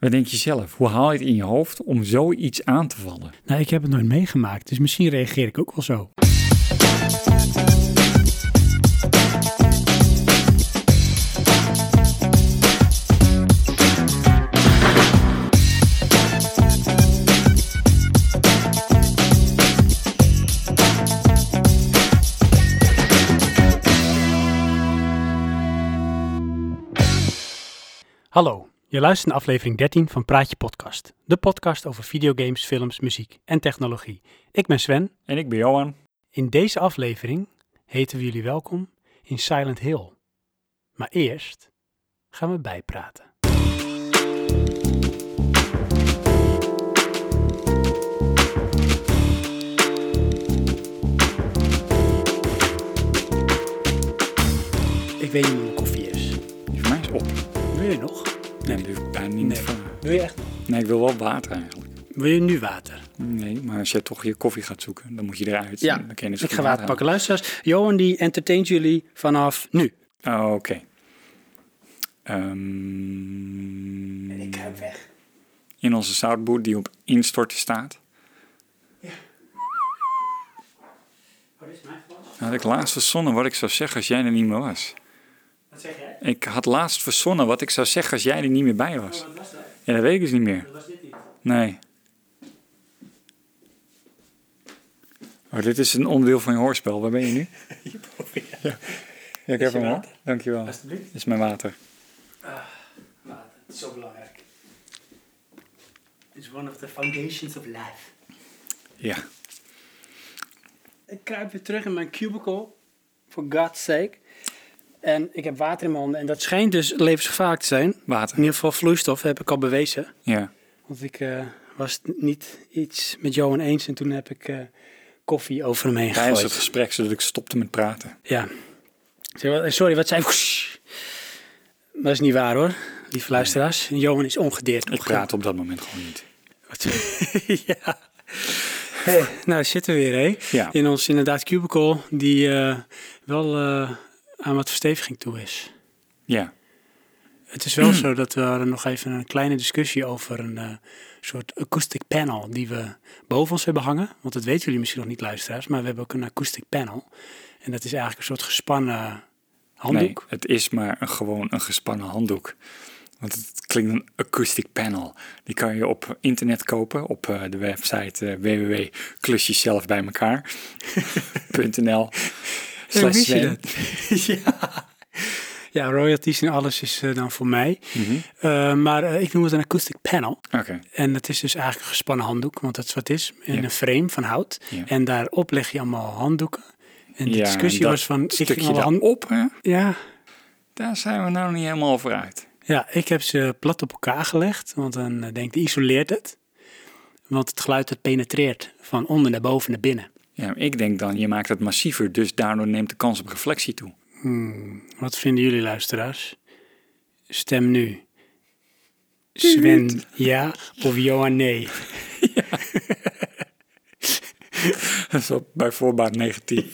Wat denk je zelf? Hoe haal je het in je hoofd om zoiets aan te vallen? Nou, ik heb het nooit meegemaakt, dus misschien reageer ik ook wel zo. Hallo, je luistert naar aflevering 13 van Praatje Podcast. De podcast over videogames, films, muziek en technologie. Ik ben Sven. En ik ben Johan. In deze aflevering heten we jullie welkom in Silent Hill. Maar eerst gaan we bijpraten. Ik weet niet hoe mijn koffie is. Die van mij is op. Wil je nog? Nee, dat hoef ik bijna niet Nee. van. Wil je echt nog? Nee, ik wil wel water eigenlijk. Wil je nu water? Nee, maar als je toch je koffie gaat zoeken, dan moet je eruit. Ja, dan kan je dus ik ga geen water pakken. Luisteraars, Johan die entertaint jullie vanaf nu. halen. Oh, Oké. Ehm, kruip weg. in onze zoutboer die op instorten staat. Oh, dit is mijn glas. Had ik laatst verzonnen wat ik zou zeggen als jij er niet meer was. Wat zeg jij? Ik had laatst verzonnen wat ik zou zeggen als jij er niet meer bij was. Wat was dat? Ja, dat weet ik dus niet meer. Dat was dit niet. Nee. Oh, dit is een onderdeel van je hoorspel. Waar ben je nu? Ja, ik heb je hem al. water? Dankjewel. Dit Alsjeblieft. is mijn water. Water, het is zo belangrijk. It's one of the foundations of life. Ja. Ik kruip weer terug in mijn cubicle, for God's sake. En ik heb water in mijn handen en dat schijnt dus levensgevaarlijk te zijn. In Water. ieder geval vloeistof heb ik al bewezen. Ja. Want ik eh, was het niet iets met Johan eens en toen heb ik eh, koffie over hem heen Tijdens gegooid. het gesprek, zodat ik stopte met praten. Ja. Zeg, wat- eh, Sorry, wat zijn... Maar dat is niet waar hoor, lieve luisteraars. Johan is ongedeerd. Ik praat op dat moment gewoon niet. Wat- ja. Hey, nou, daar zitten we weer, hè? Ja. In ons inderdaad cubicle, die eh, wel eh, aan wat versteviging toe is. Ja. Het is wel zo dat we hadden nog even een kleine discussie over een eh, soort acoustic panel die we boven ons hebben hangen. Want dat weten jullie misschien nog niet, luisteraars, maar we hebben ook een acoustic panel. En dat is eigenlijk een soort gespannen handdoek. Nee, het is maar een, gewoon een gespannen handdoek. Want het klinkt een acoustic panel. Die kan je op internet kopen op eh, de website eh www.klusjeszelfbijmekaar.nl Hoe wist Sven. je dat? ja. ja, royalties en alles is eh, dan voor mij. Mhm. Eh, maar eh, ik noem het een acoustic panel. Oké, En dat is dus eigenlijk een gespannen handdoek, want dat is wat het is. In Ja. een frame van hout. Ja. En daarop leg je allemaal handdoeken. En de Ja, discussie dat was van... Ik ging stukje alle hand- daarop, hè? Ja, daar zijn we nou niet helemaal over uit. ja, ik heb ze plat op elkaar gelegd, want dan eh, denk ik, isoleert het. Want het geluid dat penetreert van onder naar boven naar binnen. Ja, ik denk dan, je maakt het massiever, dus daardoor neemt de kans op reflectie toe. Hmm, wat vinden jullie luisteraars? Stem nu. Sven ja of Johan nee. Dat is wel bij voorbaat negatief.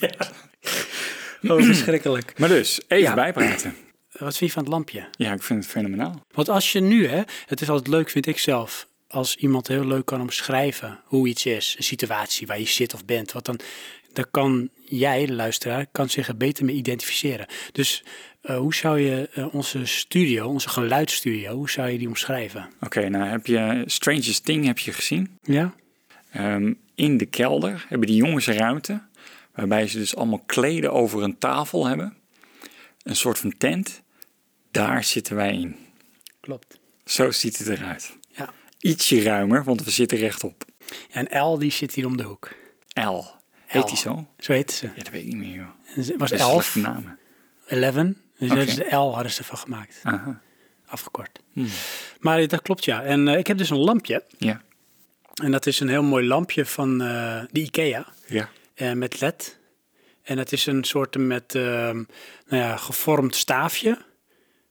Oh, verschrikkelijk. Maar dus, even Ja. bijpraten. Wat vind je van het lampje? Ja, ik vind het fenomenaal. Want als je nu, hè, het is altijd leuk, vind ik zelf, als iemand heel leuk kan omschrijven hoe iets is, een situatie waar je zit of bent, want dan, dan kan jij, de luisteraar, kan zich er beter mee identificeren. Dus eh, hoe zou je eh, onze studio, onze geluidsstudio, hoe zou je die omschrijven? Oké, nou heb je Strangest Thing heb je gezien? Ja? Ehm, in de kelder hebben die jongens een ruimte, waarbij ze dus allemaal kleden over een tafel hebben. Een soort van tent. Daar zitten wij in. Klopt. Zo ziet het eruit. Ja. Ietsje ruimer, want we zitten rechtop. En L, die zit hier om de hoek. L. Heet L. die zo? Zo heette ze. Ja, dat weet ik niet meer, joh. Het was Dat is een 11, slechte namen. 11. Dus Oké. dat is de L hadden ze ervan gemaakt, Aha. afgekort. Hmm. Maar dat klopt ja. En eh, ik heb dus een lampje. Ja. En dat is een heel mooi lampje van eh, de IKEA Ja. eh, met LED. En het is een soort met ehm, nou ja, gevormd staafje.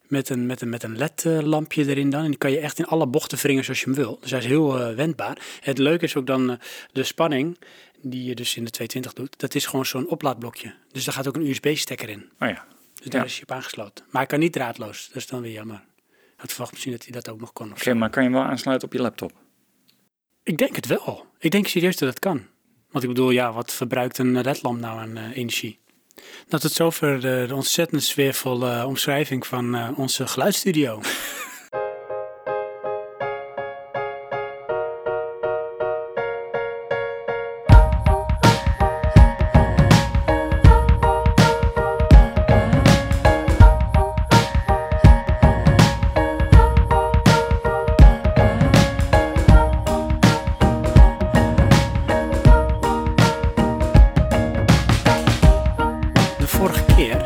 Met een, met een, met een LED-lampje erin dan. En die kan je echt in alle bochten wringen zoals je hem wil. Dus hij is heel eh, wendbaar. het leuke is ook dan eh, de spanning die je dus in de 220 doet. Dat is gewoon zo'n oplaadblokje. Dus daar gaat ook een USB-stekker in. Oh ja. Dus daar Ja. is je op aangesloten. Maar hij kan niet draadloos. Dat is dan weer jammer. Hij had verwacht misschien dat hij dat ook nog kon. of zo. Oké, maar kan je hem wel aansluiten op je laptop? Ik denk het wel. Ik denk serieus dat het kan. Want ik bedoel, ja, wat verbruikt een ledlamp nou aan eh, energie? Nou, tot zover de, de ontzettend sfeervolle eh, omschrijving van eh, onze geluidsstudio. De vorige keer,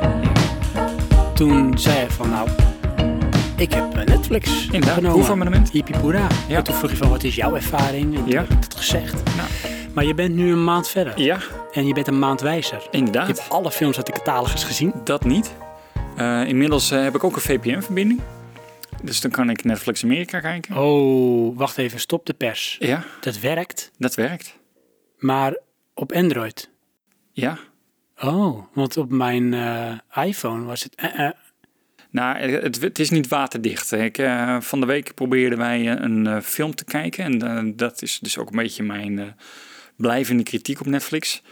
toen zei hij van, nou, ik heb eh, Netflix Inderdaad, genomen. proefabonnement. Ipipoera. Ja. En toen vroeg je van, wat is jouw ervaring? En toen Ja. heb ik dat gezegd. Nou. Maar je bent nu een maand verder. Ja, En je bent een maand wijzer. Je inderdaad. hebt alle films uit de catalogus gezien. Dat niet. Eh, inmiddels eh, heb ik ook een VPN-verbinding. Dus dan kan ik Netflix Amerika kijken. Oh, wacht even, stop de pers. Ja, Dat werkt, dat werkt. maar op Android. Ja. Oh, want op mijn eh, iPhone was het... eh, eh. Nou, eh, het, het is niet waterdicht. Ik, eh, van de week probeerden wij eh, een eh, film te kijken. En eh, dat is dus ook een beetje mijn eh, blijvende kritiek op Netflix.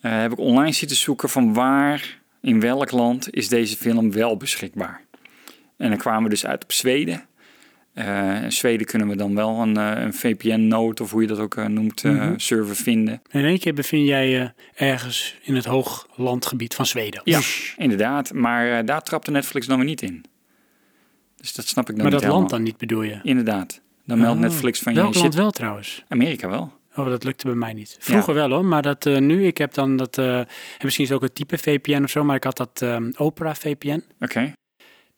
Eh, heb ik online zitten zoeken van waar, in welk land is deze film wel beschikbaar. En dan kwamen we dus uit op Zweden. Eh, in Zweden kunnen we dan wel een, eh, een VPN-nood, of hoe je dat ook eh, noemt, eh, Mhm. server vinden. In één keer bevind jij je ergens in het hooglandgebied van Zweden. Oh, Ja, Oesh. inderdaad. Maar eh, daar trapte Netflix dan weer niet in. Dus dat snap ik dan Maar niet dat land helemaal. dan niet bedoel je? Inderdaad. Dan meldt Oh, Netflix van je Welk land zit wel trouwens? Amerika wel. Oh, dat lukte bij mij niet. Vroeger wel hoor, maar dat eh, nu, ik heb dan dat... eh, en misschien is het ook een type VPN of zo, maar ik had dat ehm, Opera VPN. Oké.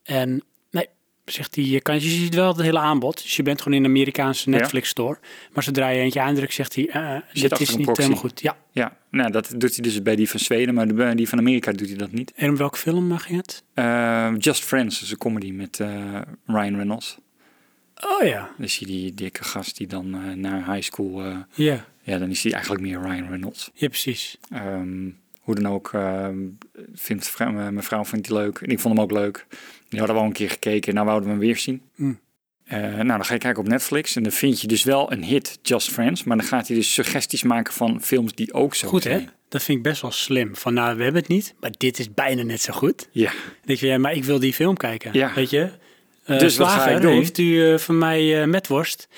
En nee, zegt hij, je, kan, je ziet wel het hele aanbod. Dus je bent gewoon in de Amerikaanse Ja. Netflix store. Maar zodra je eentje aandrukt, zegt hij, eh, eh, dit achter is een niet proxy. helemaal goed. Ja. Ja, nou, dat doet hij dus bij die van Zweden, maar bij die van Amerika doet hij dat niet. En om welke film eh, ging het? Eh, Just Friends is een comedy met eh, Ryan Reynolds. Oh ja. Dan zie je die dikke gast die dan eh, naar high school... eh, Ja, ja, dan is hij eigenlijk meer Ryan Reynolds. ja precies. Ehm, hoe dan ook, ehm, vindt vrou- mijn mijn vrouw vindt die leuk. En ik vond hem ook leuk. Die hadden we al een keer gekeken. Nou wouden we hem weer zien. Mm. Eh, nou, dan ga je kijken op Netflix. En dan vind je dus wel een hit, Just Friends. Maar dan gaat hij dus suggesties maken van films die ook zo Goed zijn. hè? Dat vind ik best wel slim. Van nou, we hebben het niet, maar dit is bijna net zo goed. Ja, Dan denk je, ja, maar ik wil die film kijken. Ja. Weet je? Eh, Dus wat ga Slager, ik doen? heeft u eh, van mij eh metworst?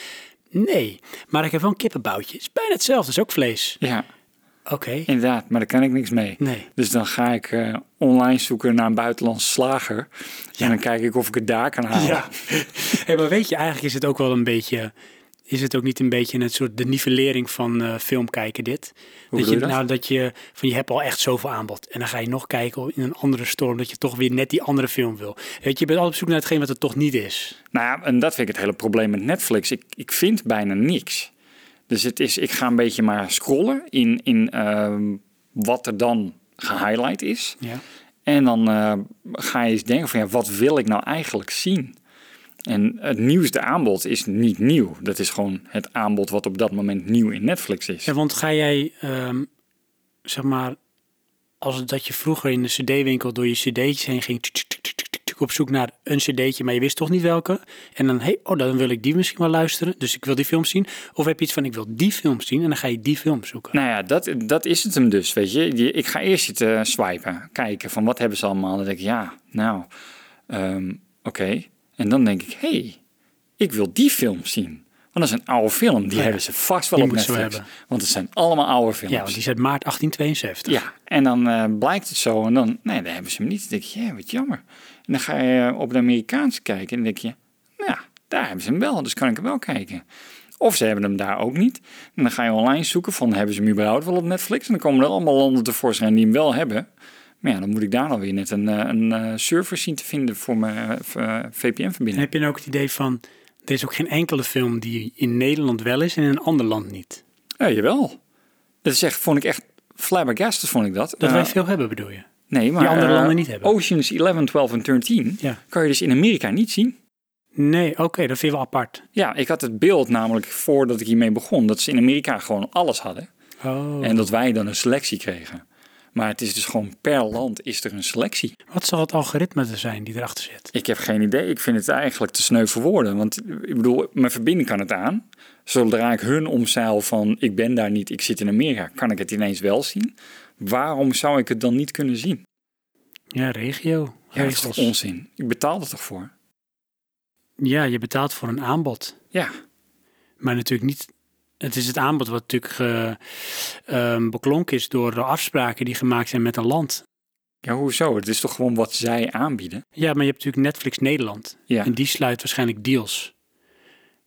Nee, maar ik heb wel een kippenboutje. Het is bijna hetzelfde, het is ook vlees. ja, Oké. inderdaad. Maar daar kan ik niks mee. Nee. Dus dan ga ik eh, online zoeken naar een buitenlandse slager. En dan kijk ik of ik het daar kan halen. Ja. Hey, maar weet je, eigenlijk is het ook wel een beetje. Is het ook niet een beetje een soort de nivellering van eh, film kijken dit? Hoe dat bedoel je, je dat? nou dat je van je hebt al echt zoveel aanbod en dan ga je nog kijken in een andere storm dat je toch weer net die andere film wil. Weet je, je bent altijd op zoek naar hetgeen wat het toch niet is. Nou ja, en dat vind ik het hele probleem met Netflix. Ik, ik vind bijna niks. Dus het is, ik ga een beetje maar scrollen in, in ehm, wat er dan gehighlight is. Ja. En dan eh, ga je eens denken van ja, wat wil ik nou eigenlijk zien? En het nieuwste aanbod is niet nieuw. Dat is gewoon het aanbod wat op dat moment nieuw in Netflix is. want ga jij ehm, zeg maar als het dat je vroeger in de CD-winkel door je CD'tjes heen ging tsk, tsk, tsk, tsk, tsk, op zoek naar een CD'tje, maar je wist toch niet welke. En dan, hey, oh, dan wil ik die misschien wel luisteren, dus ik wil die film zien. Of heb je iets van, ik wil die film zien en dan ga je die film zoeken. Nou ja, dat, dat is het hem dus, weet je. Je- Ik ga eerst zitten swipen, kijken van wat hebben ze allemaal. Dan denk ik, ja, nou, ehm, oké. En dan denk ik, hé, hey, ik wil die film zien. Want dat is een oude film, die ja. hebben ze vast wel Die op moeten ze Netflix. hebben. Want het zijn allemaal oude films. ja, want die is uit maart 1872. Ja, en dan eh, blijkt het zo en dan, nee, dan hebben ze hem niet. Dan denk je, ja, wat jammer. En dan ga je op de Amerikaanse kijken en dan denk je, nou, daar hebben ze hem wel, dus kan ik hem wel kijken. Of ze hebben hem daar ook niet. En dan ga je online zoeken van, hebben ze hem überhaupt wel op Netflix? En dan komen er allemaal landen tevoorschijn die hem wel hebben. Maar ja, dan moet ik daar dan weer net een, eh, een eh, server zien te vinden voor mijn eh, En VPN-verbinding. heb je dan ook het idee van, er is ook geen enkele film die in Nederland wel is en in een ander land niet. Ja, jawel. Dat is echt, vond ik echt flabbergasted, vond ik dat. Dat Eh, wij veel hebben, bedoel je? nee, maar, andere eh, landen niet hebben. Oceans 11, 12 en 13 Ja. kan je dus in Amerika niet zien. Nee, oké, dat vind je wel apart. Ja, ik had het beeld namelijk voordat ik hiermee begon, dat ze in Amerika gewoon alles hadden. Oh. En dat wij dan een selectie kregen. Maar het is dus gewoon per land is er een selectie. Wat zal het algoritme er zijn die erachter zit? Ik heb geen idee. Ik vind het eigenlijk te sneu voor woorden. Want ik bedoel, mijn verbinding kan het aan. Zodra ik hun omzeil van ik ben daar niet, ik zit in Amerika, kan ik het ineens wel zien. Waarom zou ik het dan niet kunnen zien? Ja, regio. Ja, dat is toch Regels. onzin? Ik betaal er toch voor? Ja, je betaalt voor een aanbod. Ja, Maar natuurlijk niet. Het is het aanbod wat natuurlijk eh, ehm, beklonken is door de afspraken die gemaakt zijn met een land. ja hoezo? Het is toch gewoon wat zij aanbieden? Ja, maar je hebt natuurlijk Netflix Nederland. Ja. En die sluit waarschijnlijk deals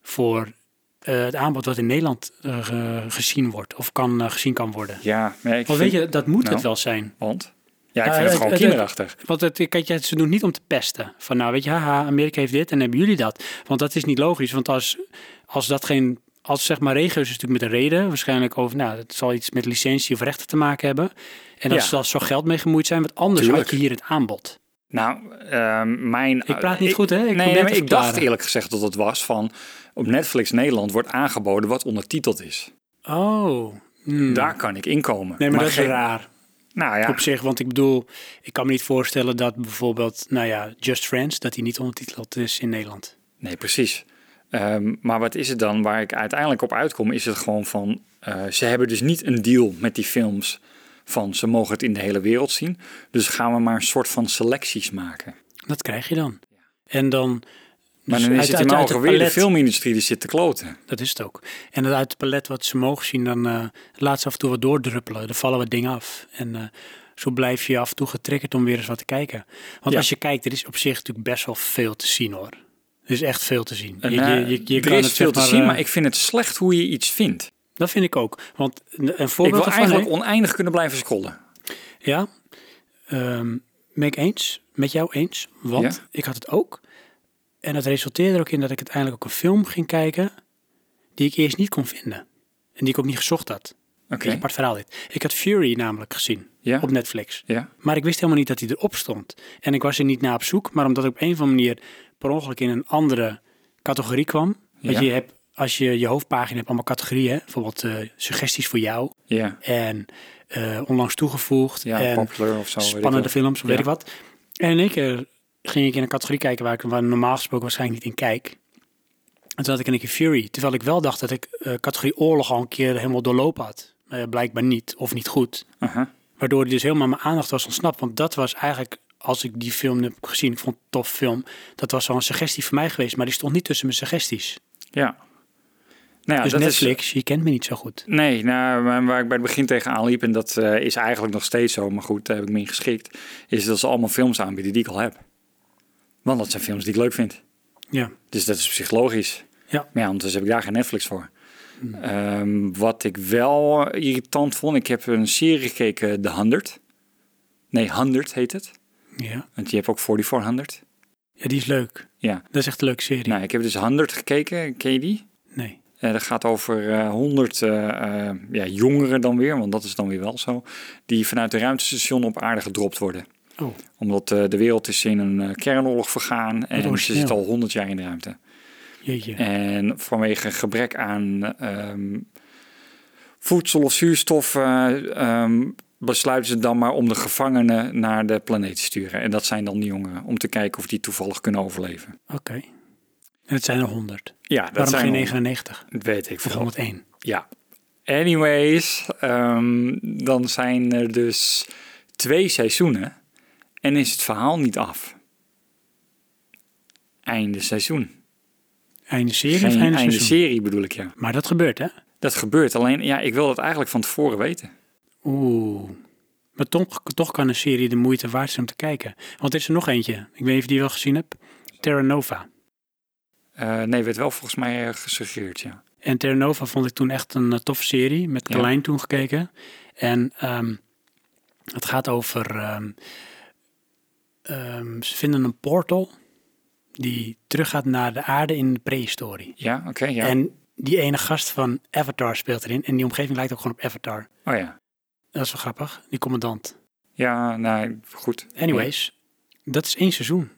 voor eh, het aanbod wat in Nederland eh, ge- gezien wordt of kan, eh, gezien kan worden. Ja, maar ik Want vind- weet je, dat moet Nou. het wel zijn. Want? Ja, ik Ja, vind het het- gewoon het- kinderachtig. Want het, kijk, ja, ze doen het niet om te pesten. Van nou, weet je, haha, Amerika heeft dit en hebben jullie dat. Want dat is niet logisch. Want als, als dat geen... Als zeg maar regio's is natuurlijk met een reden. Waarschijnlijk over, nou, het zal iets met licentie of rechten te maken hebben. En als Ja. daar zo geld mee gemoeid zijn, want anders Tuurlijk. had je hier het aanbod. Nou, ehm, mijn... Ik praat niet goed, hè? Ik probeer nee, te nee, maar ik dacht verklaren. eerlijk gezegd dat het was van... Op Netflix Nederland wordt aangeboden wat ondertiteld is. Oh. hmm. Daar kan ik inkomen. Nee, maar, dat geen- is raar Nou ja, op zich. Want ik bedoel, ik kan me niet voorstellen dat bijvoorbeeld, nou ja, Just Friends, dat die niet ondertiteld is in Nederland. nee, precies. Ehm, maar wat is het dan waar ik uiteindelijk op uitkom? Is het gewoon van... eh, ze hebben dus niet een deal met die films van ze mogen het in de hele wereld zien. Dus gaan we maar een soort van selecties maken. Dat krijg je dan. En dan... Maar dus dan uit- is het uit- in uit mijn het ogen weer de palet- filmindustrie die zit te kloten. Dat is het ook. En dat uit het palet wat ze mogen zien, dan eh, laat ze af en toe wat doordruppelen. Dan vallen wat dingen af. En eh, zo blijf je af en toe getriggerd om weer eens wat te kijken. Want Ja. als je kijkt, er is op zich natuurlijk best wel veel te zien hoor. Er is echt veel te zien. Je, En, eh, je, je, je er kan is het, veel zeg te zien, eh, maar ik vind het slecht hoe je iets vindt. Dat vind ik ook. Want een- een Ik voorbeeld wil daarvan... eigenlijk hè? oneindig kunnen blijven scrollen. Ja, Ehm ben ik eens. Met jou eens. Want Ja. ik had het ook. En dat resulteerde er ook in dat ik uiteindelijk ook een film ging kijken... die ik eerst niet kon vinden. En die ik ook niet gezocht had. Oké. Een apart verhaal dit. Ik had Fury namelijk gezien Ja. op Netflix. Ja. Maar ik wist helemaal niet dat hij erop stond. En ik was er niet naar op zoek. Maar omdat ik op een of andere manier per ongeluk in een andere categorie kwam. Want Ja. je hebt, als je je hoofdpagina hebt allemaal categorieën. hè. Bijvoorbeeld eh, suggesties voor jou. Ja. En eh, onlangs toegevoegd. Ja, en popular of zo. weet ik spannende wel. films, of Ja. weet ik wat. En in één keer ging ik in een categorie kijken waar ik waar normaal gesproken waarschijnlijk niet in kijk. En toen had ik in één keer Fury. Terwijl ik wel dacht dat ik eh, categorie oorlog al een keer helemaal doorlopen had. Maar ja, blijkbaar niet, of niet goed. Aha. Waardoor die dus helemaal mijn aandacht was ontsnapt. Want dat was eigenlijk, als ik die film heb gezien, ik vond het een tof film. Dat was wel een suggestie voor mij geweest, maar die stond niet tussen mijn suggesties. Ja. Nou ja, dus dat is- Netflix, je kent me niet zo goed. nee, nou, waar waar ik bij het begin tegenaan liep, en dat eh, is eigenlijk nog steeds zo, maar goed, daar heb ik me in geschikt, is dat ze allemaal films aanbieden die ik al heb. Want dat zijn films die ik leuk vind. Ja, Dus dat is op zich logisch. Ja. Hmm. Maar ja, anders heb ik daar geen Netflix voor. Ehm, wat ik wel irritant vond, ik heb een serie gekeken, The 100. Nee, 100 heet het. ja. Want je hebt ook 4400. ja die is leuk. Ja. Dat is echt een leuke serie. Nou, ik heb dus 100 gekeken. Ken je die? nee. Eh, dat gaat over eh 100 eh, eh, ja, jongeren dan weer, want dat is dan weer wel zo, die vanuit een ruimtestation op aarde gedropt worden. Oh. Omdat eh, de wereld is in een eh, kernoorlog vergaan en ze origineel. zitten al 100 jaar in de ruimte. Jeetje. En vanwege gebrek aan ehm, voedsel of zuurstof eh, ehm, besluiten ze dan maar om de gevangenen naar de planeet te sturen. En dat zijn dan de jongeren, om te kijken of die toevallig kunnen overleven. Oké. En het zijn er 100. Ja, dat Waarom zijn geen wel- 99 Dat weet ik of veel. 101? Ja. Anyways, ehm, dan zijn er dus twee seizoenen en is het verhaal niet af. Einde seizoen. Einde serie Geen of einde, einde, seizoen? serie bedoel ik, ja. Maar dat gebeurt, hè? Dat gebeurt, alleen ja, ik wil dat eigenlijk van tevoren weten. Oeh. Maar toch, toch kan een serie de moeite waard zijn om te kijken. Want er is er nog eentje. Ik weet niet of je die wel gezien hebt. Terra Nova. Eh, nee, werd wel volgens mij eh, gesuggereerd, ja. En Terra Nova vond ik toen echt een eh, toffe serie. Met Ja. Carlijn toen gekeken. En ehm, het gaat over... ehm, ehm, ze vinden een portal die teruggaat naar de aarde in de prehistorie. Ja, oké, ja. En die ene gast van Avatar speelt erin. En die omgeving lijkt ook gewoon op Avatar. Oh ja. Dat is wel grappig. Die commandant. Ja, nou, goed. Anyways, dat is één seizoen.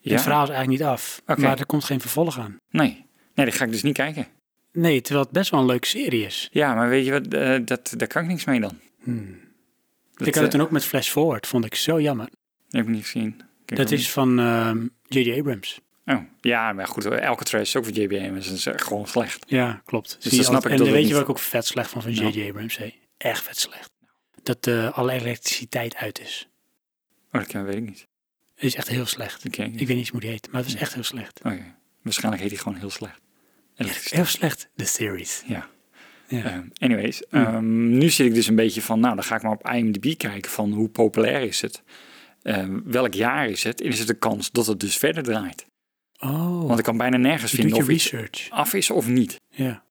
Ja? Het verhaal is eigenlijk niet af. Oké. Maar er komt geen vervolg aan. Nee. Nee, die ga ik dus niet kijken. Nee, terwijl het best wel een leuke serie is. Ja, maar weet je wat, eh, dat, daar kan ik niks mee dan. Hmm. Dat, ik had het eh, toen ook met Flash Forward, vond ik zo jammer. heb ik niet gezien. Kijk, Dat is van ehm, J.J. Abrams. Oh, ja, maar goed, elke trash is ook voor JBM dus is is echt gewoon slecht. Ja, klopt. Zie dan je snap ik al- en Dus dat ook weet je niet. wat ik ook vet slecht van van Nou. J.J. Abrams? Hé? Echt vet slecht. Dat eh, alle elektriciteit uit is. Oh, dat ken- weet ik niet. Het is echt heel slecht. Dat ken ik niet. Ik weet niet hoe die heet, maar het is echt heel slecht. Oh, ja. Waarschijnlijk heet hij gewoon heel slecht. Echt heel slecht, de series. Ja. Ja. Ehm, anyways, Mm. ehm, nu zit ik dus een beetje van, nou, dan ga ik maar op IMDb kijken van hoe populair is het. Ehm, welk jaar is het? En is het de kans dat het dus verder draait? Oh, Want ik kan bijna nergens je doet vinden je of iets research. af is of niet. Ja,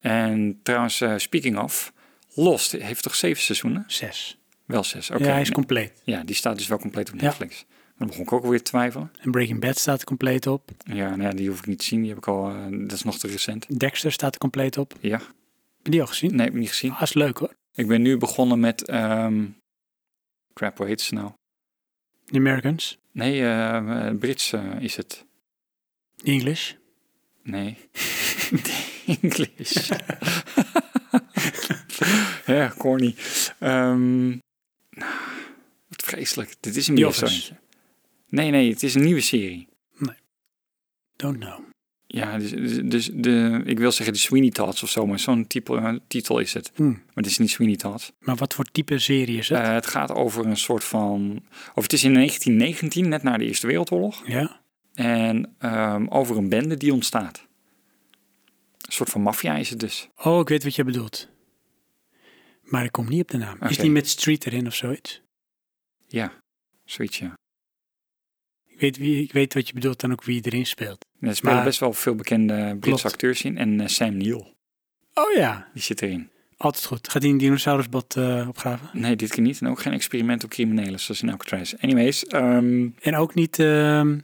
En trouwens, eh, speaking of, Lost heeft toch zeven seizoenen? zes. Wel zes, oké. ja, hij is Nee. compleet. Ja, die staat dus wel compleet op Ja. Netflix. Dan begon ik ook weer te twijfelen. En Breaking Bad staat er compleet op. Ja, nou ja, die hoef ik niet te zien. Die heb ik al, eh, dat is nog te recent. Dexter staat er compleet op. Ja, Heb je die al gezien? nee, heb ik niet gezien. Ah, is leuk hoor. Ik ben nu begonnen met, ehm crap, hoe heet ze nou? The Americans. Nee, eh, eh, Brits eh, is het. English. Nee. Engels. ja, corny. Ehm, nou, wat vreselijk. Dit is een The bierstandje. Nee, nee, het is een nieuwe serie. Don't know. Ja, dus, dus- dus de, ik wil zeggen de Sweeney Tots of zo, maar zo'n type, eh, titel is het. Hm. Maar het is niet Sweeney Todd. Maar wat voor type serie is het? Eh, het gaat over een soort van... Of het is in 1919, net na de Eerste Wereldoorlog. ja? En ehm, over een bende die ontstaat. Een soort van maffia is het dus. Oh, ik weet wat je bedoelt. Maar ik kom niet op de naam. Is Oké. die met Street erin of zoiets? Ja, zoiets ja. Ik weet, wie, ik weet wat je bedoelt en ook wie erin speelt. En Er spelen Maar- best wel veel bekende Britse Klopt. acteurs in. En eh, Sam Neill, Oh ja, die zit erin. altijd goed. Gaat die een dinosaurusbot eh, opgraven? Nee, dit keer niet. En ook geen experiment op criminelen, zoals in Alcatraz. Anyways, ehm, En ook niet ehm,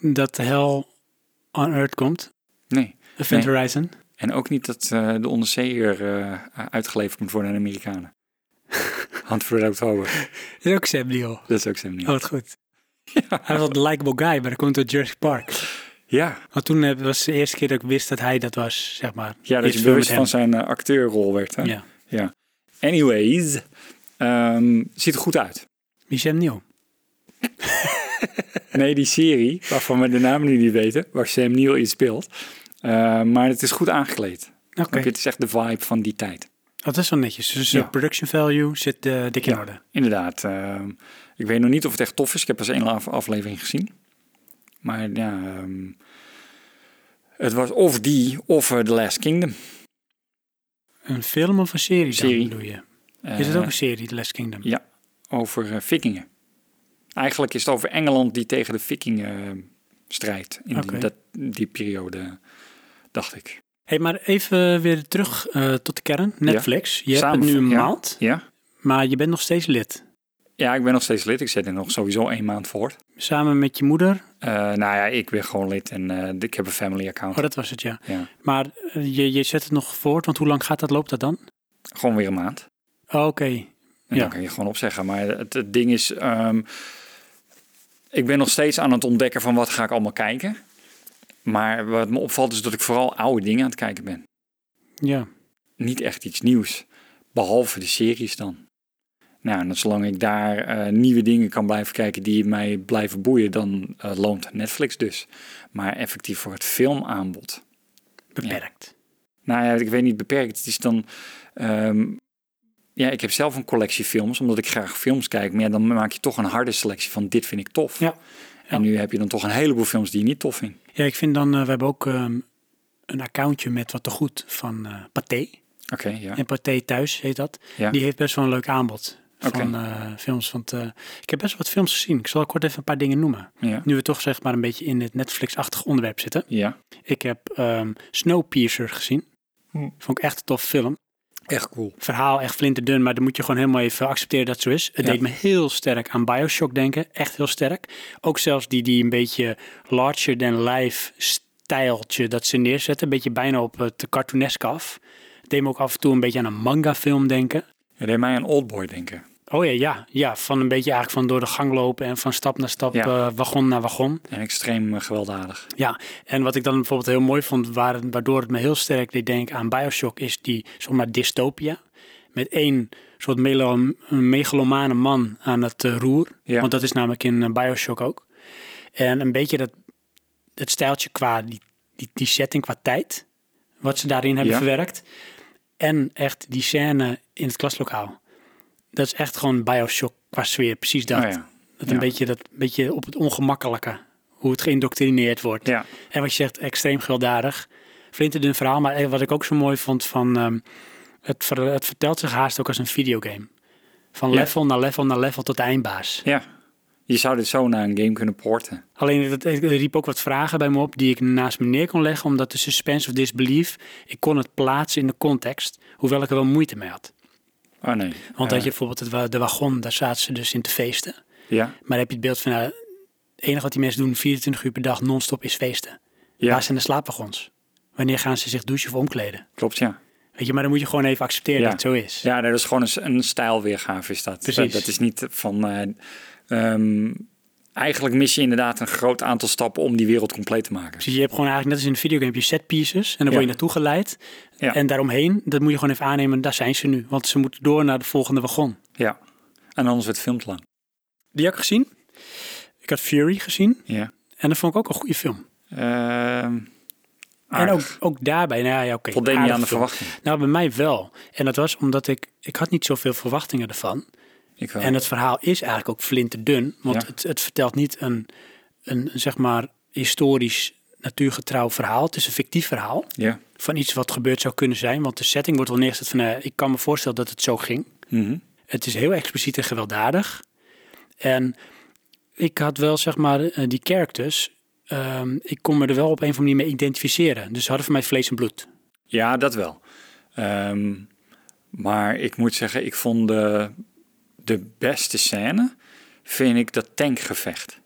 dat de hel on Earth komt. nee. Event Nee. Horizon. En ook niet dat eh, de onderzeeër eh, uitgeleverd moet worden aan de Amerikanen. Hand voor de oktober. Dat is ook Sam Neill. Oh, Dat is ook Sam Neill. wat goed. Hij was een likable guy, maar dat komt door Jurassic Park. Ja, Want toen eh, was de eerste keer dat ik wist dat hij dat was, zeg maar. ja dat Iets je meer bewust met van hem. zijn eh, acteurrol werd. Hè? Ja. Anyways, ehm, ziet er goed uit. Wie is Sam Neill? Nee, die serie, waarvan we de naam nu niet weten, waar Sam Neill in speelt. Eh, maar het is goed aangekleed. Oké. Snap je? Het is echt de vibe van die tijd. Dat is wel netjes. Dus Ja. de production value zit eh, dik in Ja. orde. Inderdaad. ehm, ik weet nog niet of het echt tof is. Ik heb pas één af- aflevering gezien. Maar ja, ehm, het was of die of eh, The Last Kingdom. Een film of een serie, Serie. dan bedoel je? Eh, Is het ook een serie, The Last Kingdom? ja. over eh, vikingen. Eigenlijk is het over Engeland die tegen de vikingen ehm, strijdt. In die, Oké. dat, die periode, dacht ik. Hey, maar even weer terug eh, tot de kern. Netflix. Je hebt het Samen- nu een ja. maand, Ja? maar je bent nog steeds lid. Ja, ik ben nog steeds lid. Ik zet er nog sowieso één maand voor. Samen met je moeder. Eh, nou ja, ik ben gewoon lid en eh, ik heb een family account. Oh, dat was het, ja. Ja. Maar eh, je, je zet het nog voort, want hoe lang gaat dat, loopt dat dan? Gewoon weer een maand. Oh, Oké. En Ja. dan kan je gewoon opzeggen. Maar het, het ding is, ehm, ik ben nog steeds aan het ontdekken van wat ga ik allemaal kijken. Maar wat me opvalt is dat ik vooral oude dingen aan het kijken ben. Ja. Niet echt iets nieuws. Behalve de series dan. Nou, en zolang ik daar eh, nieuwe dingen kan blijven kijken die mij blijven boeien, dan eh, loont Netflix dus. Maar effectief voor het filmaanbod. Beperkt. Nou ja, ik weet niet beperkt. Het is dan. ehm, ja, ik heb zelf een collectie films, omdat ik graag films kijk. Maar ja, dan maak je toch een harde selectie van dit vind ik tof. Ja, ja. En nu heb je dan toch een heleboel films die je niet tof vindt. Ja, ik vind dan, eh, we hebben ook ehm, een accountje met wat te goed van eh Pathé. Oké, ja. En Pathé Thuis heet dat. Ja. Die heeft best wel een leuk aanbod Oké. van eh, films. Want eh, ik heb best wat films gezien. Ik zal kort even een paar dingen noemen. ja. Nu we toch zeg maar een beetje in het Netflix-achtig onderwerp zitten. Ja, Ik heb ehm, Snowpiercer gezien. Hm. Vond ik echt een tof film. echt cool. Verhaal echt flinterdun, maar dan moet je gewoon helemaal even accepteren dat het zo is. Het Ja. deed me heel sterk aan Bioshock denken. Echt heel sterk. Ook zelfs die, die een beetje larger than life stijltje dat ze neerzetten. Een beetje bijna op het cartoonesk af. Het deed me ook af en toe een beetje aan een manga film denken. Het deed mij aan Oldboy denken. Oh ja, ja, ja. Van een beetje eigenlijk van door de gang lopen en van stap naar stap, Ja. eh, wagon naar wagon. En extreem eh, gewelddadig. Ja, en wat ik dan bijvoorbeeld heel mooi vond, waar- waardoor het me heel sterk deed denken aan Bioshock, is die, zeg maar, dystopia. Met één soort melo- megalomane man aan het eh, roer. Ja. Want dat is namelijk in eh, Bioshock ook. En een beetje dat, dat stijltje qua die, die, die setting, qua tijd. Wat ze daarin hebben Ja. verwerkt. En echt die scène in het klaslokaal. Dat is echt gewoon Bioshock qua sfeer. Precies dat. Oh ja. Dat een Ja. beetje, dat, beetje op het ongemakkelijke. Hoe het geïndoctrineerd wordt. Ja. En wat je zegt, extreem gewelddadig. Flinterdun verhaal, maar eh, wat ik ook zo mooi vond van... ehm, het, ver- het vertelt zich haast ook als een videogame. Van Ja. level naar level naar level tot de eindbaas. ja. Je zou dit zo naar een game kunnen porten. Alleen, het, het riep ook wat vragen bij me op die ik naast me neer kon leggen. Omdat de suspense of disbelief, ik kon het plaatsen in de context. Hoewel ik er wel moeite mee had. Oh nee. Want Eh, had je bijvoorbeeld het, wa- de wagon, daar zaten ze dus in te feesten. Ja. Maar dan heb je het beeld van, nou, het enige wat die mensen doen 24 uur per dag non-stop is feesten. Ja, Waar zijn de slaapwagons? Wanneer gaan ze zich douchen of omkleden? klopt, ja. Weet je, maar dan moet je gewoon even accepteren Ja. dat het zo is. Ja, dat is gewoon een, een stijlweergave is dat. Precies. Dat, dat is niet van... eh, ehm, eigenlijk mis je inderdaad een groot aantal stappen om die wereld compleet te maken. Dus je hebt gewoon eigenlijk, net als in een videogame, heb je set pieces en dan word Ja. je naartoe geleid. Ja. En daaromheen, dat moet je gewoon even aannemen, daar zijn ze nu. Want ze moeten door naar de volgende wagon. Ja. En anders werd het film te lang. Die heb ik gezien. Ik had Fury gezien Ja. en dat vond ik ook een goede film. Ehm En aardig. ook, ook daarbij, nou ja, oké. Voldeed niet aardige aan de film. verwachting. Nou, bij mij wel. En dat was omdat ik, ik had niet zoveel verwachtingen ervan. Ik wel. En het verhaal is eigenlijk ook flinterdun. Want Ja. het, het vertelt niet een, een, zeg maar, historisch natuurgetrouw verhaal. Het is een fictief verhaal Ja. van iets wat gebeurd zou kunnen zijn. Want de setting wordt wel neergezet van, eh, ik kan me voorstellen dat het zo ging. Mhm. Het is heel expliciet en gewelddadig. En ik had wel, zeg maar, eh, die characters... ehm, ik kon me er wel op een of andere manier mee identificeren. Dus ze hadden voor mij vlees en bloed. Ja, dat wel. Ehm, maar ik moet zeggen, ik vond de, de beste scène, vind ik dat tankgevecht.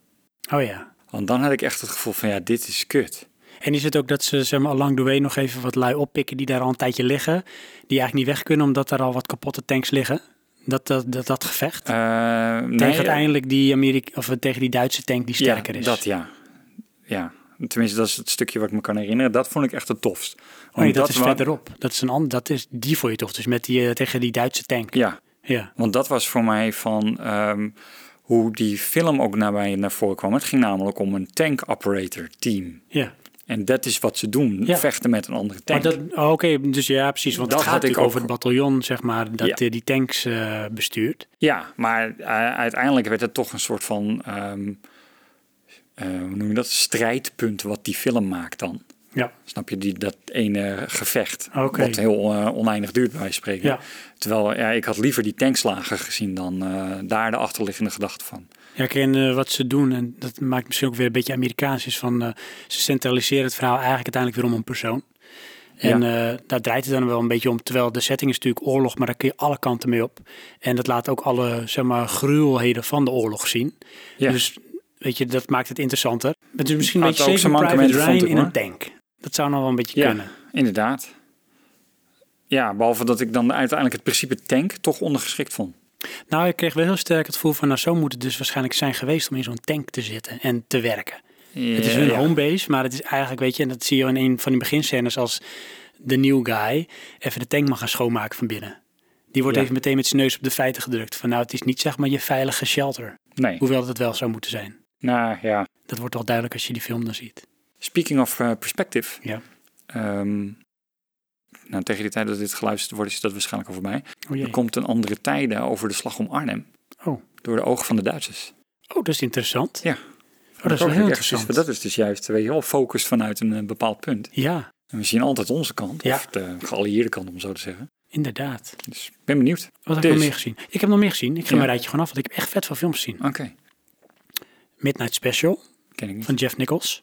Oh ja. Want dan had ik echt het gevoel van, ja, dit is kut. En is het ook dat ze zeg maar, along the way nog even wat lui oppikken die daar al een tijdje liggen, die eigenlijk niet weg kunnen omdat daar al wat kapotte tanks liggen? Dat dat, dat, dat gevecht. Eh, nee, tegen uiteindelijk die Amerika of tegen die Duitse tank die sterker ja, is. dat ja. Ja, tenminste, dat is het stukje wat ik me kan herinneren. Dat vond ik echt het tofst. Oh nee, dat, Omdat is wa- verderop. Dat is een ander. Dat is die voor je toch? Dus met die eh, tegen die Duitse tank. Ja, Ja. want dat was voor mij van ehm, hoe die film ook naar mij naar voren kwam. Het ging namelijk om een tank operator team. Ja. En dat is wat ze doen, Ja. vechten met een andere Maar tank. dat, oh, oké, dus ja, precies. Want Dat het gaat had ik natuurlijk over ook. het bataljon, zeg maar, dat Ja. eh, die tanks eh, bestuurt. Ja, maar eh, uiteindelijk werd het toch een soort van, ehm, eh, hoe noem je dat, strijdpunt wat die film maakt dan. Ja. Snap je, die, dat ene gevecht, Ah, Oké. wat heel eh, oneindig duurt bij wijze van spreken. Ja. Terwijl ja, ik had liever die tankslagen gezien dan eh, daar de achterliggende gedachte van. Ja, ik ken eh, wat ze doen, en dat maakt misschien ook weer een beetje Amerikaans, is van eh, ze centraliseren het verhaal eigenlijk uiteindelijk weer om een persoon. En eh, daar draait het dan wel een beetje om, terwijl de setting is natuurlijk oorlog, maar daar kun je alle kanten mee op. En dat laat ook alle, zeg maar, gruwelheden van de oorlog zien. Ja. Dus, weet je, dat maakt het interessanter. Het is misschien een Had beetje ook Saving zijn Private mankementen, Ryan vond ik, in een tank. Dat zou nog wel een beetje Ja. kunnen. Inderdaad. Ja, behalve dat ik dan uiteindelijk het principe tank toch ondergeschikt vond. Nou, ik kreeg wel heel sterk het gevoel van, nou, zo moet het dus waarschijnlijk zijn geweest om in zo'n tank te zitten en te werken. Het is hun Ja. homebase, maar het is eigenlijk, weet je, en dat zie je in een van die beginscènes als de new guy even de tank mag gaan schoonmaken van binnen. Die wordt Ja. even meteen met zijn neus op de feiten gedrukt. Van nou, het is niet zeg maar je veilige shelter. Nee, Hoewel dat het wel zou moeten zijn. nou ja. Dat wordt wel duidelijk als je die film dan ziet. Speaking of eh, perspective. Ja. Ehm, nou, tegen die tijd dat dit geluisterd wordt, is dat waarschijnlijk al voorbij. Oh jee. Er komt een andere tijde over de slag om Arnhem. Oh. Door de ogen van de Duitsers. Oh, dat is interessant. Ja. Oh, dat is wel heel Echt iets- interessant. dat is dus juist, weet je wel, focus vanuit een eh, bepaald punt. Ja, En we zien altijd onze kant, Ja. of de geallieerde kant, om zo te zeggen. inderdaad. Dus ik ben benieuwd. Wat heb Dus. ik nog meer gezien? Ik heb nog meer gezien. Ik ga Ja. mijn rijtje gewoon af, want ik heb echt vet veel films gezien. Oké, Midnight Special ken ik niet. van Jeff Nichols.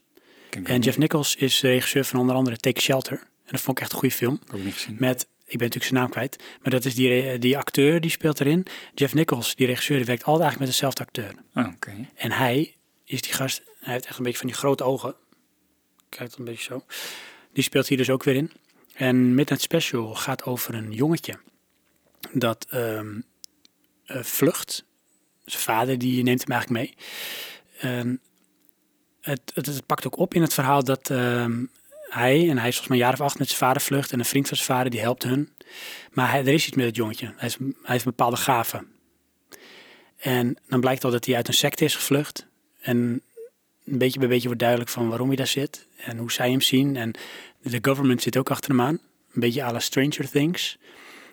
Ken ik En Jeff Nichols is de regisseur van onder andere Take Shelter. En dat vond ik echt een goede film. ook niet gezien. Met, ik ben natuurlijk zijn naam kwijt, maar dat is die, re- die acteur die speelt erin. Jeff Nichols, die regisseur, die werkt altijd eigenlijk met dezelfde acteur. Oh, Oké, En hij is die gast, hij heeft echt een beetje van die grote ogen. Kijkt een beetje zo. Die speelt hier dus ook weer in. En Midnight Special gaat over een jongetje dat ehm, eh, vlucht. Zijn vader die neemt hem eigenlijk mee. En het, het, het pakt ook op in het verhaal dat ehm, hij, en hij is volgens mij een jaar of acht met zijn vader vlucht. En een vriend van zijn vader die helpt hun. Maar hij, er is iets met het jongetje. Hij, is, hij heeft een bepaalde gaven. En dan blijkt al dat hij uit een secte is gevlucht. En een beetje bij beetje wordt duidelijk van waarom hij daar zit. En hoe zij hem zien. En de government zit ook achter hem aan. Een beetje à la Stranger Things.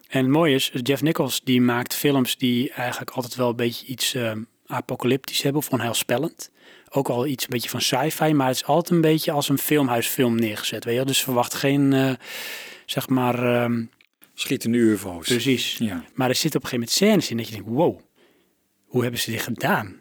En het mooie is, Jeff Nichols die maakt films die eigenlijk altijd wel een beetje iets eh, apocalyptisch hebben of onheilspellend. Ook al iets een beetje van sci-fi, maar het is altijd een beetje als een filmhuisfilm neergezet. Weet je? wel. Dus verwacht geen, eh, zeg maar, ehm, Schietende UFO's. precies. Ja. Maar er zitten op een gegeven moment scènes in dat je denkt, wow, hoe hebben ze dit gedaan?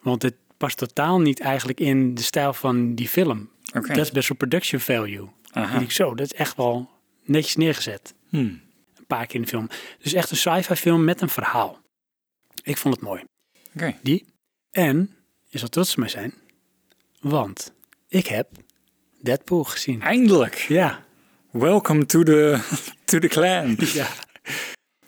Want het past totaal niet eigenlijk in de stijl van die film. Oké. Dat is best wel production value. Aha. En ik zo, dat is echt wel netjes neergezet. Hmm. Een paar keer in de film. Dus echt een sci-fi film met een verhaal. Ik vond het mooi. Oké. En je zal trots op mij zijn, want ik heb Deadpool gezien. Eindelijk. Ja, Welcome to the, to the clan. ja.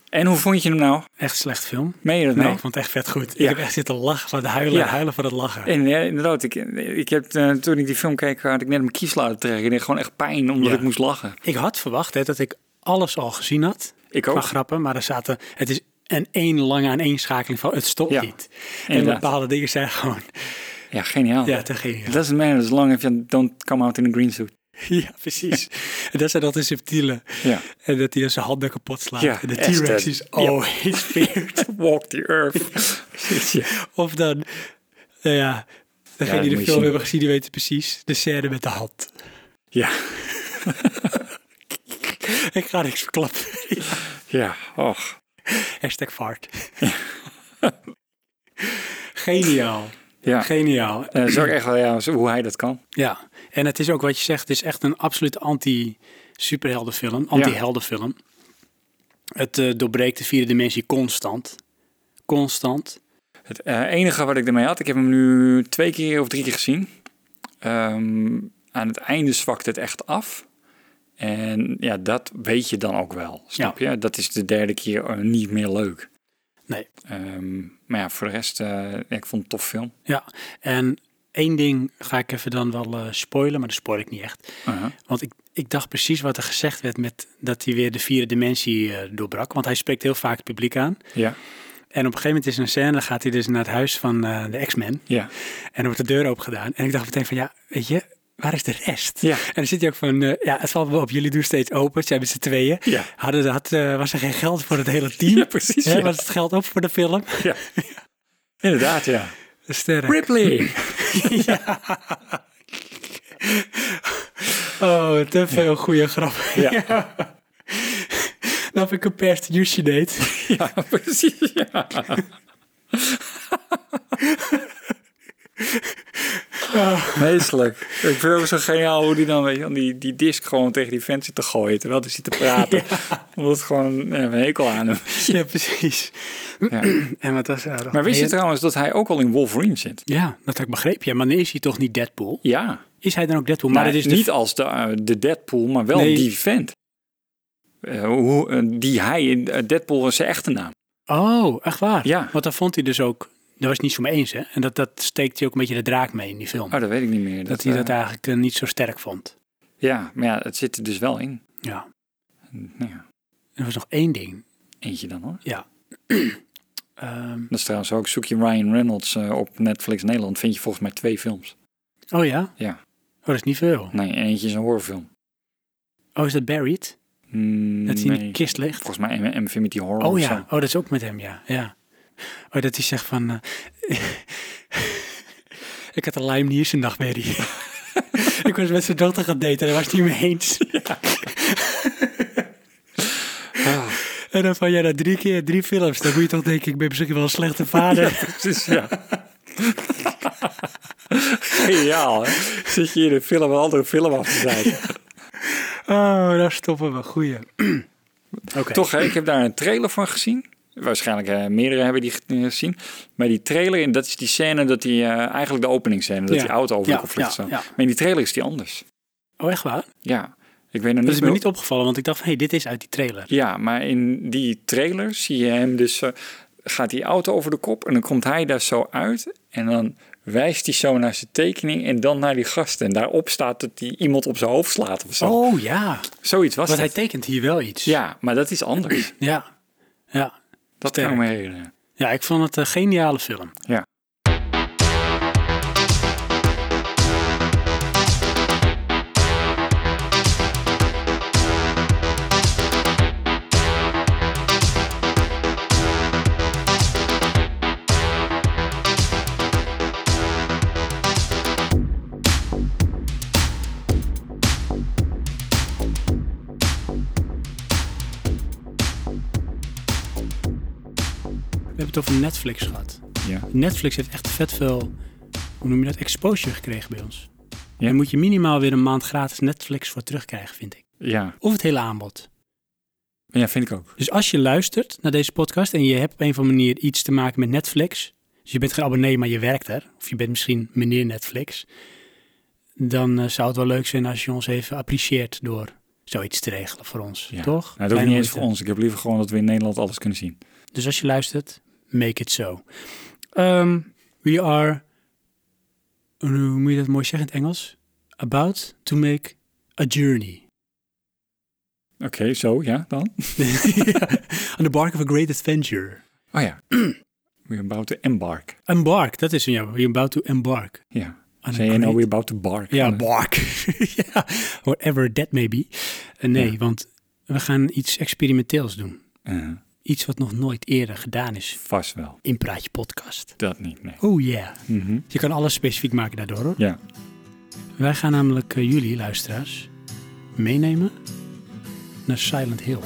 En hoe vond je hem nou? echt slecht film. Meen je dat Nee, nou? ik vond het echt vet goed. Ja. Ik heb echt zitten lachen van het huilen, Ja. huilen van het lachen. En ja, inderdaad, ik, ik heb, eh, toen ik die film keek, had ik net mijn kies laten trekken. Ik deed gewoon echt pijn, omdat Ja. ik moest lachen. Ik had verwacht hè, dat ik alles al gezien had Ik qua ook. grappen, maar er zaten, het is een één lange aaneenschakeling van het stopt Ja, niet. En inderdaad. bepaalde dingen zijn gewoon, Ja, geniaal. ja, te geniaal. It doesn't matter as long as you don't come out in a green suit. Ja, precies. en dat zijn altijd subtiele. Ja. En dat hij dan zijn handen kapot slaat. Ja, en de echt, T-Rex hè. is always weird. Walk the earth. ja. Of dan, nou ja, degene dat moet die de je film zien. hebben gezien, die weten precies. De scène met de hand. Ja. Ik ga niks verklappen. Ja. Och. Hashtag fart. Geniaal. Ja. Geniaal. Eh, dat is ook echt wel ja, hoe hij dat kan. Ja, en het is ook wat je zegt, het is echt een absoluut anti-superheldenfilm, anti-heldenfilm. Het eh, doorbreekt de vierde dimensie constant. Constant. Het eh, enige wat ik ermee had, ik heb hem nu twee keer of drie keer gezien. Ehm, aan het einde zwakt het echt af. En ja, dat weet je dan ook wel, snap je? Dat is de derde keer eh, niet meer leuk. Nee. Ehm, maar ja, voor de rest, eh, ja, ik vond het een tof film. Ja, en één ding ga ik even dan wel eh, spoilen, maar dat spoil ik niet echt. Aha. Want ik, ik dacht precies wat er gezegd werd met dat hij weer de vierde dimensie eh, doorbrak. Want hij spreekt heel vaak het publiek aan. Ja, En op een gegeven moment is er een scène, dan gaat hij dus naar het huis van eh, de X-Men. ja, En dan wordt de deur open gedaan. En ik dacht meteen van, ja, weet je, waar is de rest? Ja. En dan zit hij ook van, eh, ja, het valt wel op, jullie doen steeds open. Ze hebben z'n tweeën. Ja. Hadden, had, eh, was er geen geld voor het hele team? Ja, precies, Hè, ja. Was het geld op voor de film? ja. Inderdaad, ja. Sterren. Ripley! Oh, te veel goede grappen. Ja. Dan heb ik een pers Jusje deed. ja, precies, ja. Meestelijk. Ik vind het ook zo geniaal hoe die dan weet je, wel, die, die disc gewoon tegen die vent zit te gooien. Terwijl hij zit te praten. Omdat het gewoon ja, een hekel aan hem. Ja, precies. Ja. En wat was er nog Maar wist je meer? trouwens dat hij ook al in Wolverine zit? Ja, dat heb ik begrepen. Ja, maar dan is hij toch niet Deadpool? Ja. Is hij dan ook Deadpool? Maar Maar het is is de- niet als de, eh, de Deadpool, maar wel Nee. die vent. Eh, hoe, eh, die hij, in eh, Deadpool was zijn echte naam. Oh, echt waar? Ja. Want daar vond hij dus ook... Daar was hij niet zo mee eens, hè? En dat, dat steekt hij ook een beetje de draak mee in die film. Oh, dat weet ik niet meer. dat, hij eh, dat eigenlijk eh, niet zo sterk vond. Ja, maar ja, het zit er dus wel in. Ja. Nou ja, Er was nog één ding. eentje dan hoor. Ja. Ehm, Dat is trouwens ook, zoek je Ryan Reynolds eh, op Netflix Nederland, vind je volgens mij twee films. oh ja? Ja. Oh, dat is niet veel. Nee, en eentje is een horrorfilm. Oh, is dat Buried? Mm, Dat hij in nee. de kist ligt? Volgens mij M- Infinity Horror Oh of ja. zo. Oh, dat is ook met hem, ja. Ja. Oh, dat hij zegt van... eh, ik had een Lyme Nielsen nachtmerrie. ik was met zijn dochter gaan daten en daar was hij niet mee eens. Ah, En dan van, ja, na drie keer drie films, dan moet je toch denken, ik ben misschien wel een slechte vader. precies, Dus ja. Geniaal, hè? Zit je hier de film een andere film af te zijn. Oh, daar stoppen we. Goeie. Oké. Toch, hè, ik heb daar een trailer van gezien. Waarschijnlijk eh, meerdere hebben die ge- eh, gezien. Maar die trailer, en dat is die scène dat die... eh, eigenlijk de openingscène, dat Ja. die auto over Ja, de conflict ja, staat. ja. Maar in die trailer is die anders. Oh, echt waar? Ja, ik weet nog Dat niet is me niet opgevallen, want ik dacht van, hé, hey, dit is uit die trailer. Ja, maar in die trailer zie je hem dus... eh, gaat die auto over de kop en dan komt hij daar zo uit. En dan wijst hij zo naar zijn tekening en dan naar die gasten. En daarop staat dat hij iemand op zijn hoofd slaat of zo. Oh ja, Zoiets was want hij het. tekent hier wel iets. Ja, maar dat is anders. Ja, ja. Dat kan ik me herinneren. ja ik vond het een geniale film. Ja. We hebben het over Netflix gehad. ja. Netflix heeft echt vet veel, hoe noem je dat, exposure gekregen bij ons. Ja. Dan moet je minimaal weer een maand gratis Netflix voor terugkrijgen, vind ik. Ja. Of het hele aanbod. ja, vind ik ook. Dus als je luistert naar deze podcast en je hebt op een of andere manier iets te maken met Netflix, dus je bent geen abonnee, maar je werkt er, of je bent misschien meneer Netflix, dan eh, zou het wel leuk zijn als je ons even apprecieert door zoiets te regelen voor ons, Ja. toch? Nou, dat hoeft niet eens Kleine voor moeite. ons. Ik heb liever gewoon dat we in Nederland alles kunnen zien. Dus als je luistert, make it so. Ehm, we are, hoe moet je dat mooi zeggen in het Engels? About to make a journey. Oké, zo, ja, dan. On the bark of a great adventure. Oh ja. We're about to embark. Embark, dat is een ja. We're about to embark. Ja. On a Zei je nou great- we're about to bark? Ja, Dan- bark. ja, whatever that may be. Eh, nee, Ja. want we gaan iets experimenteels doen. Eh, Iets wat nog nooit eerder gedaan is vast wel. in Praatje Podcast. Dat niet, nee. Oh yeah. Mhm. Je kan alles specifiek maken daardoor hoor. Ja. Wij gaan namelijk eh, jullie, luisteraars, meenemen naar Silent Hill.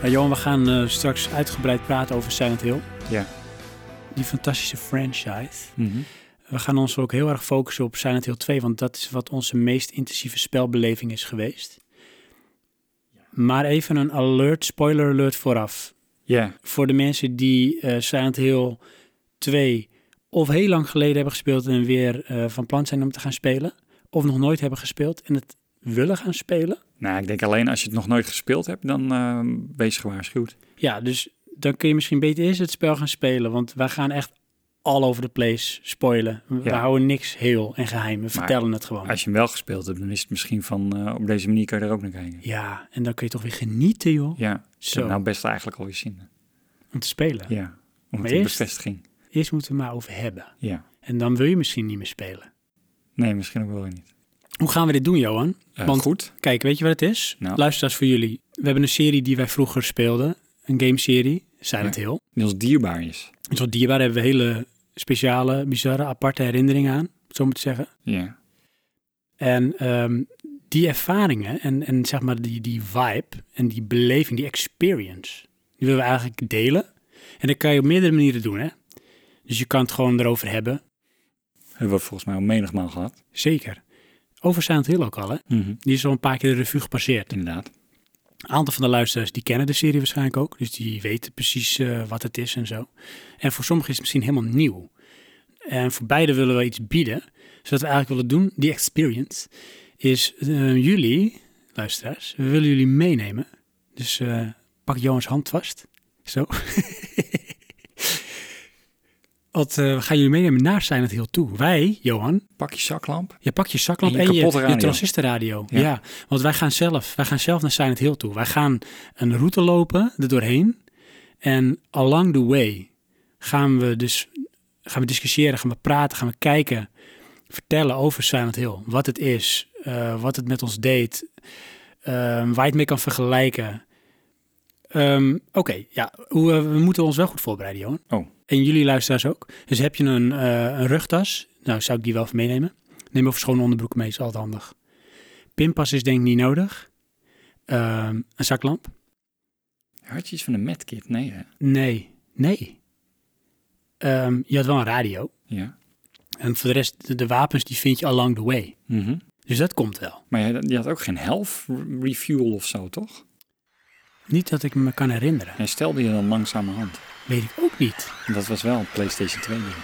Nou, Johan, we gaan eh, straks uitgebreid praten over Silent Hill. Ja. Die fantastische franchise. Mhm. We gaan ons ook heel erg focussen op Silent Hill 2, want dat is wat onze meest intensieve spelbeleving is geweest. Maar even een alert, spoiler alert vooraf. Ja. Voor de mensen die eh Silent Hill 2 of heel lang geleden hebben gespeeld en weer eh, van plan zijn om te gaan spelen, of nog nooit hebben gespeeld en het willen gaan spelen. Nou, ik denk alleen als je het nog nooit gespeeld hebt, dan eh wees gewaarschuwd. Ja, dus dan kun je misschien beter eerst het spel gaan spelen, want wij gaan echt all over the place spoilen. We Ja. houden niks heel en geheim, we vertellen het gewoon. Als je hem wel gespeeld hebt, dan is het misschien van eh, op deze manier kan je er ook naar kijken. Ja, en dan kun je toch weer genieten, joh. Ja, ik heb Zo, nou best eigenlijk alweer zin. om te spelen. Ja, om Maar het een eerst- bevestiging. Eerst moeten we het maar over hebben. Ja. En dan wil je misschien niet meer spelen. Nee, misschien ook wel weer niet. Hoe gaan we dit doen, Johan? Eh, Want- goed. Kijk, weet je wat het is? Nou. Luisteraars voor jullie. We hebben een serie die wij vroeger speelden. Een gameserie, Silent Ja. Hill. Die ons dierbaar is. En zo dierbaar hebben we hele speciale, bizarre, aparte herinneringen aan. om het Zo moet ik zeggen. Ja. En ehm, die ervaringen en, en zeg maar die, die vibe en die beleving, die experience, die willen we eigenlijk delen. En dat kan je op meerdere manieren doen, hè? Dus je kan het gewoon erover hebben. Hebben we volgens mij al menigmaal gehad. Zeker. Over Silent Hill ook al, hè? Die is al een paar keer de revue gepasseerd. Een Inderdaad. aantal van de luisteraars die kennen de serie waarschijnlijk ook. Dus die weten precies eh, wat het is en zo. En voor sommigen is het misschien helemaal nieuw. En voor beide willen we iets bieden. Dus wat we eigenlijk willen doen, die experience, is eh, jullie, luisteraars, we willen jullie meenemen. Dus eh, pak Johans hand vast. Zo. Want eh, we gaan jullie meenemen naar Silent Hill toe. Wij, Johan, Pak je zaklamp. je pakt je zaklamp En je en je, kapotte je, radio. transistorradio. Ja. Ja. want wij gaan zelf, wij gaan zelf naar Silent Hill toe. Wij gaan een route lopen er doorheen. En along the way gaan we dus gaan we discussiëren, gaan we praten, gaan we kijken, vertellen over Silent Hill. Wat het is, eh, wat het met ons deed, eh, ehm, waar je het mee kan vergelijken. Ehm, Oké, ja, hoe, eh, we moeten ons wel goed voorbereiden, Johan. Oh. En jullie luisteraars ook. Dus heb je een, eh, een rugtas, nou zou ik die wel even meenemen. Neem over schone onderbroeken mee, is altijd handig. Pinpas is denk ik niet nodig. Ehm, een zaklamp? Had je iets van een medkit? Nee, hè? Nee, nee. Ehm, je had wel een radio. Ja. En voor de rest, de, de wapens die vind je along the way. Mhm. Dus dat komt wel. Maar je, je had ook geen health re- refuel of zo, toch? Niet dat ik me kan herinneren. Herstelde je dan langzamerhand. Weet ik ook niet. En dat was wel een PlayStation 2 ding.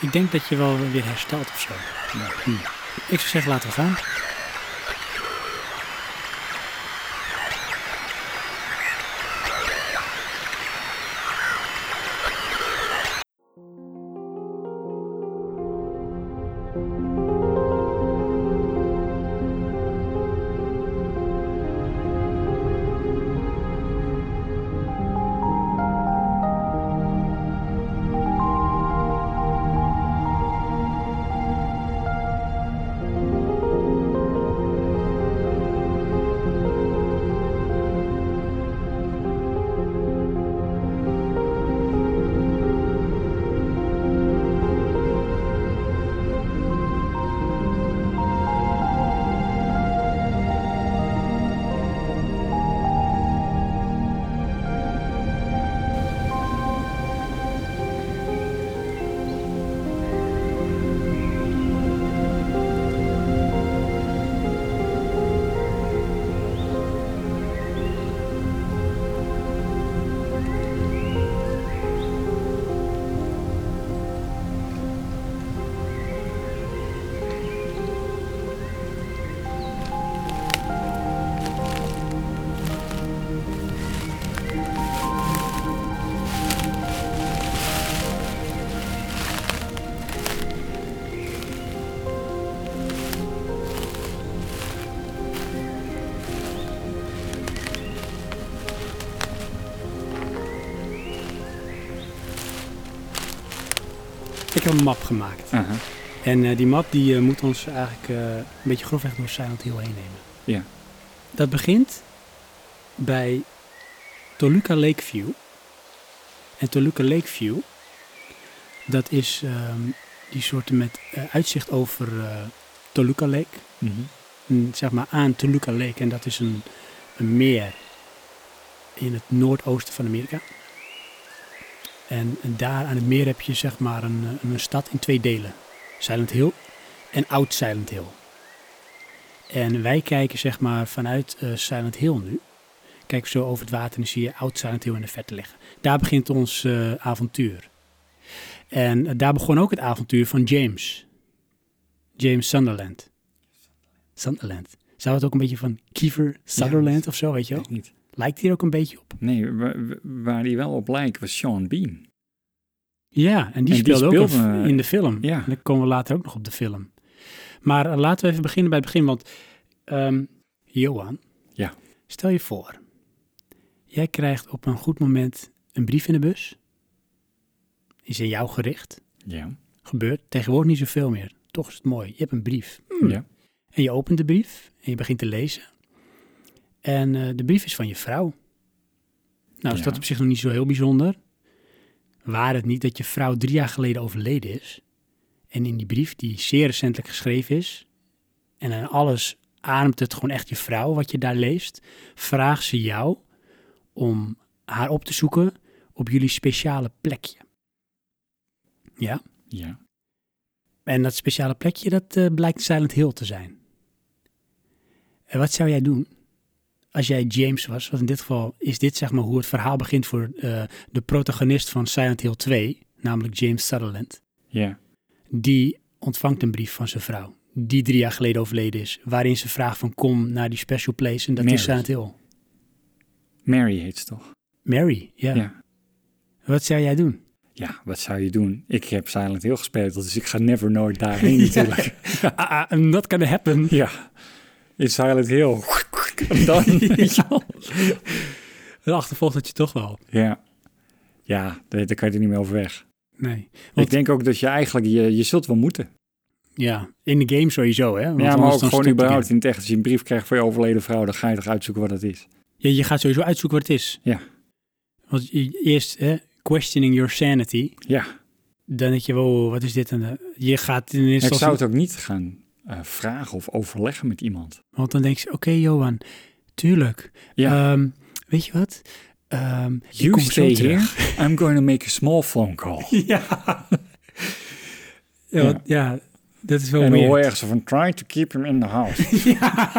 Ik denk dat je wel weer herstelt of zo. Hm. Ik zou zeggen, laten we gaan. Ik heb een map gemaakt. Aha. En eh, die map die, eh, moet ons eigenlijk eh, een beetje grofweg door Silent Hill heen nemen. Ja. Dat begint bij Toluca Lakeview. En Toluca Lakeview, dat is ehm, die soorten met eh, uitzicht over eh, Toluca Lake. Mhm. Mm, zeg maar aan Toluca Lake. En dat is een, een meer in het noordoosten van Amerika. En, en daar aan het meer heb je zeg maar een, eh, een stad in twee delen. Silent Hill en Oud Silent Hill. En wij kijken zeg maar vanuit eh, Silent Hill nu. Kijken we zo over het water en dan zie je Oud Silent Hill in de verte liggen. Daar begint ons eh, avontuur. En eh, daar begon ook het avontuur van James. James Sunderland. Sunderland. Zou het ook een beetje van Kiefer Sutherland of zo, weet je wel? Weet niet. Lijkt hier ook een beetje op. Nee, wa- wa- waar die wel op lijkt was Sean Bean. Ja, en die En die speelde ook speelde, een- eh, in de film. ja. En dan komen we later ook nog op de film. Maar eh, laten we even beginnen bij het begin, want ehm, Johan, Ja. stel je voor, jij krijgt op een goed moment een brief in de bus. Is in jou gericht. Ja. Gebeurt tegenwoordig niet zoveel meer. Toch is het mooi. Je hebt een brief. Hmm. ja. En je opent de brief en je begint te lezen. En eh, de brief is van je vrouw. Nou, is Ja. dat op zich nog niet zo heel bijzonder. Waar het niet dat je vrouw drie jaar geleden overleden is. En in die brief, die zeer recentelijk geschreven is. En aan alles ademt het gewoon echt je vrouw wat je daar leest. Vraagt ze jou om haar op te zoeken op jullie speciale plekje. Ja? Ja. En dat speciale plekje, dat eh, blijkt Silent Hill te zijn. En wat zou jij doen als jij James was? Want in dit geval is dit zeg maar hoe het verhaal begint voor eh, de protagonist van Silent Hill 2, namelijk James Sutherland. Ja. Die ontvangt een brief van zijn vrouw, die drie jaar geleden overleden is, waarin ze vraagt van kom naar die special place en dat Mary. is Silent Hill. Mary heet ze toch? Mary, ja. Ja. Wat zou jij doen? Ja, wat zou je doen? Ik heb Silent Hill gespeeld, dus ik ga never nooit daarheen natuurlijk. Ah, ah, that can happen. Ja. In Silent Hill. En dan... ja. Dan achtervolgt het je toch wel. Ja. Ja, daar daar kan je er niet meer over weg. Nee. Ik denk ook dat je eigenlijk, je, je zult wel moeten. Ja, in de game sowieso, hè? Want ja, maar anders ook dan gewoon stopt de überhaupt game. in het echt. Als je een brief krijgt van je overleden vrouw, dan ga je toch uitzoeken wat het is. Ja, je gaat sowieso uitzoeken wat het is. Ja. Want je- eerst, hè, questioning your sanity. Ja, Dan denk je, wow, wat is dit? En, eh, je gaat in eerste ik zou instantie... het ook niet gaan eh, vragen of overleggen met iemand. Want dan denk je, oké, Johan, tuurlijk. Ja. Ehm, weet je wat? Ehm ik You kom zo stay terug. here, I'm going to make a small phone call. Ja. ja, want- ja, dat is wel en dan hoor je weird. echt zo van, try to keep him in the house. Ja.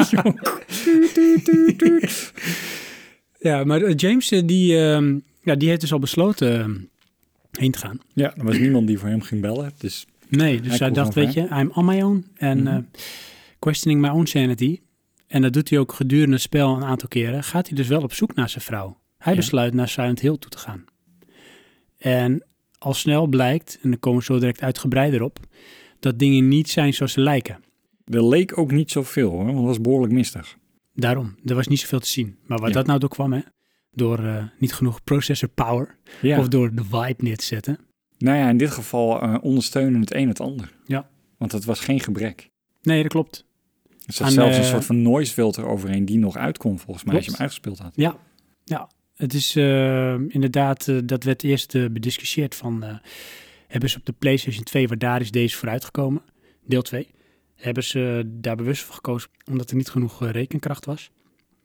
ja, maar eh, James, eh, die, ehm, ja, die heeft dus al besloten ehm, heen te gaan. ja, er was niemand die voor hem ging bellen. Dus Nee, dus Hij hij, kon dacht, gewoon weet je, I'm on my own. En Mhm. eh, questioning my own sanity. En dat doet hij ook gedurende het spel een aantal keren. Gaat hij dus wel op zoek naar zijn vrouw. Hij Ja. besluit naar Silent Hill toe te gaan. En al snel blijkt, en dan komen we zo direct uitgebreider op, dat dingen niet zijn zoals ze lijken. er leek ook niet zoveel hoor, want het was behoorlijk mistig. Daarom, er was niet zoveel te zien. Maar waar Ja. dat nou door kwam, hè? Door eh, niet genoeg processor power Ja. of door de vibe neer te zetten. Nou ja, in dit geval eh, ondersteunen het een het ander. Ja. Want het was geen gebrek. Nee, dat klopt. Er zat Aan, zelfs een eh, soort van noise filter overheen die nog uitkomt volgens mij als je hem uitgespeeld had. Het is eh, inderdaad, eh, dat werd eerst eh, bediscussieerd van... eh, hebben ze op de PlayStation 2, waar daar is deze voor uitgekomen, deel 2... hebben ze eh, daar bewust voor gekozen omdat er niet genoeg eh, rekenkracht was.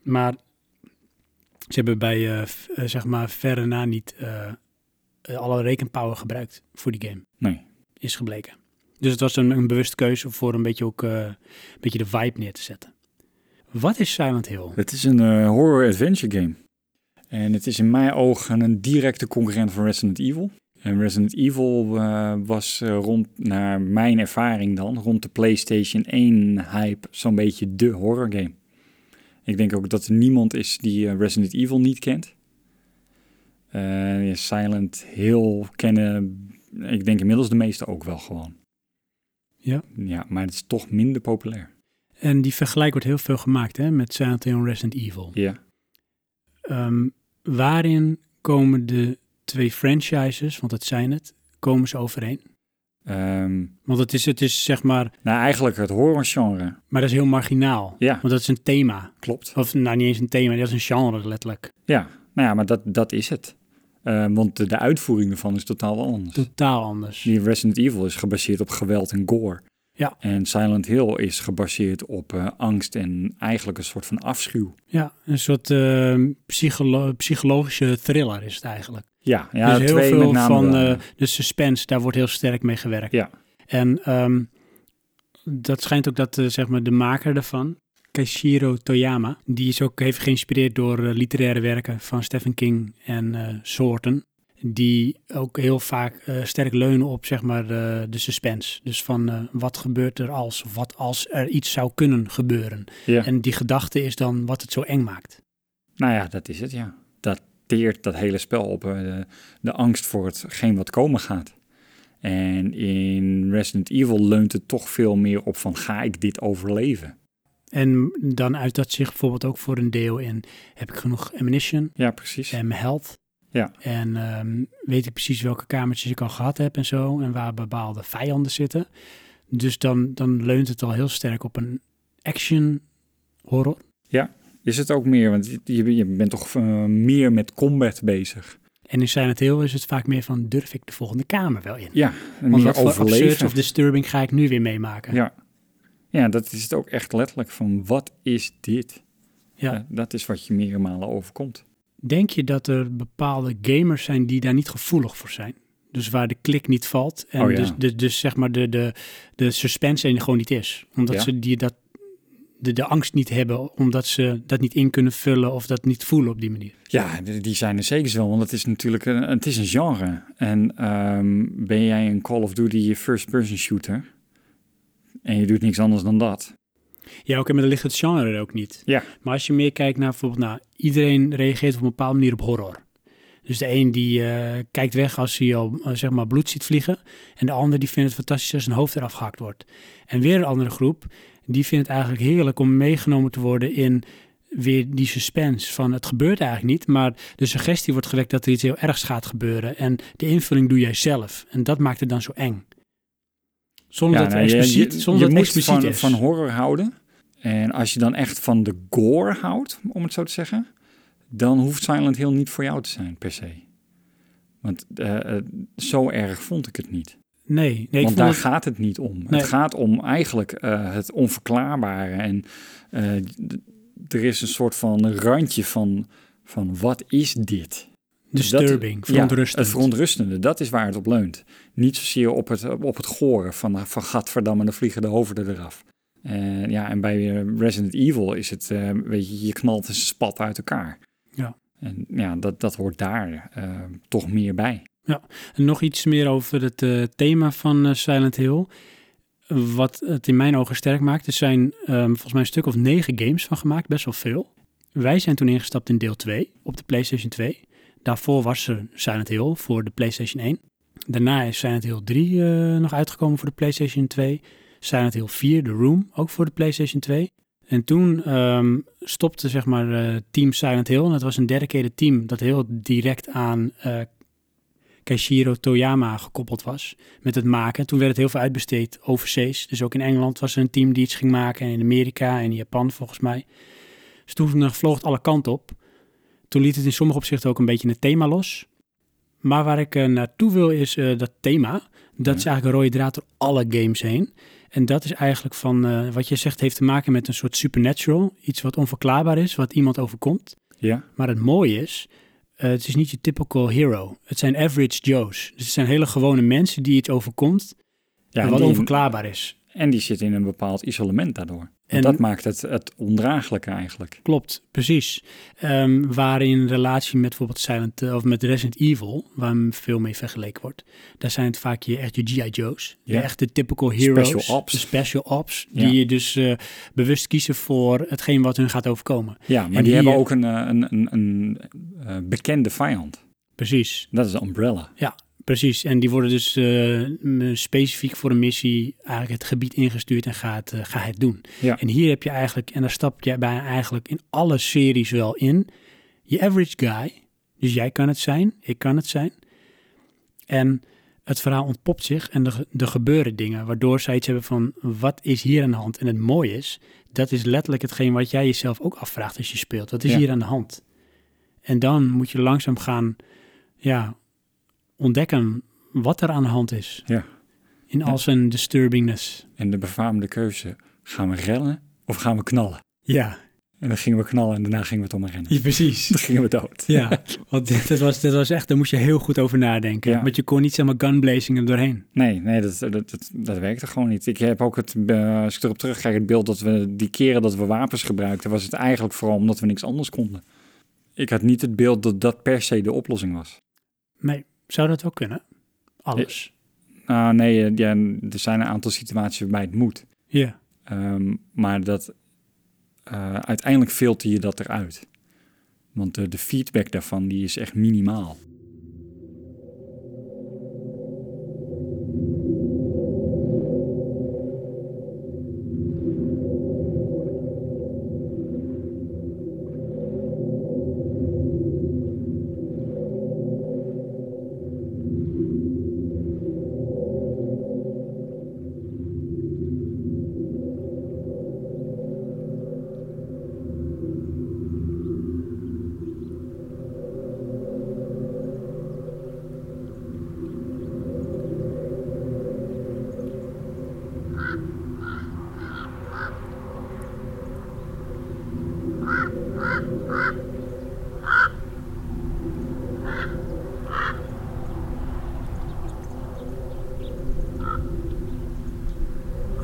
Maar ze hebben bij, eh, v- eh, zeg maar, verre na niet eh, eh, alle rekenpower gebruikt voor die game. Nee. Is gebleken. Dus het was een, een bewuste keuze voor een beetje, ook, eh, een beetje de vibe neer te zetten. Wat is Silent Hill? Het is een eh, horror-adventure game. En het is in mijn ogen een directe concurrent van Resident Evil. En Resident Evil eh, was eh, rond, naar mijn ervaring dan, rond de PlayStation 1 hype zo'n beetje de horror game. Ik denk ook dat er niemand is die eh, Resident Evil niet kent. Eh, ja, Silent Hill kennen, ik denk inmiddels de meesten ook wel gewoon. Ja. Ja, maar het is toch minder populair. En die vergelijk wordt heel veel gemaakt hè, met Silent Hill en Resident Evil. Ja. Ehm, waarin komen de twee franchises, want dat zijn het, komen ze overeen? Ehm, Want het is, het is zeg maar, nou, eigenlijk het horrorgenre. maar dat is heel marginaal. Ja. Want dat is een thema. Klopt. Of nou, niet eens een thema, dat is een genre letterlijk. Ja, nou ja, maar dat, dat is het. Eh, want de, de uitvoering ervan is totaal anders. Totaal anders. Die Resident Evil is gebaseerd op geweld en gore. Ja. En Silent Hill is gebaseerd op eh, angst en eigenlijk een soort van afschuw. Ja, een soort ehm, psycholo- psychologische thriller is het eigenlijk. Ja, ja dus heel twee veel met name van wel, eh, ja. de suspense, daar wordt heel sterk mee gewerkt. Ja. En ehm, dat schijnt ook dat eh, zeg maar de maker daarvan, Keishiro Toyama, die is ook heeft geïnspireerd door eh, literaire werken van Stephen King en eh soorten. Die ook heel vaak eh, sterk leunen op zeg maar, eh, de suspense. Dus van eh, wat gebeurt er als, of wat als er iets zou kunnen gebeuren. Ja. En die gedachte is dan wat het zo eng maakt. Nou ja, dat is het, ja. Dat teert dat hele spel op eh, de, de angst voor hetgeen wat komen gaat. En in Resident Evil leunt het toch veel meer op van ga ik dit overleven? En dan uit dat zich bijvoorbeeld ook voor een deel in, heb ik genoeg ammunition Ja, precies. en mijn health? Ja. En ehm, weet ik precies welke kamertjes ik al gehad heb en zo, en waar bepaalde vijanden zitten. Dus dan, dan leunt het al heel sterk op een action horror. Is het ook meer, want je, je bent toch eh, meer met combat bezig. En in Silent Hill is het vaak meer van, durf ik de volgende kamer wel in? Ja, en Want meer wat voor absurd overleven. of disturbing ga ik nu weer meemaken? Ja. Ja, dat is het ook echt letterlijk van wat is dit? Ja. Eh, dat is wat je meerdere malen overkomt. Denk je dat er bepaalde gamers zijn die daar niet gevoelig voor zijn? Dus waar de klik niet valt en Oh ja. dus, dus, dus zeg maar de, de, de suspense er gewoon niet is. Omdat Ja. ze die, dat, de, de angst niet hebben, omdat ze dat niet in kunnen vullen of dat niet voelen op die manier. Ja, d- die zijn er zeker wel, want het is natuurlijk een, het is een genre. En ehm, ben jij een Call of Duty first-person shooter en je doet niks anders dan dat. Ja, oké, maar dan ligt het genre er ook niet. Ja. Maar als je meer kijkt naar bijvoorbeeld, nou, iedereen reageert op een bepaalde manier op horror. Dus de een die eh, kijkt weg als hij al eh, zeg maar bloed ziet vliegen. En de ander die vindt het fantastisch als een hoofd eraf gehakt wordt. En weer een andere groep, die vindt het eigenlijk heerlijk om meegenomen te worden in weer die suspense van het gebeurt eigenlijk niet. Maar de suggestie wordt gewekt dat er iets heel ergs gaat gebeuren. En de invulling doe jij zelf. En dat maakt het dan zo eng. Zonder Ja, dat nou, het je- expliciet, je, je zonder dat het moet expliciet van, is. van horror houden. En als je dan echt van de gore houdt, om het zo te zeggen, dan hoeft Silent Hill niet voor jou te zijn, per se. Want eh, eh, zo erg vond ik het niet. nee, nee, ik Want vond daar het- gaat het niet om. Nee. Het gaat om eigenlijk eh, het onverklaarbare. En eh, d- er is een soort van randje van, van wat is dit? disturbing, Ja, verontrustend. het verontrustende, dat is waar het op leunt. Niet zozeer op het, op het goren van, van gadverdamme, dan vliegen de hoofden eraf. Eh, ja, en bij eh, Resident Evil is het, eh, weet je, je knalt een spat uit elkaar. Ja. En ja, dat, dat hoort daar eh, toch meer bij. En nog iets meer over het eh, thema van eh, Silent Hill. Wat het in mijn ogen sterk maakt. Er zijn ehm, volgens mij een stuk of negen games van gemaakt, best wel veel. Wij zijn toen ingestapt in deel 2 op de PlayStation 2. Daarvoor was er Silent Hill voor de PlayStation 1. Daarna is Silent Hill 3 eh, nog uitgekomen voor de PlayStation 2. Silent Hill 4, The Room, ook voor de PlayStation 2. En toen ehm, stopte zeg maar eh, Team Silent Hill. En dat was een dedicated team dat heel direct aan eh, Keishiro Toyama gekoppeld was met het maken. Toen werd het heel veel uitbesteed overzees. Dus ook in Engeland was er een team die iets ging maken. En in Amerika en in Japan volgens mij. Dus toen eh, vloog het alle kanten op. Toen liet het in sommige opzichten ook een beetje het thema los. Maar waar ik eh, naartoe wil is eh, dat thema. Dat Ja. is eigenlijk een rode draad door alle games heen. En dat is eigenlijk van eh, wat je zegt heeft te maken met een soort supernatural. Iets wat onverklaarbaar is, wat iemand overkomt. Ja, Maar het mooie is, eh, het is niet je typical hero. Het zijn average Joes. Dus het zijn hele gewone mensen die iets overkomt ja en en wat die- onverklaarbaar is. En die zit in een bepaald isolement daardoor. En En- dat maakt het, het ondraaglijke eigenlijk. Klopt, precies. Ehm waar in relatie met bijvoorbeeld Silent eh, of met Resident Evil, waar hem veel mee vergeleken wordt, daar zijn het vaak je echt je G.I. Joes, je Ja. echte typical heroes, Special ops. de special ops, Ja. die je dus eh, bewust kiezen voor hetgeen wat hun gaat overkomen. Ja, maar En die, die, hebben eh, ook een, eh, een, een, een eh, bekende vijand. Precies. Dat is Umbrella. Precies, en die worden dus eh, m- specifiek voor een missie eigenlijk het gebied ingestuurd en gaat, eh, ga het doen. Ja. En hier heb je eigenlijk, en daar stap je bij eigenlijk in alle series wel in, je average guy. Dus jij kan het zijn, ik kan het zijn. En het verhaal ontpopt zich en er, er gebeuren dingen, waardoor zij iets hebben van, wat is hier aan de hand? En het mooie is, dat is letterlijk hetgeen wat jij jezelf ook afvraagt als je speelt. Wat is Ja. hier aan de hand? En dan moet je langzaam gaan, ja, ontdekken wat er aan de hand is. Ja. In al zijn disturbingness. En de befaamde keuze, gaan we rennen of gaan we knallen? Ja, En dan gingen we knallen en daarna gingen we toch maar rennen. precies. Dan gingen we dood. Ja, want dit, dat, was, dat was echt, daar moest je heel goed over nadenken. Ja. Want je kon niet zomaar gunblazing er doorheen. Nee, nee dat, dat, dat, dat werkte gewoon niet. Ik heb ook het, eh, als ik erop terugkijk, het beeld dat we die keren dat we wapens gebruikten, was het eigenlijk vooral omdat we niks anders konden. Ik had niet het beeld dat dat per se de oplossing was. Nee, zou dat wel kunnen? Alles. Ah, nee, eh, ja, er zijn een aantal situaties waarbij het moet. Ja. Ehm, maar dat, eh, uiteindelijk filter je dat eruit. Want eh, de feedback daarvan die is echt minimaal.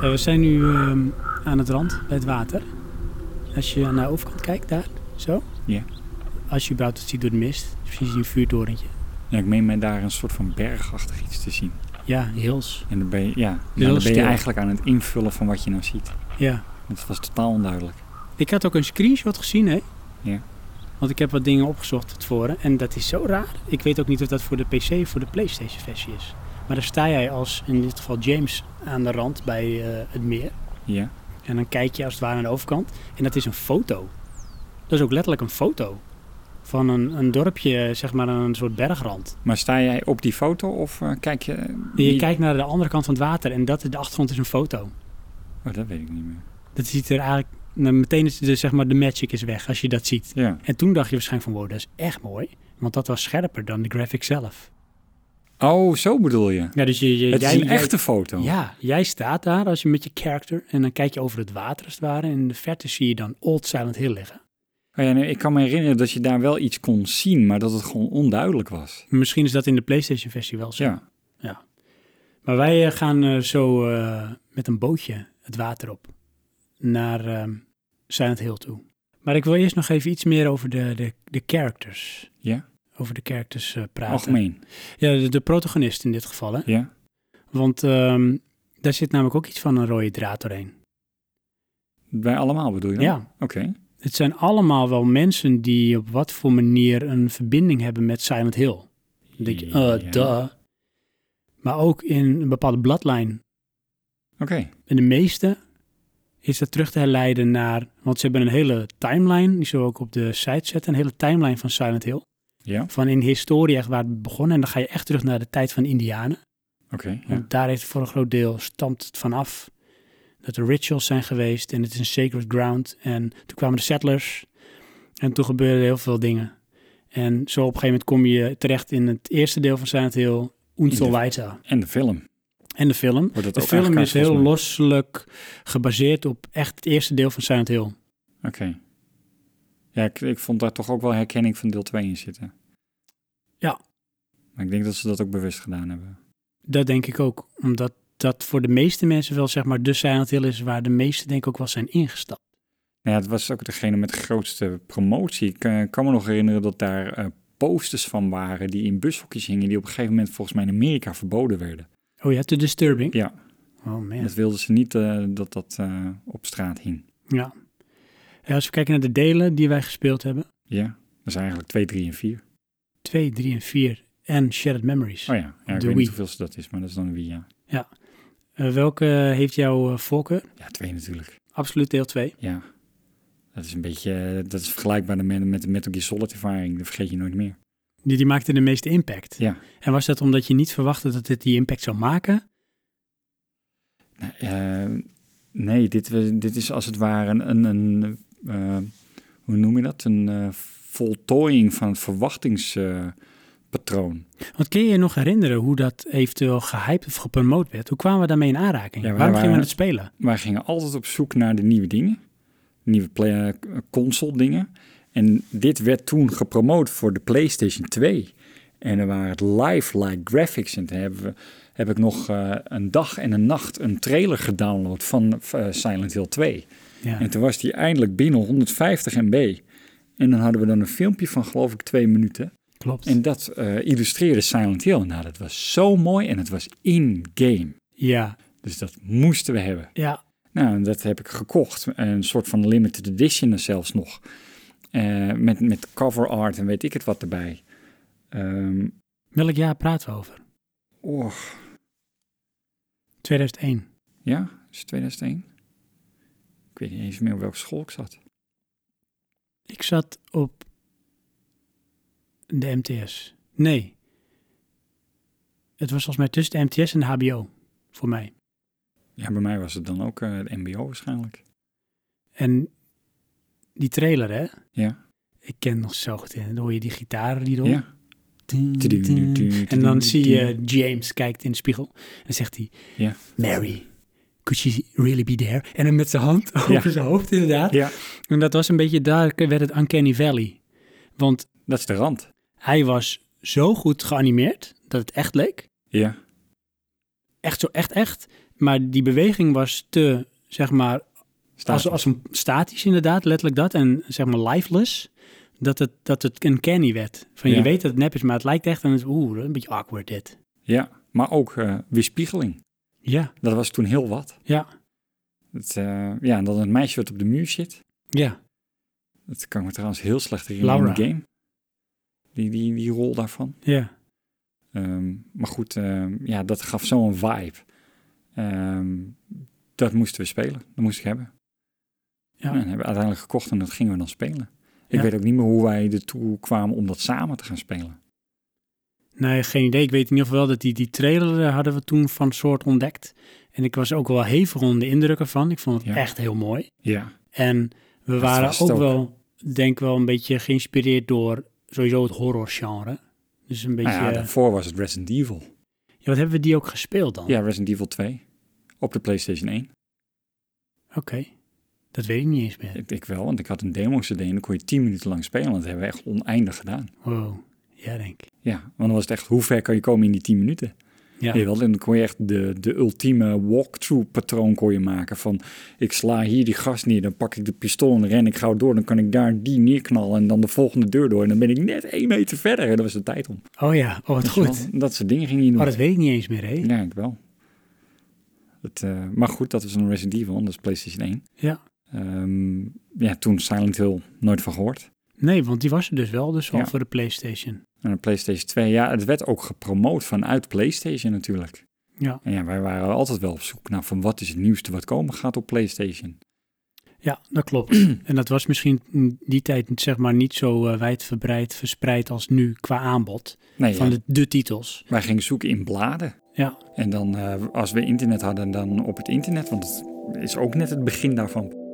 Eh, we zijn nu ehm, aan het rand bij het water. Als je naar de overkant kijkt, daar, zo. Ja. Als je überhaupt het ziet door de mist, precies een vuurtorentje. Ja, ik meen mij daar een soort van bergachtig iets te zien. Ja, hills. En dan ben je, ja, maar Heel dan ben je stil. eigenlijk aan het invullen van wat je nou ziet. Ja. Het was totaal onduidelijk. Ik had ook een screenshot gezien, hè? Ja. Want ik heb wat dingen opgezocht van tevoren. En dat is zo raar. Ik weet ook niet of dat voor de PC of voor de PlayStation versie is. Maar daar sta jij als, in dit geval James, aan de rand bij eh, het meer. Ja. En dan kijk je als het ware aan de overkant. En dat is een foto. Dat is ook letterlijk een foto van een, een dorpje, zeg maar een soort bergrand. Maar sta jij op die foto of eh, kijk je... Je die- kijkt naar de andere kant van het water en dat, de achtergrond is een foto. Oh, dat weet ik niet meer. Dat ziet er eigenlijk... nou, meteen is de, zeg maar, de magic is weg als je dat ziet. Ja. En toen dacht je waarschijnlijk van, wow, dat is echt mooi. Want dat was scherper dan de graphic zelf. Oh, zo bedoel je. Ja, dus je, je, Het jij, Oh. is een jij- echte foto. Ja, jij staat daar als je met je character en dan kijk je over het water als het ware. En in de verte zie je dan Old Silent Hill liggen. Oh ja, nee, ik kan me herinneren dat je daar wel iets kon zien, maar dat het gewoon onduidelijk was. Misschien is dat in de PlayStation versie wel zo. Ja. Maar wij eh, gaan eh, zo eh, met een bootje het water op naar ehm, Silent Hill toe. Maar ik wil eerst nog even iets meer over de, de, de characters. Ja. Over de characters eh, praten. Algemeen. Ja, de, de protagonist in dit geval. Hè? Ja. Want ehm, daar zit namelijk ook iets van een rode draad doorheen. Bij allemaal bedoel je? dan? ja. Oké. Het zijn allemaal wel mensen die op wat voor manier een verbinding hebben met Silent Hill. Dan denk je, eh, Ja. duh. Maar ook in een bepaalde bloodline. Oké. En de meeste is dat terug te herleiden naar... Want ze hebben een hele timeline, die zullen we ook op de site zetten. Een hele timeline van Silent Hill. Ja. Van in de historie echt waar het begon. En dan ga je echt terug naar de tijd van de Indianen. Oké. Want ja. daar heeft voor een groot deel stamt het vanaf dat er rituals zijn geweest en het is een sacred ground. En toen kwamen de settlers en toen gebeurden heel veel dingen. En zo op een gegeven moment kom je terecht in het eerste deel van Silent Hill, Unsolweita En de film. en de film. Wordt dat De ook film aangekaart, is heel volgens mij? losselijk gebaseerd op echt het eerste deel van Silent Hill. Oké. Ja, ik, ik vond daar toch ook wel herkenning van deel 2 in zitten. Ja. Maar ik denk dat ze dat ook bewust gedaan hebben. Dat denk ik ook, omdat dat voor de meeste mensen wel zeg maar de Silent Hill is waar de meeste denk ik ook wel zijn ingestapt. Nou ja, het was ook degene met de grootste promotie. Ik eh, kan me nog herinneren dat daar eh, posters van waren die in bushokjes hingen, die op een gegeven moment volgens mij in Amerika verboden werden. Oh ja, The Disturbing. Ja. Oh man. Dat wilden ze niet eh, dat dat eh, op straat hing. Ja. Ja, als we kijken naar de delen die wij gespeeld hebben. Ja, dat zijn eigenlijk 2, 3 en 4. 2, 3 en 4 en Shared Memories. Oh ja, ja ik De weet Wii. niet hoeveel ze dat is, maar dat is dan een Wii, ja. Eh, welke heeft jouw eh, voorkeur? Ja, 2 natuurlijk. Absoluut deel 2. Ja. Dat is een beetje, eh, dat is vergelijkbaar met, met de Metal Gear Solid ervaring. Dat vergeet je nooit meer. Die, die maakte de meeste impact. Ja. En was dat omdat je niet verwachtte dat dit die impact zou maken? Nou, eh, nee, dit, we- dit is als het ware een, een, een, eh, hoe noem je dat? Een eh, voltooiing van het verwachtingspatroon. Want kun je je nog herinneren hoe dat eventueel gehyped of gepromoot werd? Hoe kwamen we daarmee in aanraking? Ja, wij Waarom gingen we waren- het spelen? Wij gingen altijd op zoek naar de nieuwe dingen. Nieuwe play- eh, console dingen. En dit werd toen gepromoot voor de PlayStation 2. En er waren het lifelike graphics. En toen hebben we, heb ik nog eh, een dag en een nacht een trailer gedownload van eh, Silent Hill 2. Ja. En toen was die eindelijk binnen 150 MB. En dan hadden we dan een filmpje van geloof ik twee minuten. Klopt. En dat eh, illustreerde Silent Hill. Nou, dat was zo mooi en het was in-game. Ja. Dus dat moesten we hebben. Ja. Nou, en dat heb ik gekocht. Een soort van limited edition zelfs nog. Eh, met, met cover art en weet ik het wat erbij. Ehm Welk jaar praten we over? oh, 2001. ja, is het 2001? Ik weet niet eens meer op welke school ik zat. Ik zat op de MTS. Nee. Het was volgens mij tussen de MTS en de HBO voor mij. Ja, bij mij was het dan ook eh, het MBO waarschijnlijk. En die trailer, hè? Ja. Ik ken nog zo goed in. Dan hoor je die gitaar die door. Ja. En dan zie je James kijkt in de spiegel. En zegt hij: Ja. Mary, could she really be there? En dan met zijn hand over Ja. zijn hoofd, inderdaad. Ja. En dat was een beetje daar werd het Uncanny Valley. Want Dat is de rand. hij was zo goed geanimeerd dat het echt leek. Ja. echt zo echt echt. Maar die beweging was te, zeg maar, Staat als, als een statisch inderdaad, letterlijk dat. En zeg maar lifeless, dat het, dat het een canny werd. Van je Ja. weet dat het nep is, maar het lijkt echt. En het is, oeh, een beetje awkward dit. Ja, maar ook eh, weerspiegeling. Ja, Dat was toen heel wat. ja, Het, eh, ja, en dan het meisje wat op de muur zit. ja. Dat kan ik me trouwens heel slecht herinneren in Laura. de game. Die, die, die rol daarvan. Ja, Ehm, maar goed, ehm, ja, dat gaf zo'n vibe. Ehm, dat moesten we spelen. Dat moest ik hebben. Ja. En dat hebben we uiteindelijk gekocht en dat gingen we dan spelen. Ik Ja. weet ook niet meer hoe wij ertoe kwamen om dat samen te gaan spelen. Nee, geen idee. Ik weet in ieder geval wel dat die, die trailer eh, hadden we toen van soort ontdekt. En ik was ook wel hevig onder de indruk ervan. Ik vond het Ja. echt heel mooi. Nou Ja, En we waren was ook, het ook. wel, denk ik wel, een beetje geïnspireerd door sowieso het horrorgenre. Dus een beetje... nou ja eh, daarvoor was het Resident Evil. ja, wat hebben we die ook gespeeld dan? Ja, Resident Evil 2. Op de PlayStation 1. Oké. Dat weet ik niet eens meer. Ik, ik wel, want ik had een demo-cd en dan kon je 10 minuten lang spelen. Dat hebben we echt oneindig gedaan. Wow. Ja, denk ik. Ja, want dan was het echt, hoe ver kan je komen in die 10 minuten? Ja. Jawel, en dan kon je echt de, de ultieme walkthrough patroon kon je maken. Van ik sla hier die gast neer, dan pak ik de pistool en ren ik gauw door. Dan kan ik daar die neerknallen en dan de volgende deur door. En dan ben ik net één meter verder. En dat was de tijd om. Oh ja, oh wat goed. Wel, Dat soort dingen ging je doen. Oh, dat weet ik niet eens meer, hè? Ja, ik wel. Het, eh, maar goed, dat was een Resident Evil, dat is PlayStation 1. Ja. Ehm, ja, toen Silent Hill, nooit van gehoord. Nee, want die was er dus wel, dus wel Ja. voor de PlayStation. En een PlayStation 2, ja, het werd ook gepromoot vanuit PlayStation natuurlijk. Ja. En ja, wij waren altijd wel op zoek naar van wat is het nieuwste wat komen gaat op PlayStation. Ja, dat klopt. en dat was misschien in die tijd zeg maar niet zo eh, wijdverbreid verspreid als nu qua aanbod Nee, van ja, de, de titels. wij gingen zoeken in bladen. Ja. En dan eh, als we internet hadden, dan op het internet, want het is ook net het begin daarvan.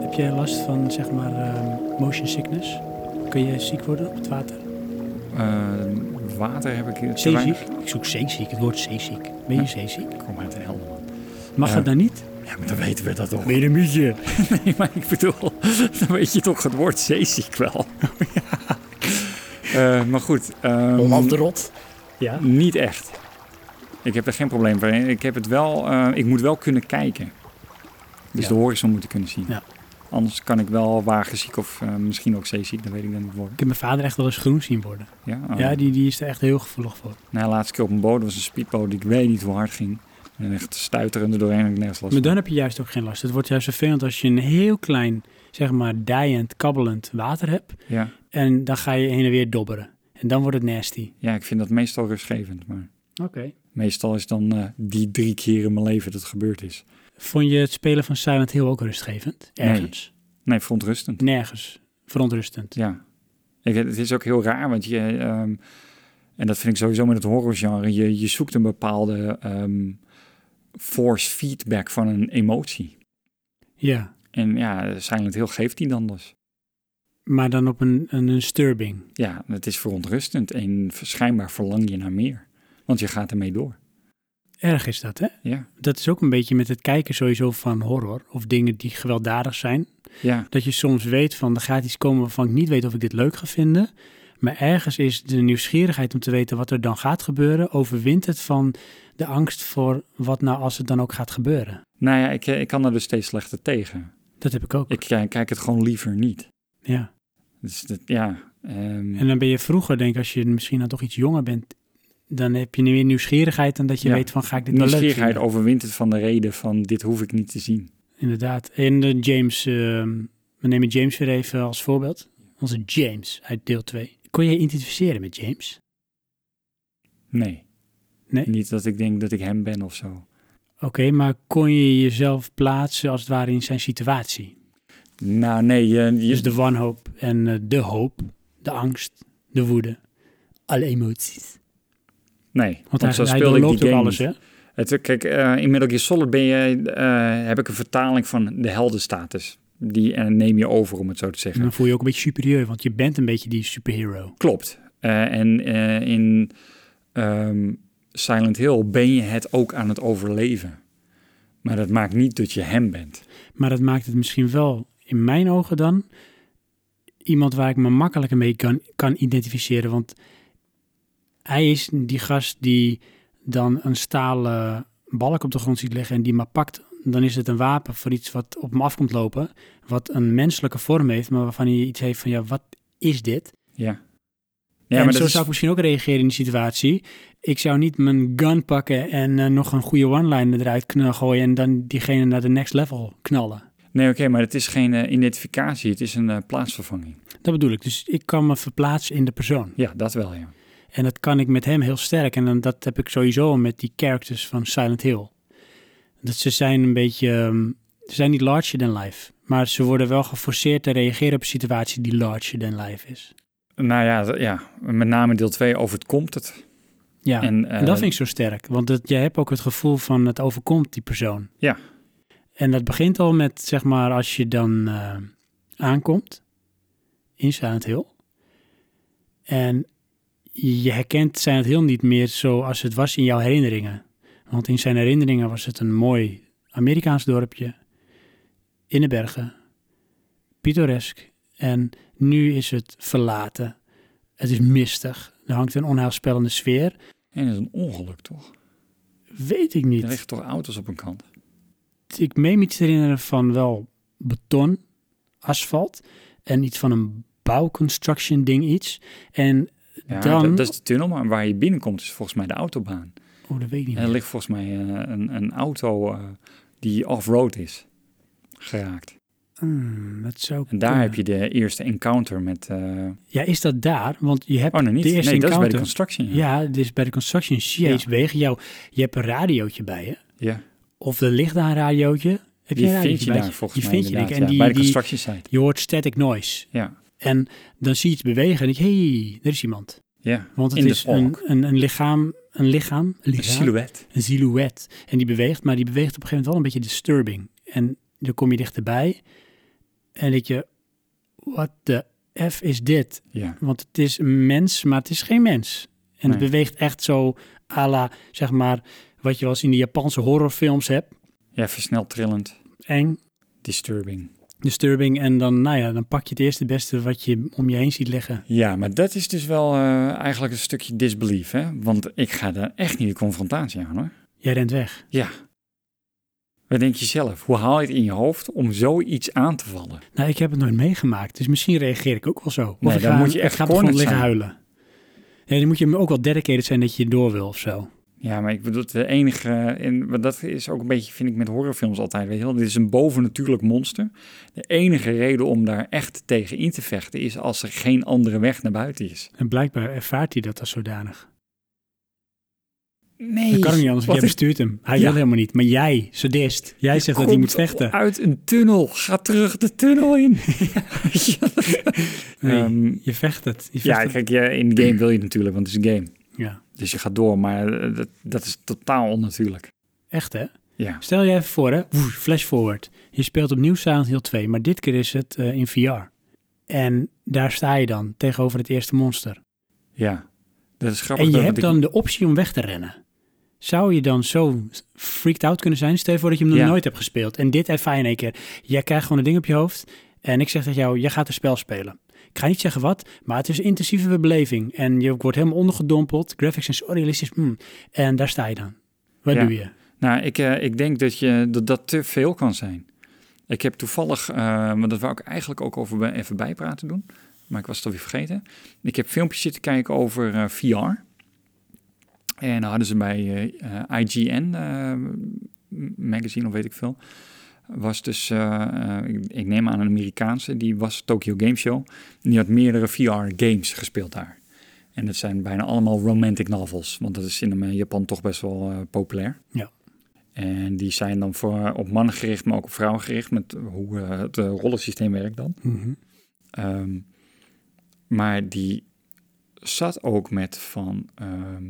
Heb jij last van zeg maar eh, motion sickness? Kun je ziek worden op het water? Eh, water heb ik te Zeeziek? weinig. Ik zoek zeeziek, het woord zeeziek. Ben je zeeziek? Kom uit de helder, man. Mag Ja. dat dan niet? Ja, maar dan weten we dat toch. Ben je een mietje? Nee, maar ik bedoel, dan weet je toch het woord zeeziek wel. Eh, maar goed, ehm, rot. Ja. niet echt. Ik heb er geen probleem mee. Ik, heb het wel, eh, ik moet wel kunnen kijken. Dus Ja. de horizon moeten kunnen zien. Ja. Anders kan ik wel wagenziek of eh, misschien ook zeeziek, dat weet ik dan niet worden. Ik heb mijn vader echt wel eens groen zien worden. Ja, oh. Ja, die, die is er echt heel gevoelig voor. Nou, laatst keer op een boot, dat was een speedboot, die ik weet niet hoe hard ging. En echt stuiterende doorheen, en ik nergens last van. Maar dan heb je juist ook geen last. Het wordt juist vervelend als je een heel klein, zeg maar, dijend, kabbelend water hebt. Ja. En dan ga je heen en weer dobberen. En dan wordt het nasty. ja, ik vind dat meestal rustgevend, maar Oké. meestal is dan eh, die drie keer in mijn leven dat het gebeurd is. Vond je het spelen van Silent Hill ook rustgevend? Nee. Ergens? Nee, verontrustend. Nergens. Verontrustend. Ja. Ik, het is ook heel raar, want je... ehm, en dat vind ik sowieso met het horrorgenre. Je, je zoekt een bepaalde ehm, force feedback van een emotie. Ja. En ja, Silent Hill geeft die dan dus. Maar dan op een, een, een disturbing. Ja, het is verontrustend en schijnbaar verlang je naar meer. Want je gaat ermee door. Erg is dat, hè? Ja, Dat is ook een beetje met het kijken sowieso van horror. Of dingen die gewelddadig zijn. ja, dat je soms weet van er gaat iets komen waarvan ik niet weet of ik dit leuk ga vinden. Maar ergens is de nieuwsgierigheid om te weten wat er dan gaat gebeuren, overwint het van de angst voor wat nou als het dan ook gaat gebeuren. nou ja, ik, eh, ik kan er dus steeds slechter tegen. Dat heb ik ook. Ik eh, kijk het gewoon liever niet. Ja. Dus dat, ja, ehm, En dan ben je vroeger, denk ik, als je misschien dan toch iets jonger bent, dan heb je nu weer nieuwsgierigheid en dat je Ja. weet van ga ik dit wel leuk nieuwsgierigheid vinden. overwint het van de reden van dit hoef ik niet te zien. Inderdaad. En de James, ehm, we nemen James weer even als voorbeeld. Onze James uit deel 2. Kon je je identificeren met James? Nee. Nee? Niet dat ik denk dat ik hem ben of zo. Oké, maar kon je jezelf plaatsen als het ware in zijn situatie? Nou, nee. Je, je- Dus de wanhoop en eh, de hoop, de angst, de woede, alle emoties. nee. Want, zo hij, hij speelde ik die doorloopt ook game alles, niet. hè? Het, kijk, eh in Metal Gear Solid ben je, eh, heb ik een vertaling van de heldenstatus. Die eh, neem je over, om het zo te En zeggen. dan voel je je ook een beetje superieur, want je bent een beetje die superhero. Klopt. Eh, en eh, in ehm, Silent Hill ben je het ook aan het overleven. Maar dat maakt niet dat je hem bent. Maar dat maakt het misschien wel, in mijn ogen dan, iemand waar ik me makkelijker mee kan, kan identificeren. Want hij is die gast die dan een stalen balk op de grond ziet liggen en die maar pakt. Dan is het een wapen voor iets wat op hem af komt lopen, wat een menselijke vorm heeft, maar waarvan hij iets heeft van, ja, wat is dit? Ja. Ja, maar en dat zo is- zou ik misschien ook reageren in die situatie. Ik zou niet mijn gun pakken en eh, nog een goede one-liner eruit knallen gooien en dan diegene naar de next level knallen. Nee, oké, maar het is geen eh, identificatie, het is een eh, plaatsvervanging. Dat bedoel ik. Dus ik kan me verplaatsen in de persoon. Ja, dat wel, ja. En dat kan ik met hem heel sterk. En dan, dat heb ik sowieso al met die characters van Silent Hill. Dat ze zijn een beetje... ehm, ze zijn niet larger than life. Maar ze worden wel geforceerd te reageren op een situatie die larger than life is. Nou ja, d- ja, met name deel 2 overkomt het. Ja. En, eh, En dat vind ik zo sterk, want dat, je hebt ook het gevoel van het overkomt die persoon. Ja. En dat begint al met, zeg maar, als je dan eh, aankomt in Silent Hill. En je herkent Silent Hill niet meer zoals het was in jouw herinneringen. Want in zijn herinneringen was het een mooi Amerikaans dorpje in de bergen, pittoresk. En nu is het verlaten. Het is mistig. Er hangt een onheilspellende sfeer. En het is een ongeluk, toch? Weet ik Er niet. liggen toch auto's op een kant? Ik meen me iets te herinneren van wel beton, asfalt en iets van een bouwconstruction ding iets. En Ja, Dan- dat, dat is de tunnel, maar waar je binnenkomt is volgens mij de autobaan. oh, dat weet ik niet. En meer. er ligt volgens mij eh, een, een auto eh, die off-road is geraakt. Hmm, dat zou En daar kunnen. heb je de eerste encounter met... eh, Ja, is dat daar? Want je hebt oh, nee, niet. de Nee, eerste dat is bij de encounter. constructie. Ja. ja, dit is bij de construction. Zie je Ja. eens wegen jou. Je hebt een radiootje bij je. Ja. Of er ligt daar een radiootje. Heb Die je een vind radiootje je bij daar volgens Die mij vind je denk ik. inderdaad, ja, En die, bij de die- constructiesite. je hoort static noise. Ja, En dan zie je iets bewegen en denk je, hey, er is iemand. ja. Want het In de is een, fog. een, een lichaam, een lichaam, Een lichaam silhouet. een silhouet. En die beweegt, maar die beweegt op een gegeven moment wel een beetje disturbing. En dan kom je dichterbij en denk je, what the F is dit? Ja, Want het is een mens, maar het is geen mens. En het Nee. beweegt echt zo à la, zeg maar, wat je wel eens in de Japanse horrorfilms hebt. ja versneld trillend. Eng, Disturbing. disturbing. En dan, nou ja, dan pak je het eerste beste wat je om je heen ziet liggen. Ja, maar dat is dus wel eh, eigenlijk een stukje disbelief, hè? Want ik ga daar echt niet de confrontatie aan, hoor. Jij rent weg. Ja. Wat denk je zelf? Hoe haal je het in je hoofd om zoiets aan te vallen? Nou, ik heb het nooit meegemaakt, dus misschien reageer ik ook wel zo. Of Nee, ik dan ga, moet je ik echt ga op de grond cornered liggen zijn. huilen. Ja, dan moet je ook wel dedicated zijn dat je door wil of zo. Ja, maar ik bedoel, de enige... En want dat is ook een beetje, vind ik, met horrorfilms altijd, weet je wel? Dit is een bovennatuurlijk monster. De enige reden om daar echt tegen in te vechten is als er geen andere weg naar buiten is. En blijkbaar ervaart hij dat als zodanig. Nee. Dat kan ook niet anders, want Wat jij bestuurt hem. Hij Ja. wil helemaal niet. Maar jij, sadist, jij zegt dat hij moet Komt vechten. Uit een tunnel. Ga terug de tunnel in. Nee, Ehm, je vecht het. Je vecht ja, het. kijk, ja, in de game wil je natuurlijk, want het is een game. ja, Dus je gaat door, maar eh, dat, dat is totaal onnatuurlijk. echt hè. Ja. Stel je even voor hè, Woe, flash forward. Je speelt opnieuw Silent Hill 2, maar dit keer is het eh, in VR. En daar sta je dan tegenover het eerste monster. Ja. Dat is grappig. En je dat- hebt want dan de optie om weg te rennen. Zou je dan zo freaked out kunnen zijn? Stel je voor dat je hem nog Ja. nooit hebt gespeeld. En dit ervaar je in één keer. Jij krijgt gewoon een ding op je hoofd. En ik zeg tegen jou, jij gaat een spel spelen. Ik ga niet zeggen wat, maar het is een intensieve beleving. En je wordt helemaal ondergedompeld. Graphics zijn zo realistisch. mm. En daar sta je dan. Wat Ja. doe je? ik- nou, ik, eh, ik denk dat, je, dat dat te veel kan zijn. Ik heb toevallig, eh, maar dat wou ik eigenlijk ook over bij- even bijpraten doen. Maar ik was het alweer vergeten. Ik heb filmpjes zitten kijken over eh, VR. En dan hadden ze bij eh, eh, IGN eh, m- magazine, of weet ik veel. Was dus, eh, eh, ik, ik neem aan een Amerikaanse, die was Tokyo Game Show. En die had meerdere VR-games gespeeld daar. En dat zijn bijna allemaal romantic novels, want dat is in eh, Japan toch best wel eh, populair. Ja. En die zijn dan voor, op mannen gericht, maar ook op vrouwen gericht, met hoe eh, het eh, rollensysteem werkt dan. Mhm. Ehm, maar die zat ook met van ehm,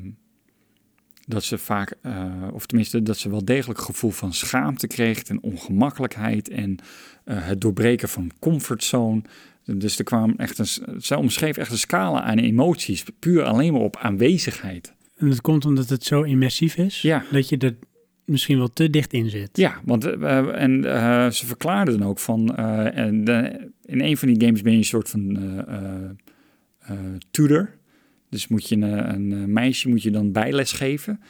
dat ze vaak, eh, of tenminste dat ze wel degelijk gevoel van schaamte kreeg en ongemakkelijkheid en eh, het doorbreken van comfortzone. Dus er kwam echt een, s- zij omschreef echt een scala aan emoties, puur alleen maar op aanwezigheid. En dat komt omdat het zo immersief is. Ja. Dat je er misschien wel te dicht in zit. Ja, want eh, en eh, ze verklaarde dan ook van, eh, en, de- in een van die games ben je een soort van eh, eh, eh, tutor. Dus moet je een, een eh, meisje moet je dan bijles geven.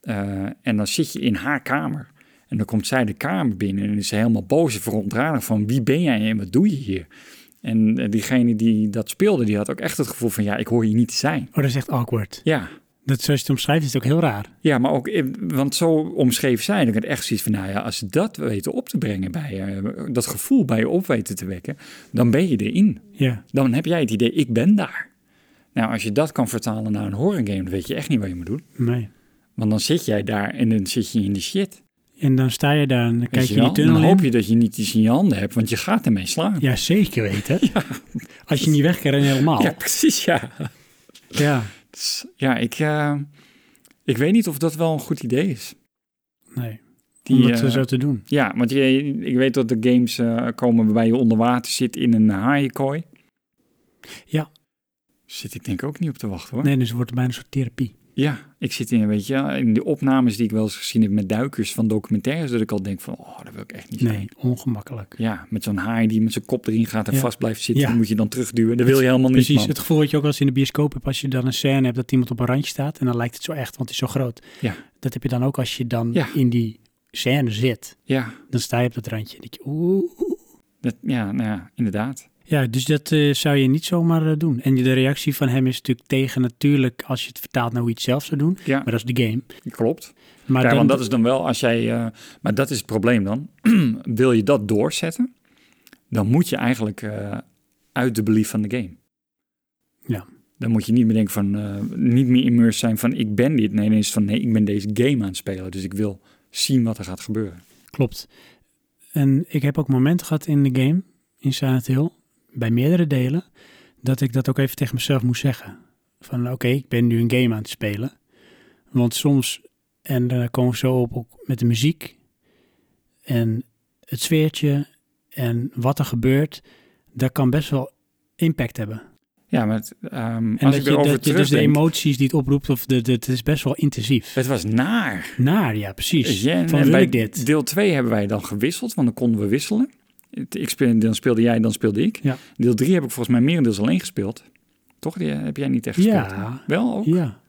Eh, en dan zit je in haar kamer. En dan komt zij de kamer binnen en is ze helemaal boos en verontwaardigd van wie ben jij en wat doe je hier? En eh, diegene die dat speelde, die had ook echt het gevoel van ja, ik hoor hier niet te zijn. Oh, dat is echt awkward. Ja, Dat, zoals je het omschrijft is het ook heel raar. ja maar ook, eh, want zo omschreven zijn, ik had echt zoiets van nou ja, als ze dat weten op te brengen bij je, dat gevoel bij je op weten te wekken, dan ben je erin. Ja. Dan heb jij het idee, ik ben daar. Nou, als je dat kan vertalen naar een horrorgame, dan weet je echt niet wat je moet doen. Nee. Want dan zit jij daar en dan zit je in die shit. En dan sta je daar en dan Weet kijk je, wel? die tunnel dan in. hoop je dat je niet iets in je handen hebt, want je gaat ermee slaan. Ja, zeker weten. Als je niet weg kan rennen helemaal. Ja, precies, ja. Ja. Dus, ja, ik, eh, ik weet niet of dat wel een goed idee is. Nee. Die, Om dat eh, zo te doen. Ja, want je, ik weet dat er games eh, komen waarbij je onder water zit in een haaienkooi. Ja. Zit ik denk ik ook niet op te wachten hoor. Nee, dus het wordt bijna een soort therapie. Ja, ik zit in, weet je, in de opnames die ik wel eens gezien heb met duikers van documentaires, dat ik al denk van, oh, dat wil ik echt niet zijn. Nee, ongemakkelijk. Ja, met zo'n haai die met zijn kop erin gaat en Ja. vast blijft zitten, Ja. die moet je dan terugduwen. Dat wil je helemaal niet, Precies, man. het gevoel wat je ook wel eens in de bioscoop hebt als je dan een scène hebt dat iemand op een randje staat en dan lijkt het zo echt, want het is zo groot. Ja. Dat heb je dan ook als je dan Ja. in die scène zit. Ja, Dan sta je op dat randje en denk je oeh. oeh. Dat, ja, nou ja, inderdaad. Ja, dus dat eh, zou je niet zomaar eh, doen. En de reactie van hem is natuurlijk tegen natuurlijk als je het vertaalt naar hoe je het zelf zou doen. Ja. Maar dat is de game. Klopt. Maar ja, dan, want dat is dan wel als jij... eh, maar dat is het probleem dan. Wil je dat doorzetten, dan moet je eigenlijk eh, uit de belief van de game. Ja. Dan moet je niet meer denken van... eh, niet meer immersed zijn van ik ben dit. Nee, dan is het van nee, ik ben deze game aan het spelen. Dus ik wil zien wat er gaat gebeuren. Klopt. En ik heb ook momenten gehad in de game, in Silent Hill, bij meerdere delen, dat ik dat ook even tegen mezelf moest zeggen. Van oké, ik ben nu een game aan het spelen. Want soms, en daar komen we zo op ook met de muziek en het sfeertje en wat er gebeurt, dat kan best wel impact hebben. Ja, maar het, ehm, als En dat, ik je, erover dat je dus de terugdenk, emoties die het oproept, of de, de- het is best wel intensief. Het was naar. Naar, ja, precies. Ja, en- Van en wil bij ik dit? Deel 2 hebben wij dan gewisseld, want dan konden we wisselen. Het- Ik speel, dan speelde jij, dan speelde ik. Ja. Deel 3 heb ik volgens mij merendeels alleen gespeeld. Toch? Die eh, heb jij niet echt gespeeld? hè? Ja, Wel ook? Ja.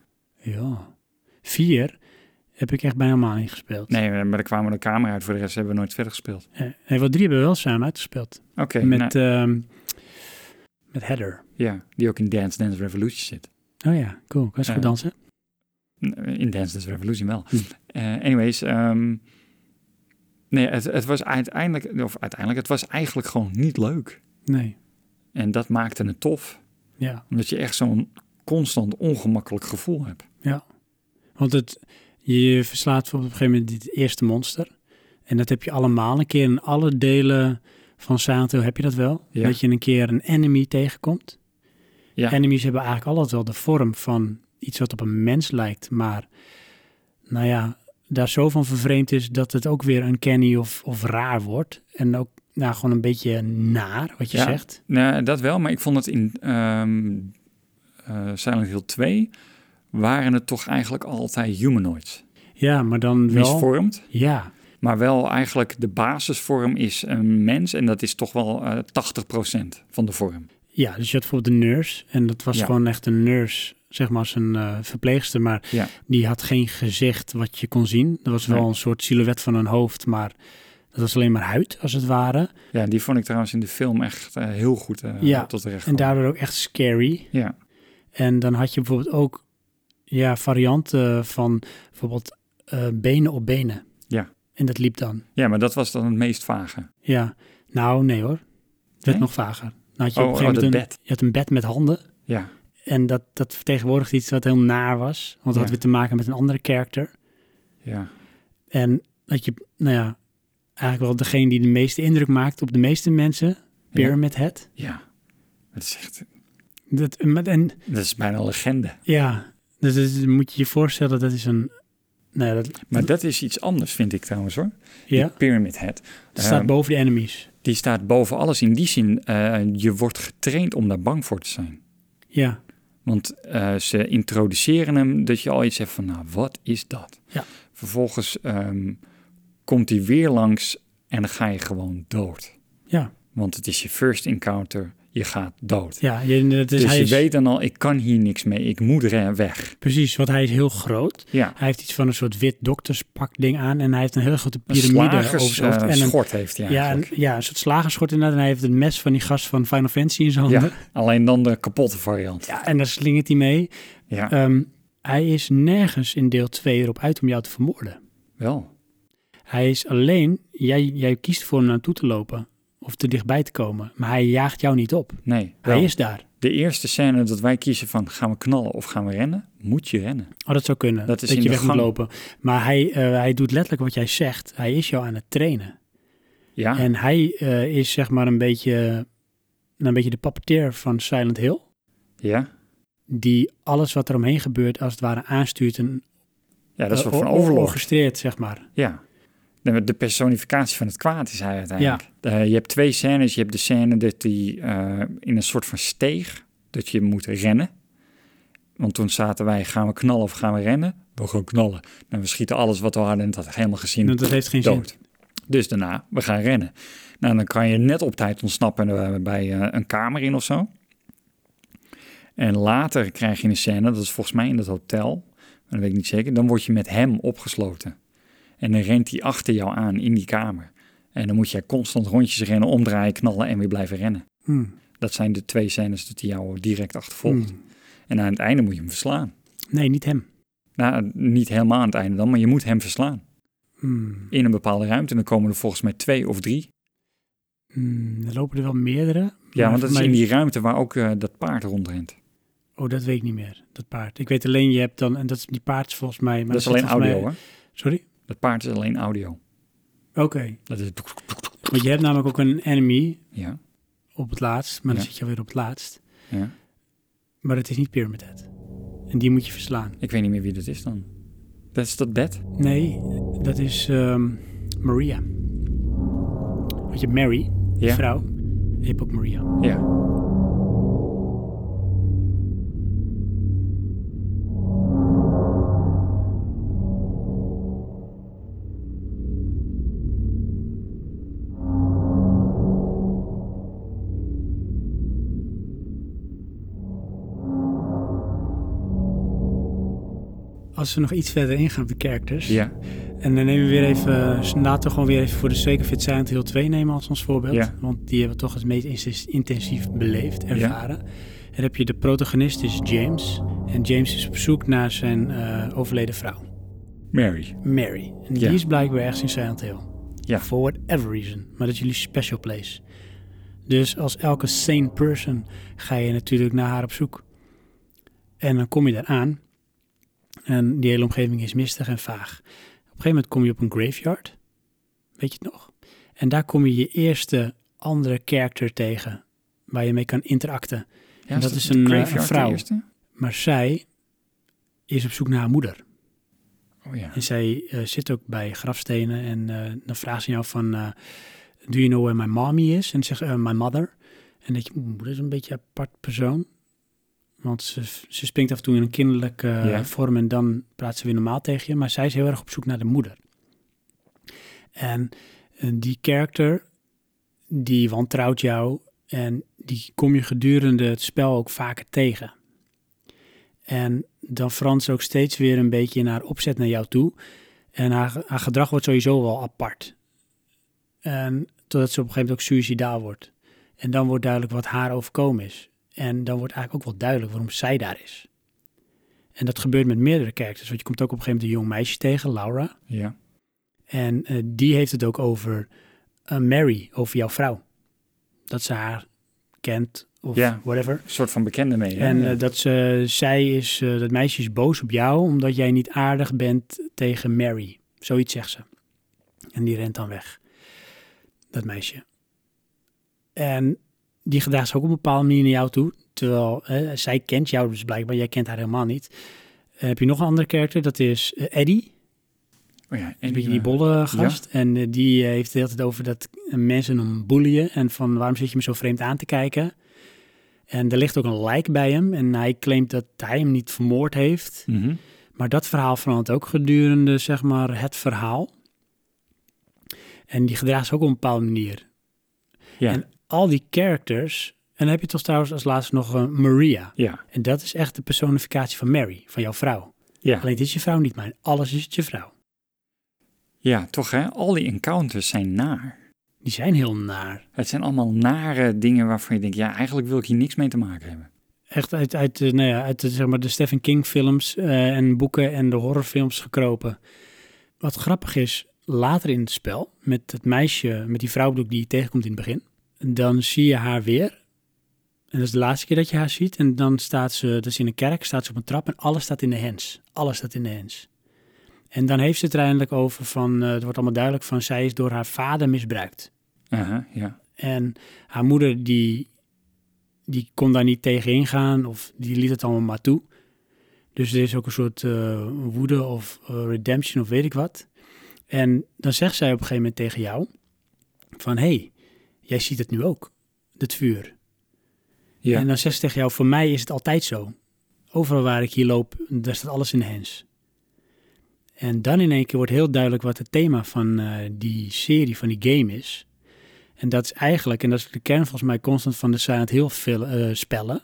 Ja. Vier heb ik echt bijna helemaal niet gespeeld. Nee, eh, maar daar kwamen we de camera uit. Voor de rest hebben we nooit verder gespeeld. Eh, nee, wat drie hebben we wel samen uitgespeeld. Oké, nou, met, eh, ehm, met Heather. ja, die ook in Dance Dance Revolution zit. Oh ja, cool. Kan ze Ja. goed dansen? In Dance Dance Revolution wel. Hm. Eh, anyways, ehm, nee, het, het was uiteindelijk, of uiteindelijk, het was eigenlijk gewoon niet leuk. Nee. En dat maakte het tof, Ja. omdat je echt zo'n constant ongemakkelijk gevoel hebt. Want het, je verslaat op een gegeven moment dit eerste monster. En dat heb je allemaal een keer in alle delen van Sato heb je dat wel. Ja. Dat je een keer een enemy tegenkomt. Ja. Enemies hebben eigenlijk altijd wel de vorm van iets wat op een mens lijkt. Maar nou ja, daar zo van vervreemd is dat het ook weer uncanny of, of raar wordt. En ook nou, gewoon een beetje naar wat je Ja. zegt. Nou, dat wel, maar ik vond het in ehm eh, Silent Hill 2 waren het toch eigenlijk altijd humanoids. Ja, maar dan wel... Misvormd. Ja, Maar wel eigenlijk de basisvorm is een mens en dat is toch wel eh 80% van de vorm. Ja, dus je had bijvoorbeeld de nurse. En dat was Ja. gewoon echt een nurse, zeg maar als een eh, verpleegster. Maar Ja. die had geen gezicht wat je kon zien. Er was wel Nee. een soort silhouet van een hoofd, maar dat was alleen maar huid, als het ware. Ja, die vond ik trouwens in de film echt eh, heel goed eh, Ja, tot terecht. En komen. daardoor ook echt scary. Ja, En dan had je bijvoorbeeld ook ja, varianten van bijvoorbeeld eh, benen op benen. Ja. En dat liep dan. ja, maar dat was dan het meest vage. Ja, nou nee hoor. Het werd Nee? nog vager. Dan had je Oh, op een gegeven oh, dat moment een, bed. Je had een bed met handen. Ja, En dat, dat vertegenwoordigt iets wat heel naar was. Want dat had Ja. weer te maken met een andere karakter. ja. En dat je, nou ja, eigenlijk wel degene die de meeste indruk maakt op de meeste mensen. Pyramid Head. Ja, dat is echt, Dat, maar- en dat is bijna een legende. ja, dus, dat is- moet je je voorstellen, dat is een... Nou ja, dat, Maar dat is iets anders, vind ik trouwens hoor. ja, Die Pyramid Head. dat staat eh, boven de enemies. Die staat boven alles in die zin, eh, je wordt getraind om daar bang voor te zijn. Ja, Want eh, ze introduceren hem dat je al iets hebt van, nou, wat is dat? Ja. Vervolgens ehm, komt hij weer langs en dan ga je gewoon dood. ja, Want het is je first encounter. je gaat dood. Ja, je, dat is, Dus, hij je is, weet dan al, ik kan hier niks mee. Ik moet er weg. precies, want hij is heel groot. Ja. Hij heeft iets van een soort wit dokterspak ding aan en hij heeft een hele grote Een piramide over slagers, zijn hoofd. eh, en een, schort heeft hij ja, een, eigenlijk. ja, een soort slagerschort inderdaad. En hij heeft een mes van die gast van Final Fantasy in zijn Ja, handen. alleen dan de kapotte variant. Ja, en daar slingert hij mee. Ja, Ehm, hij is nergens in deel 2 erop uit om jou te vermoorden. wel. Hij is alleen, jij, jij kiest voor hem naartoe te lopen of te dichtbij te komen. Maar hij jaagt jou niet op. Nee, Hij wel. is daar. de eerste scène dat wij kiezen van gaan we knallen of gaan we rennen, moet je rennen. Oh, dat zou kunnen. Dat Dat, is in je de weg moet gang. lopen. Maar hij, eh, hij doet letterlijk wat jij zegt. Hij is jou aan het trainen. Ja, En hij eh, is zeg maar een beetje, nou, een beetje de pappeteer van Silent Hill. ja. Die alles wat er omheen gebeurt als het ware aanstuurt en ja dat is wel eh, van or- or- overlog. orchestreert zeg maar. Ja. De de personificatie van het kwaad is hij uiteindelijk. Eh, je hebt twee scènes. Je hebt de scène dat hij eh, in een soort van steeg, dat je moet rennen. Want toen zaten wij, gaan we knallen of gaan we rennen? We gaan knallen. En we schieten alles wat we hadden en dat had helemaal gezien. Want dat heeft geen zin. dood. Dus daarna, we gaan rennen. Nou, dan kan je net op tijd ontsnappen eh, bij eh, een kamer in of zo. En later krijg je een scène, dat is volgens mij in dat hotel, maar dat weet ik niet zeker. Dan word je met hem opgesloten. En dan rent hij achter jou aan in die kamer. En dan moet jij constant rondjes rennen, omdraaien, knallen en weer blijven rennen. Hmm. Dat zijn de twee scènes dat hij jou direct achtervolgt. Hmm. En aan het einde moet je hem verslaan. Nee, niet hem. Nou, niet helemaal aan het einde dan, maar je moet hem verslaan. Hmm. In een bepaalde ruimte. En dan komen er volgens mij twee of drie. Hmm, Er lopen er wel meerdere. Ja, maar want dat voor is mij- in die ruimte waar ook eh, dat paard rondrent. Oh, dat weet ik niet meer, dat paard. Ik weet alleen, je hebt dan, en dat is die paard is volgens mij... Maar dat is er zit alleen volgens audio, mij- hoor. Sorry? Dat paard is alleen audio. Oké. Dat is... Want je hebt namelijk ook een enemy Ja, op het laatst, maar dan Ja. zit je alweer op het laatst. ja. Maar het is niet Pyramid Head. En die moet je verslaan. Ik weet niet meer wie dat is dan. Dat is dat bed? Nee, dat is ehm, Maria. Want je hebt Mary, die Ja. vrouw. En je hebt ook Maria. Ja. Als we nog iets verder ingaan op de characters. Ja. En dan nemen we weer even, eh, laten we gewoon weer even voor de zeker fit Silent Hill 2 nemen als ons voorbeeld. Ja. Want die hebben we toch het meest intes- intensief beleefd, ervaren. En dan heb je de protagonist, is James. En James is op zoek naar zijn eh, overleden vrouw, Mary. Mary. En die Ja. is blijkbaar ergens in Silent Hill. Ja. For whatever reason. Maar dat is jullie special place. Dus als elke sane person ga je natuurlijk naar haar op zoek. En dan kom je daar aan. En die hele omgeving is mistig en vaag. Op een gegeven moment kom je op een graveyard. Weet je het nog? En daar kom je je eerste andere character tegen. Waar je mee kan interacten. Ja, dat is een, eh, graveyard, een vrouw. de eerste? Maar zij is op zoek naar haar moeder. Oh ja. En zij eh, zit ook bij grafstenen en eh, dan vraagt ze jou van, eh, do you know where my mommy is? En dan zegt ze, "Eh, my mother. En dat je, oeh, dat is een beetje een apart persoon. Want ze, ze springt af en toe in een kinderlijke eh, Ja. vorm en dan praat ze weer normaal tegen je. Maar zij is heel erg op zoek naar de moeder. En eh, die character, die wantrouwt jou en die kom je gedurende het spel ook vaker tegen. En dan verandert ze ook steeds weer een beetje in haar opzet naar jou toe. En haar, haar gedrag wordt sowieso wel apart. En totdat ze op een gegeven moment ook suicidaal wordt. En dan wordt duidelijk wat haar overkomen is. En dan wordt eigenlijk ook wel duidelijk waarom zij daar is. En dat gebeurt met meerdere characters. Want je komt ook op een gegeven moment een jong meisje tegen, Laura. Ja. En eh, die heeft het ook over eh, Mary, over jouw vrouw. Dat ze haar kent of Ja. whatever. Een soort van bekende mee. hè? En Ja. eh, dat ze, zij is, eh, dat meisje is boos op jou omdat jij niet aardig bent tegen Mary. Zoiets zegt ze. En die rent dan weg. Dat meisje. En die gedraagt zich ook op een bepaalde manier naar jou toe. Terwijl eh, zij kent jou dus blijkbaar, jij kent haar helemaal niet. En heb je nog een andere karakter, dat is eh, Eddie. oh ja. Een En beetje die, die eh, bolle gast. En eh, die eh, heeft het altijd over dat eh, mensen hem boeien. En van waarom zit je me zo vreemd aan te kijken? En er ligt ook een lijk bij hem. En hij claimt dat hij hem niet vermoord heeft. mhm. Maar dat verhaal verandert ook gedurende, zeg maar, het verhaal. En die gedraagt zich ook op een bepaalde manier. Ja. En al die characters dan heb je toch trouwens als laatste nog eh, Maria. Ja, En dat is echt de personificatie van Mary, van jouw vrouw. ja. Alleen dit is je vrouw niet, maar in alles is het je vrouw. ja toch hè? Al die encounters zijn naar. Die zijn heel naar. Het zijn allemaal nare dingen waarvan je denkt, ja, eigenlijk wil ik hier niks mee te maken hebben. Echt uit, uit, eh, nou ja, uit de, zeg maar, de Stephen King films eh, en boeken en de horrorfilms gekropen. Wat grappig is, later in het spel, met het meisje, met die vrouw bedoel ik, die je tegenkomt in het begin. Dan zie je haar weer. En dat is de laatste keer dat je haar ziet. En dan staat ze, dat is in een kerk, staat ze op een trap en alles staat in de hens. Alles staat in de hens. En dan heeft ze het er eindelijk over van, eh, het wordt allemaal duidelijk van, zij is door haar vader misbruikt. Aha, ja. En haar moeder, die, die kon daar niet tegen ingaan of die liet het allemaal maar toe. Dus er is ook een soort eh, woede of eh, redemption of weet ik wat. En dan zegt zij op een gegeven moment tegen jou van... hé, hey, jij ziet het nu ook, het vuur. Ja, En dan zegt ze tegen jou, voor mij is het altijd zo. Overal waar ik hier loop, daar staat alles in de hens. En dan in één keer wordt heel duidelijk wat het thema van eh, die serie, van die game is. En dat is eigenlijk, en dat is de kern volgens mij constant van de Silent Hill fil- eh, spellen,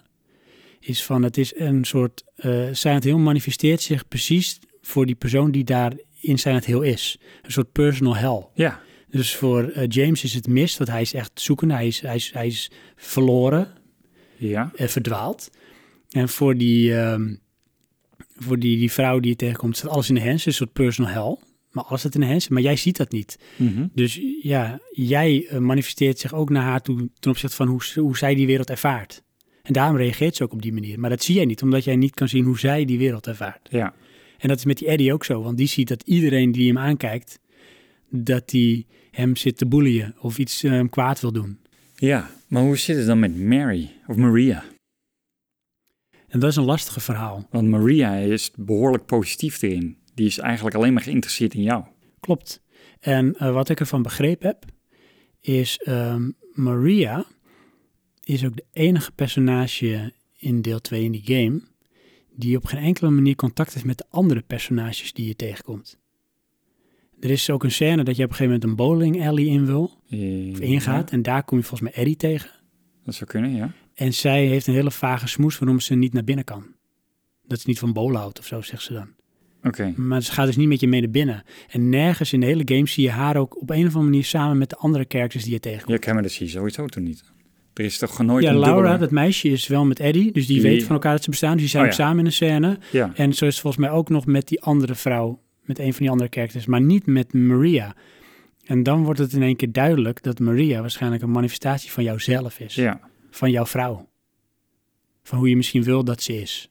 is van het is een soort, eh Silent Hill manifesteert zich precies voor die persoon die daar in Silent Hill is. Een soort personal hell. ja. Dus voor eh, James is het mis, want hij is echt zoekende, hij is, hij is, hij is verloren, ja. eh, verdwaald. En voor die, ehm, voor die, die vrouw die je tegenkomt, staat alles in de hens. Een soort personal hell. Maar alles staat in de hens. Maar jij ziet dat niet. Mhm. Dus ja, jij eh, manifesteert zich ook naar haar toe ten opzichte van hoe, ze- hoe zij die wereld ervaart. En daarom reageert ze ook op die manier. Maar dat zie jij niet, omdat jij niet kan zien hoe zij die wereld ervaart. ja. En dat is met die Eddie ook zo, want die ziet dat iedereen die hem aankijkt, dat die hem zit te boeien of iets eh, hem kwaad wil doen. Ja, maar hoe zit het dan met Mary of Maria? En dat is een lastige verhaal. Want Maria is behoorlijk positief erin. Die is eigenlijk alleen maar geïnteresseerd in jou. Klopt. En eh, wat ik ervan begrepen heb, is ehm, Maria is ook de enige personage in deel 2 in die game die op geen enkele manier contact heeft met de andere personages die je tegenkomt. Er is ook een scène dat je op een gegeven moment een bowling alley in wil, Eh, Mhm. of ingaat, en daar kom je volgens mij Eddie tegen. Ja, dat zou kunnen, ja. En zij heeft een hele vage smoes waarom ze niet naar binnen kan. Dat is niet van bowlen houdt of zo, zegt ze dan. Oké. Maar ze gaat dus niet met je mee naar binnen. En nergens in de hele game zie je haar ook op een of andere manier samen met de andere characters die je tegenkomt. Ja, maar dat zie je sowieso toen niet. Er is toch nooit Ja, een Laura, dubbele- dat meisje, is wel met Eddie. Dus die Die- weet van elkaar dat ze bestaan. Dus die zijn Oh, ook ja. samen in een scène. Ja, En zo is het volgens mij ook nog met die andere vrouw. Met een van die andere characters. Maar niet met Maria. En dan wordt het in één keer duidelijk dat Maria waarschijnlijk een manifestatie van jouzelf is. ja. Van jouw vrouw. Van hoe je misschien wil dat ze is.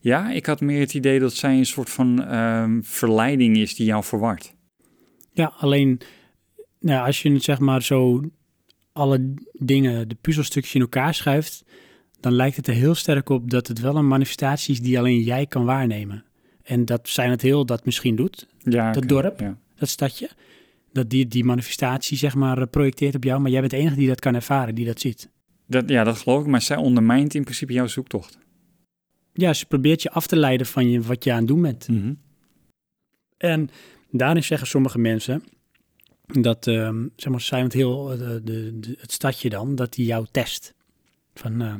Ja, ik had meer het idee dat zij een soort van ehm, verleiding is die jou verward. Ja, alleen nou, als je het zeg maar zo alle dingen, de puzzelstukjes in elkaar schuift, dan lijkt het er heel sterk op dat het wel een manifestatie is die alleen jij kan waarnemen. En dat zijn het heel dat misschien doet, Ja, Dat oké, dorp? Ja. dat stadje. Dat die, die manifestatie zeg maar eh, projecteert op jou, maar jij bent de enige die dat kan ervaren, die dat ziet. Dat, ja, dat geloof ik, maar zij ondermijnt in principe jouw zoektocht. Ja, ze probeert je af te leiden van je, wat je aan het doen bent. Mhm. En daarin zeggen sommige mensen dat, ehm zeg maar, Silent Hill, eh, de, de, de- het stadje dan, dat die jou test. Van, eh,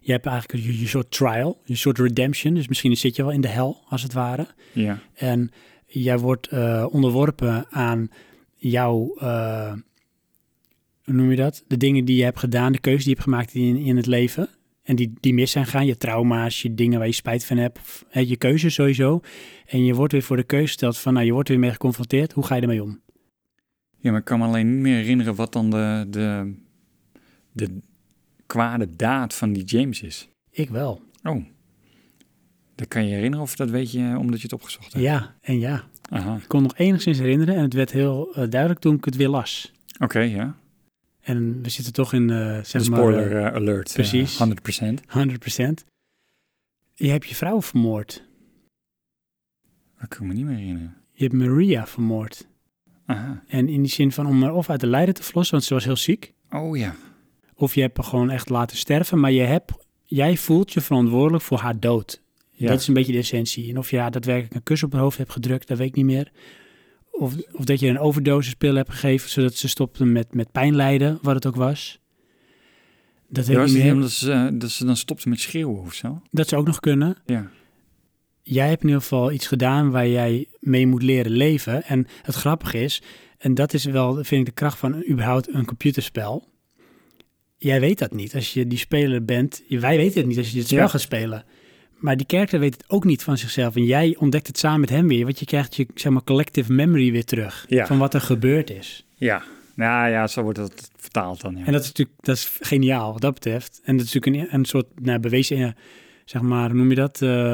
je hebt eigenlijk je, je soort trial, je soort redemption. Dus misschien zit je wel in de hel, als het ware. Ja, En jij wordt eh, onderworpen aan jouw, eh, hoe noem je dat? De dingen die je hebt gedaan, de keuzes die je hebt gemaakt in, in het leven. En die, die mis zijn gaan, je trauma's, je dingen waar je spijt van hebt, of, hè, je keuzes sowieso. En je wordt weer voor de keuze gesteld van, nou, je wordt er weer mee geconfronteerd. Hoe ga je ermee om? Ja, maar ik kan me alleen niet meer herinneren wat dan de, de, de kwade daad van die James is. Ik wel. Oh, dat kan je je herinneren of dat weet je eh, omdat je het opgezocht hebt? Ja, en ja. Aha, Ik kon nog enigszins herinneren en het werd heel eh, duidelijk toen ik het weer las. oké, ja. En we zitten toch in, eh De zeg maar, spoiler eh, alert, eh, precies. 100%. eh, 100%. Je hebt je vrouw vermoord. Dat kan ik me niet meer herinneren. Je hebt Maria vermoord. Aha, En in die zin van om haar of uit de lijden te verlossen, want ze was heel ziek. oh ja. Of je hebt haar gewoon echt laten sterven, maar je hebt, jij voelt je verantwoordelijk voor haar dood. ja. Dat is een beetje de essentie. En of je haar daadwerkelijk een kus op haar hoofd hebt gedrukt, dat weet ik niet meer. Of, of dat je een overdosis pil hebt gegeven, zodat ze stopte met, met pijnlijden, wat het ook was. Dat Ja, was weet ik het niet niet meer. omdat ze, eh, dat ze dan stopte met schreeuwen of zo? Dat zou ook nog kunnen. Ja. jij hebt in ieder geval iets gedaan waar jij mee moet leren leven. En het grappige is, en dat is wel, vind ik, de kracht van überhaupt een computerspel. Jij weet dat niet als je die speler bent. Wij weten het niet als je dit spel Ja. gaat spelen. Maar die character weet het ook niet van zichzelf. En jij ontdekt het samen met hem weer. Want je krijgt je zeg maar, collective memory weer terug. Ja. Van wat er gebeurd is. Ja. Nou ja, zo wordt dat vertaald dan. Ja. En dat is natuurlijk dat is geniaal wat dat betreft. En dat is natuurlijk een, een soort nou, bewezen, eh, zeg maar, hoe noem je dat? eh, een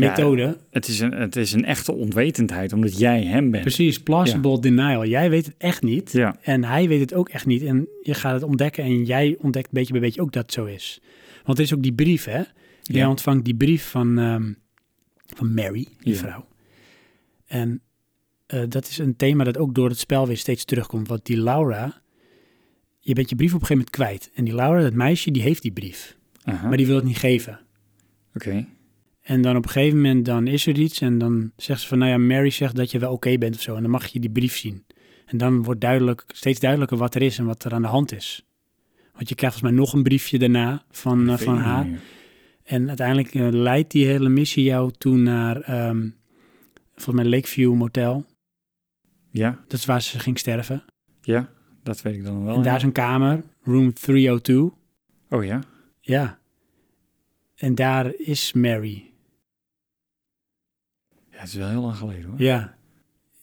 Ja, eh, methode. Het, is een, het is een echte onwetendheid, omdat jij hem bent. Precies, plausible denial. Jij weet het echt niet. Ja. En hij weet het ook echt niet. En je gaat het ontdekken en jij ontdekt beetje bij beetje ook dat het zo is. Want er is ook die brief, hè? Jij Ja. ontvangt die brief van, ehm, van Mary, die Ja. vrouw. En eh, dat is een thema dat ook door het spel weer steeds terugkomt. Want die Laura, je bent je brief op een gegeven moment kwijt. En die Laura, dat meisje, die heeft die brief. Aha, Maar die wil het niet geven. Oké. En dan op een gegeven moment dan is er iets en dan zegt ze van, nou ja, Mary zegt dat je wel oké bent of zo. En dan mag je die brief zien. En dan wordt duidelijk, steeds duidelijker wat er is en wat er aan de hand is. Want je krijgt volgens mij nog een briefje daarna van, eh, Dat weet van ik haar. niet meer. En uiteindelijk eh, leidt die hele missie jou toe naar, ehm, volgens mij, Lakeview Motel. Ja, Dat is waar ze ging sterven. ja, dat weet ik dan wel. en daar Oh, ja. is een kamer, room 302. Oh ja. Ja. En daar is Mary. ja, het is wel heel lang geleden hoor. Ja.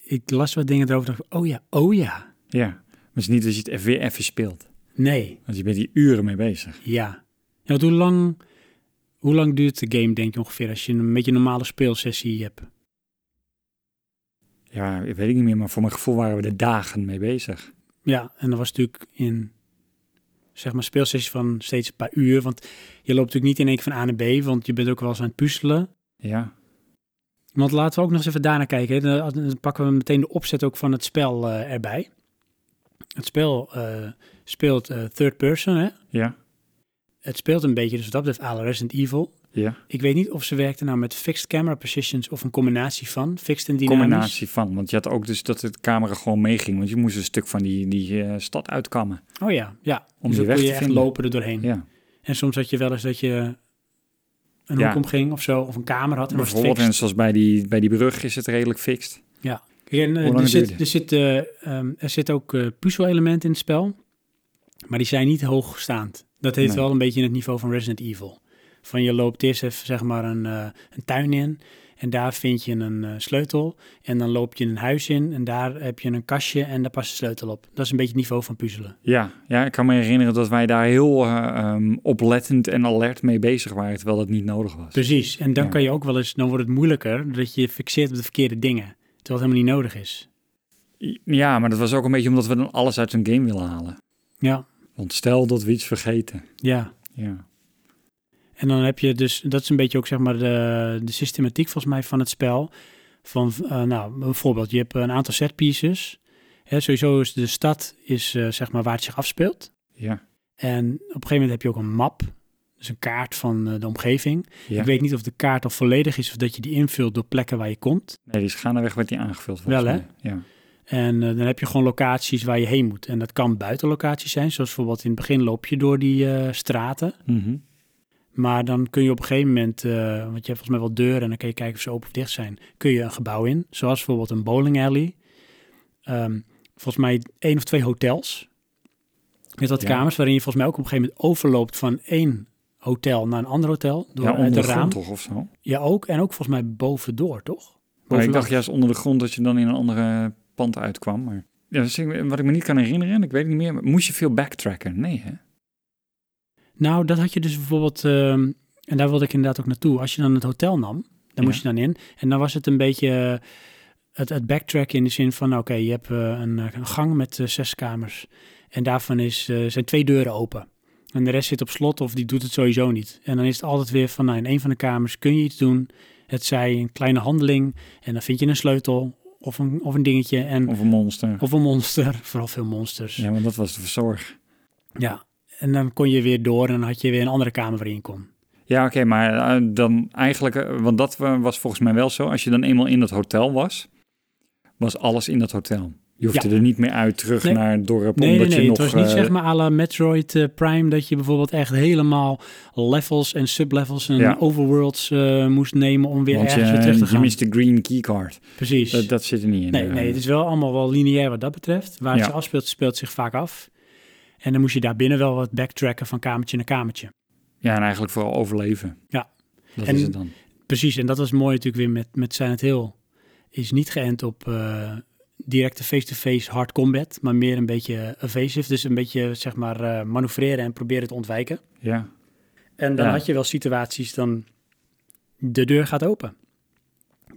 Ik las wat dingen erover en dacht, oh ja, oh ja. Ja. Maar het is niet dat je het even weer even speelt. Nee. Want je bent hier uren mee bezig. Ja. ja want hoe lang, hoe lang duurt de game, denk je ongeveer, als je een beetje een normale speelsessie hebt? Ja, ik weet ik niet meer, maar voor mijn gevoel waren we er dagen mee bezig. Ja, en dat was natuurlijk in, zeg maar, speelsessie van steeds een paar uur. Want je loopt natuurlijk niet in één keer van A naar B, want je bent ook wel eens aan het puzzelen. Ja, Want laten we ook nog eens even daarna kijken. hè. Dan dan pakken we meteen de opzet ook van het spel eh, erbij. Het spel eh, speelt eh, third person, hè? ja, Het speelt een beetje, dus wat dat betreft, à la Resident Evil. ja. Ik weet niet of ze werkten nou met fixed camera positions of een combinatie van fixed en dynamisch. Combinatie van. Want je had ook dus dat de camera gewoon meeging. Want je moest een stuk van die, die eh, stad uitkammen. Oh ja, ja. Om dus die dan weg kon je te echt vinden. lopen er doorheen. Ja. En soms had je wel eens dat je een Ja. hoek omging of zo, of een kamer had en was het Bijvoorbeeld, fixed. en zoals bij die, bij die brug is het redelijk fixed. Kijk, en, eh, Hoe lang er, zit, duurde? er, zit, eh, ehm, er zit ook eh puzzelelementen in het spel, maar die zijn niet hoogstaand. Dat heeft Nee. wel een beetje in het niveau van Resident Evil. Van je loopt eerst even zeg maar een, eh, een tuin in en daar vind je een eh, sleutel. En dan loop je een huis in en daar heb je een kastje en daar past de sleutel op. Dat is een beetje het niveau van puzzelen. Ja, ja, ik kan me herinneren dat wij daar heel eh, ehm, oplettend en alert mee bezig waren, terwijl dat niet nodig was. Precies, en dan Ja. kan je ook wel eens, dan wordt het moeilijker dat je je fixeert op de verkeerde dingen. Terwijl het helemaal niet nodig is. Ja, maar dat was ook een beetje omdat we dan alles uit een game willen halen. Ja, Want stel dat we iets vergeten. ja. Ja, En dan heb je dus, dat is een beetje ook zeg maar de, de systematiek volgens mij van het spel. Van, eh, nou, bijvoorbeeld, je hebt een aantal setpieces. Hè, sowieso is de stad is, eh, zeg maar waar het zich afspeelt. ja, En op een gegeven moment heb je ook een map. Dus een kaart van eh, de omgeving. ja. Ik weet niet of de kaart al volledig is of dat je die invult door plekken waar je komt. Nee, die is gaandeweg werd die aangevuld. volgens Wel, hè? mij. Ja. En eh, dan heb je gewoon locaties waar je heen moet. En dat kan buitenlocaties zijn. Zoals bijvoorbeeld in het begin loop je door die eh, straten. Mhm. Maar dan kun je op een gegeven moment, eh, want je hebt volgens mij wel deuren en dan kun je kijken of ze open of dicht zijn, kun je een gebouw in. Zoals bijvoorbeeld een bowling alley. Ehm, volgens mij één of twee hotels. Met wat Ja. kamers waarin je volgens mij ook op een gegeven moment overloopt van één hotel naar een ander hotel. Door ja, uit onder de de grond raam. toch of zo? Ja, ook. En ook volgens mij bovendoor, toch? Maar ik Bovenlangs. dacht juist onder de grond dat je dan in een andere pand uitkwam. Maar... Ja, dus ik- wat ik me niet kan herinneren, en ik weet het niet meer, maar moest je veel backtracken? Nee, hè? Nou, dat had je dus bijvoorbeeld, ehm, en daar wilde ik inderdaad ook naartoe. Als je dan het hotel nam, Ja. dan moest je dan in. En dan was het een beetje eh, het, het backtrack in de zin van, nou, oké, je hebt eh, een, eh, een gang met eh, zes kamers. En daarvan is, eh, zijn twee deuren open. En de rest zit op slot of die doet het sowieso niet. En dan is het altijd weer van, nou, in een van de kamers kun je iets doen. Het zij een kleine handeling en dan vind je een sleutel of een, of een dingetje. En, Of een monster? of een monster, vooral veel monsters. Ja, want dat was de verzorg. ja. En dan kon je weer door en dan had je weer een andere kamer waarin je kon. Ja, oké, maar eh, dan eigenlijk, eh, want dat eh, was volgens mij wel zo. Als je dan eenmaal in dat hotel was, was alles in dat hotel. Je Je hoefde Ja. er niet meer uit terug Nee. naar het dorp. Nee, nee, omdat nee. je nog, het was niet eh, zeg maar à la Metroid eh, Prime dat je bijvoorbeeld echt helemaal levels en sublevels en Ja. overworlds eh, moest nemen om weer want ergens weer terug te je, je gaan. mist de green keycard. Precies. Dat, dat zit er niet in. nee, eh. nee, het is wel allemaal wel lineair wat dat betreft. Waar het Ja. zich afspeelt, speelt zich vaak af. En dan moest je daar binnen wel wat backtracken van kamertje naar kamertje. Ja, en eigenlijk vooral overleven. Ja. Dat En- is het dan. Precies, en dat was mooi natuurlijk weer met, met Silent Hill. Is niet geënt op eh, directe face-to-face hard combat, maar meer een beetje evasive. Dus een beetje, zeg maar, eh, manoeuvreren en proberen te ontwijken. Ja. En dan Ja. had je wel situaties dan de deur gaat open.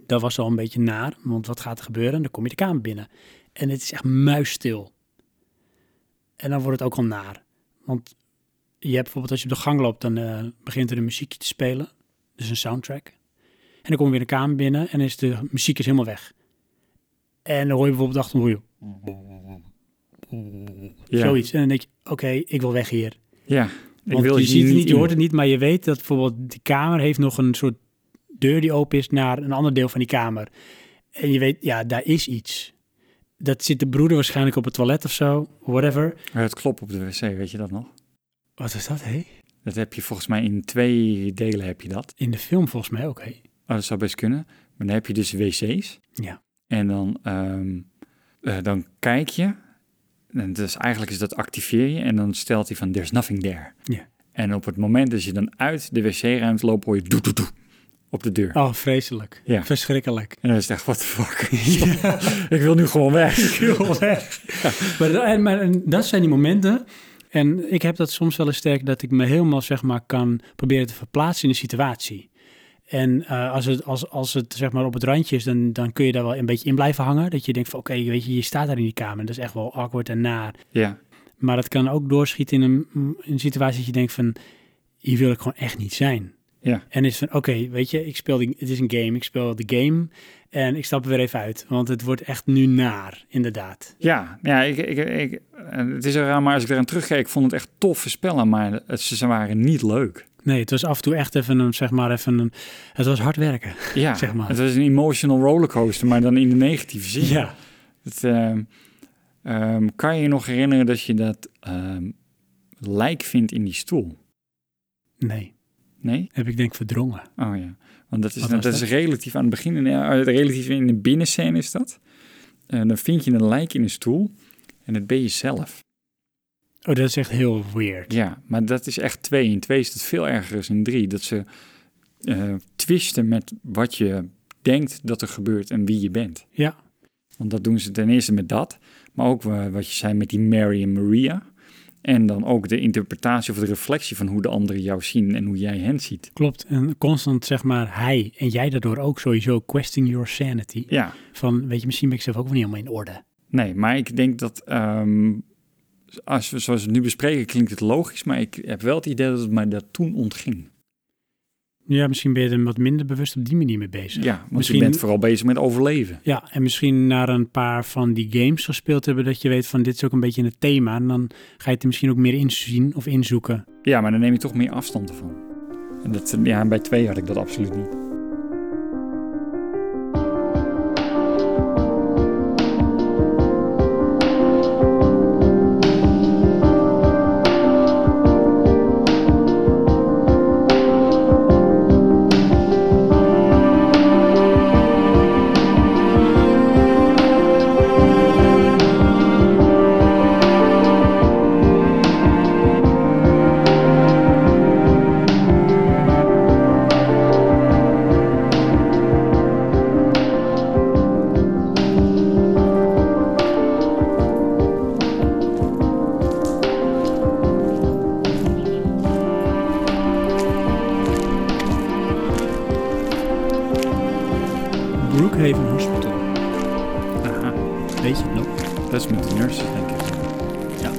Dat was al een beetje naar, want wat gaat er gebeuren? Dan kom je de kamer binnen. En het is echt muisstil. En dan wordt het ook al naar. Want je hebt bijvoorbeeld als je op de gang loopt, dan eh, begint er een muziekje te spelen. Dus een soundtrack. En dan kom je weer de kamer binnen en is de muziek is helemaal weg. En dan hoor je bijvoorbeeld achter je Ja. zoiets. En dan denk je, oké, ik wil weg hier. Ja. Want wil je hier ziet het niet, je in. hoort het niet, maar je weet dat bijvoorbeeld die kamer heeft nog een soort deur die open is naar een ander deel van die kamer. En je weet, ja, daar is iets. Dat zit de broeder waarschijnlijk op het toilet of zo, whatever. Het klopt op de wc, weet je dat nog? Wat is dat, hé? Dat heb je volgens mij in twee delen heb je dat. In de film volgens mij ook, hé. Oh, dat zou best kunnen. Maar dan heb je dus wc's. Ja. En dan, ehm, eh, dan kijk je. En dus eigenlijk is dat activeer je. En dan stelt hij van, there's nothing there. Ja. En op het moment dat je dan uit de wc-ruimte loopt, hoor je doe, doe, doe op de deur. Oh, vreselijk. Ja. Verschrikkelijk. En dan is het echt, what the fuck? Ik wil nu gewoon weg. Maar, da- en- maar en dat zijn die momenten. En ik heb dat soms wel eens sterk dat ik me helemaal zeg maar, kan proberen te verplaatsen in de situatie. En eh, als het, als, als het zeg maar, op het randje is, dan, dan kun je daar wel een beetje in blijven hangen. Dat je denkt van oké, weet je, je staat daar in die kamer. Dat is echt wel awkward en naar. ja, Maar dat kan ook doorschieten in een, in een situatie dat je denkt van hier wil ik gewoon echt niet zijn. ja, En is van, oké, weet je, ik speel die, het is een game, ik speel de game en ik stap er weer even uit. Want het wordt echt nu naar, inderdaad. ja. ja ik, ik, ik, eh, het is eraan, maar als ik eraan terugkijk, ik vond het echt toffe spellen. Maar het, ze waren niet leuk. Nee, het was af en toe echt even een, zeg maar, even een, het was hard werken. Ja, Zeg maar. het was een emotional rollercoaster, maar dan in de negatieve zin. Het, ehm, ehm, kan je je nog herinneren dat je dat ehm, lijk vindt in die stoel? Nee, Nee? heb ik denk verdrongen. Oh ja. Want dat is, Wat dat, was is dat? relatief aan het begin, in, eh, relatief in de binnenscène is dat. En dan vind je een lijk in een stoel en dat ben je zelf. Oh, dat is echt heel weird. Ja, maar dat is echt twee. In twee is het veel erger dan in drie. Dat ze eh, twisten met wat je denkt dat er gebeurt en wie je bent. Ja. Want dat doen ze ten eerste met dat, maar ook eh, wat je zei met die Mary en Maria. En dan ook de interpretatie of de reflectie van hoe de anderen jou zien en hoe jij hen ziet. Klopt, en constant zeg maar hij en jij daardoor ook sowieso question your sanity. Ja, Van, weet je, misschien ben ik zelf ook wel niet helemaal in orde. nee, maar ik denk dat, ehm, als we, zoals we het nu bespreken, klinkt het logisch, maar ik heb wel het idee dat het mij dat toen ontging. Ja, misschien ben je er wat minder bewust op die manier mee bezig. Ja, want Misschien- je bent vooral bezig met overleven. Ja, en misschien naar een paar van die games gespeeld hebben dat je weet van dit is ook een beetje het thema. En dan ga je het er misschien ook meer inzien of inzoeken. Ja, maar dan neem je toch meer afstand ervan. En dat, ja, bij twee had ik dat absoluut niet. Brookhaven Hospital, Aha, weet je het nog? dat is met de nurses, denk ik. Ja.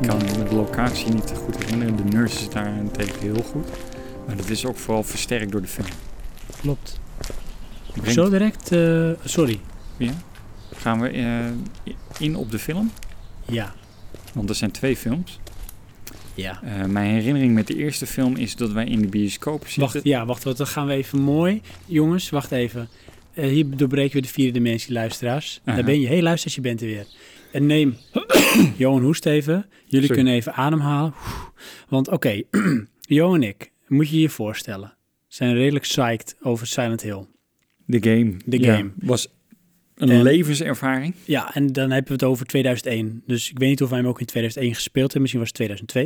Ik kan me de locatie niet goed herinneren. De nurse is daarentegen heel goed. Maar dat is ook vooral versterkt door de film. Klopt. Brengt- Zo direct, eh, sorry. Gaan we eh, in op de film? Ja. Want er zijn twee films. Ja. Eh, mijn herinnering met de eerste film is dat wij in de bioscoop zitten. Wacht, ja, wacht, wat, dan gaan we even mooi. Jongens, wacht even. eh, hier doorbreken we de vierde dimensie, luisteraars. Daar Aha. ben je. hey, luisteraars, je bent er weer. En neem Johan Hoest even. Jullie Sorry. kunnen even ademhalen. Oeh. Want oké, Johan en ik, moet je je voorstellen, zijn redelijk psyched over Silent Hill. De game. De Ja, game. was een En- levenservaring. Ja, en dan hebben we het over 2001. Dus ik weet niet of wij hem ook in 2001 gespeeld hebben. Misschien was het 2002.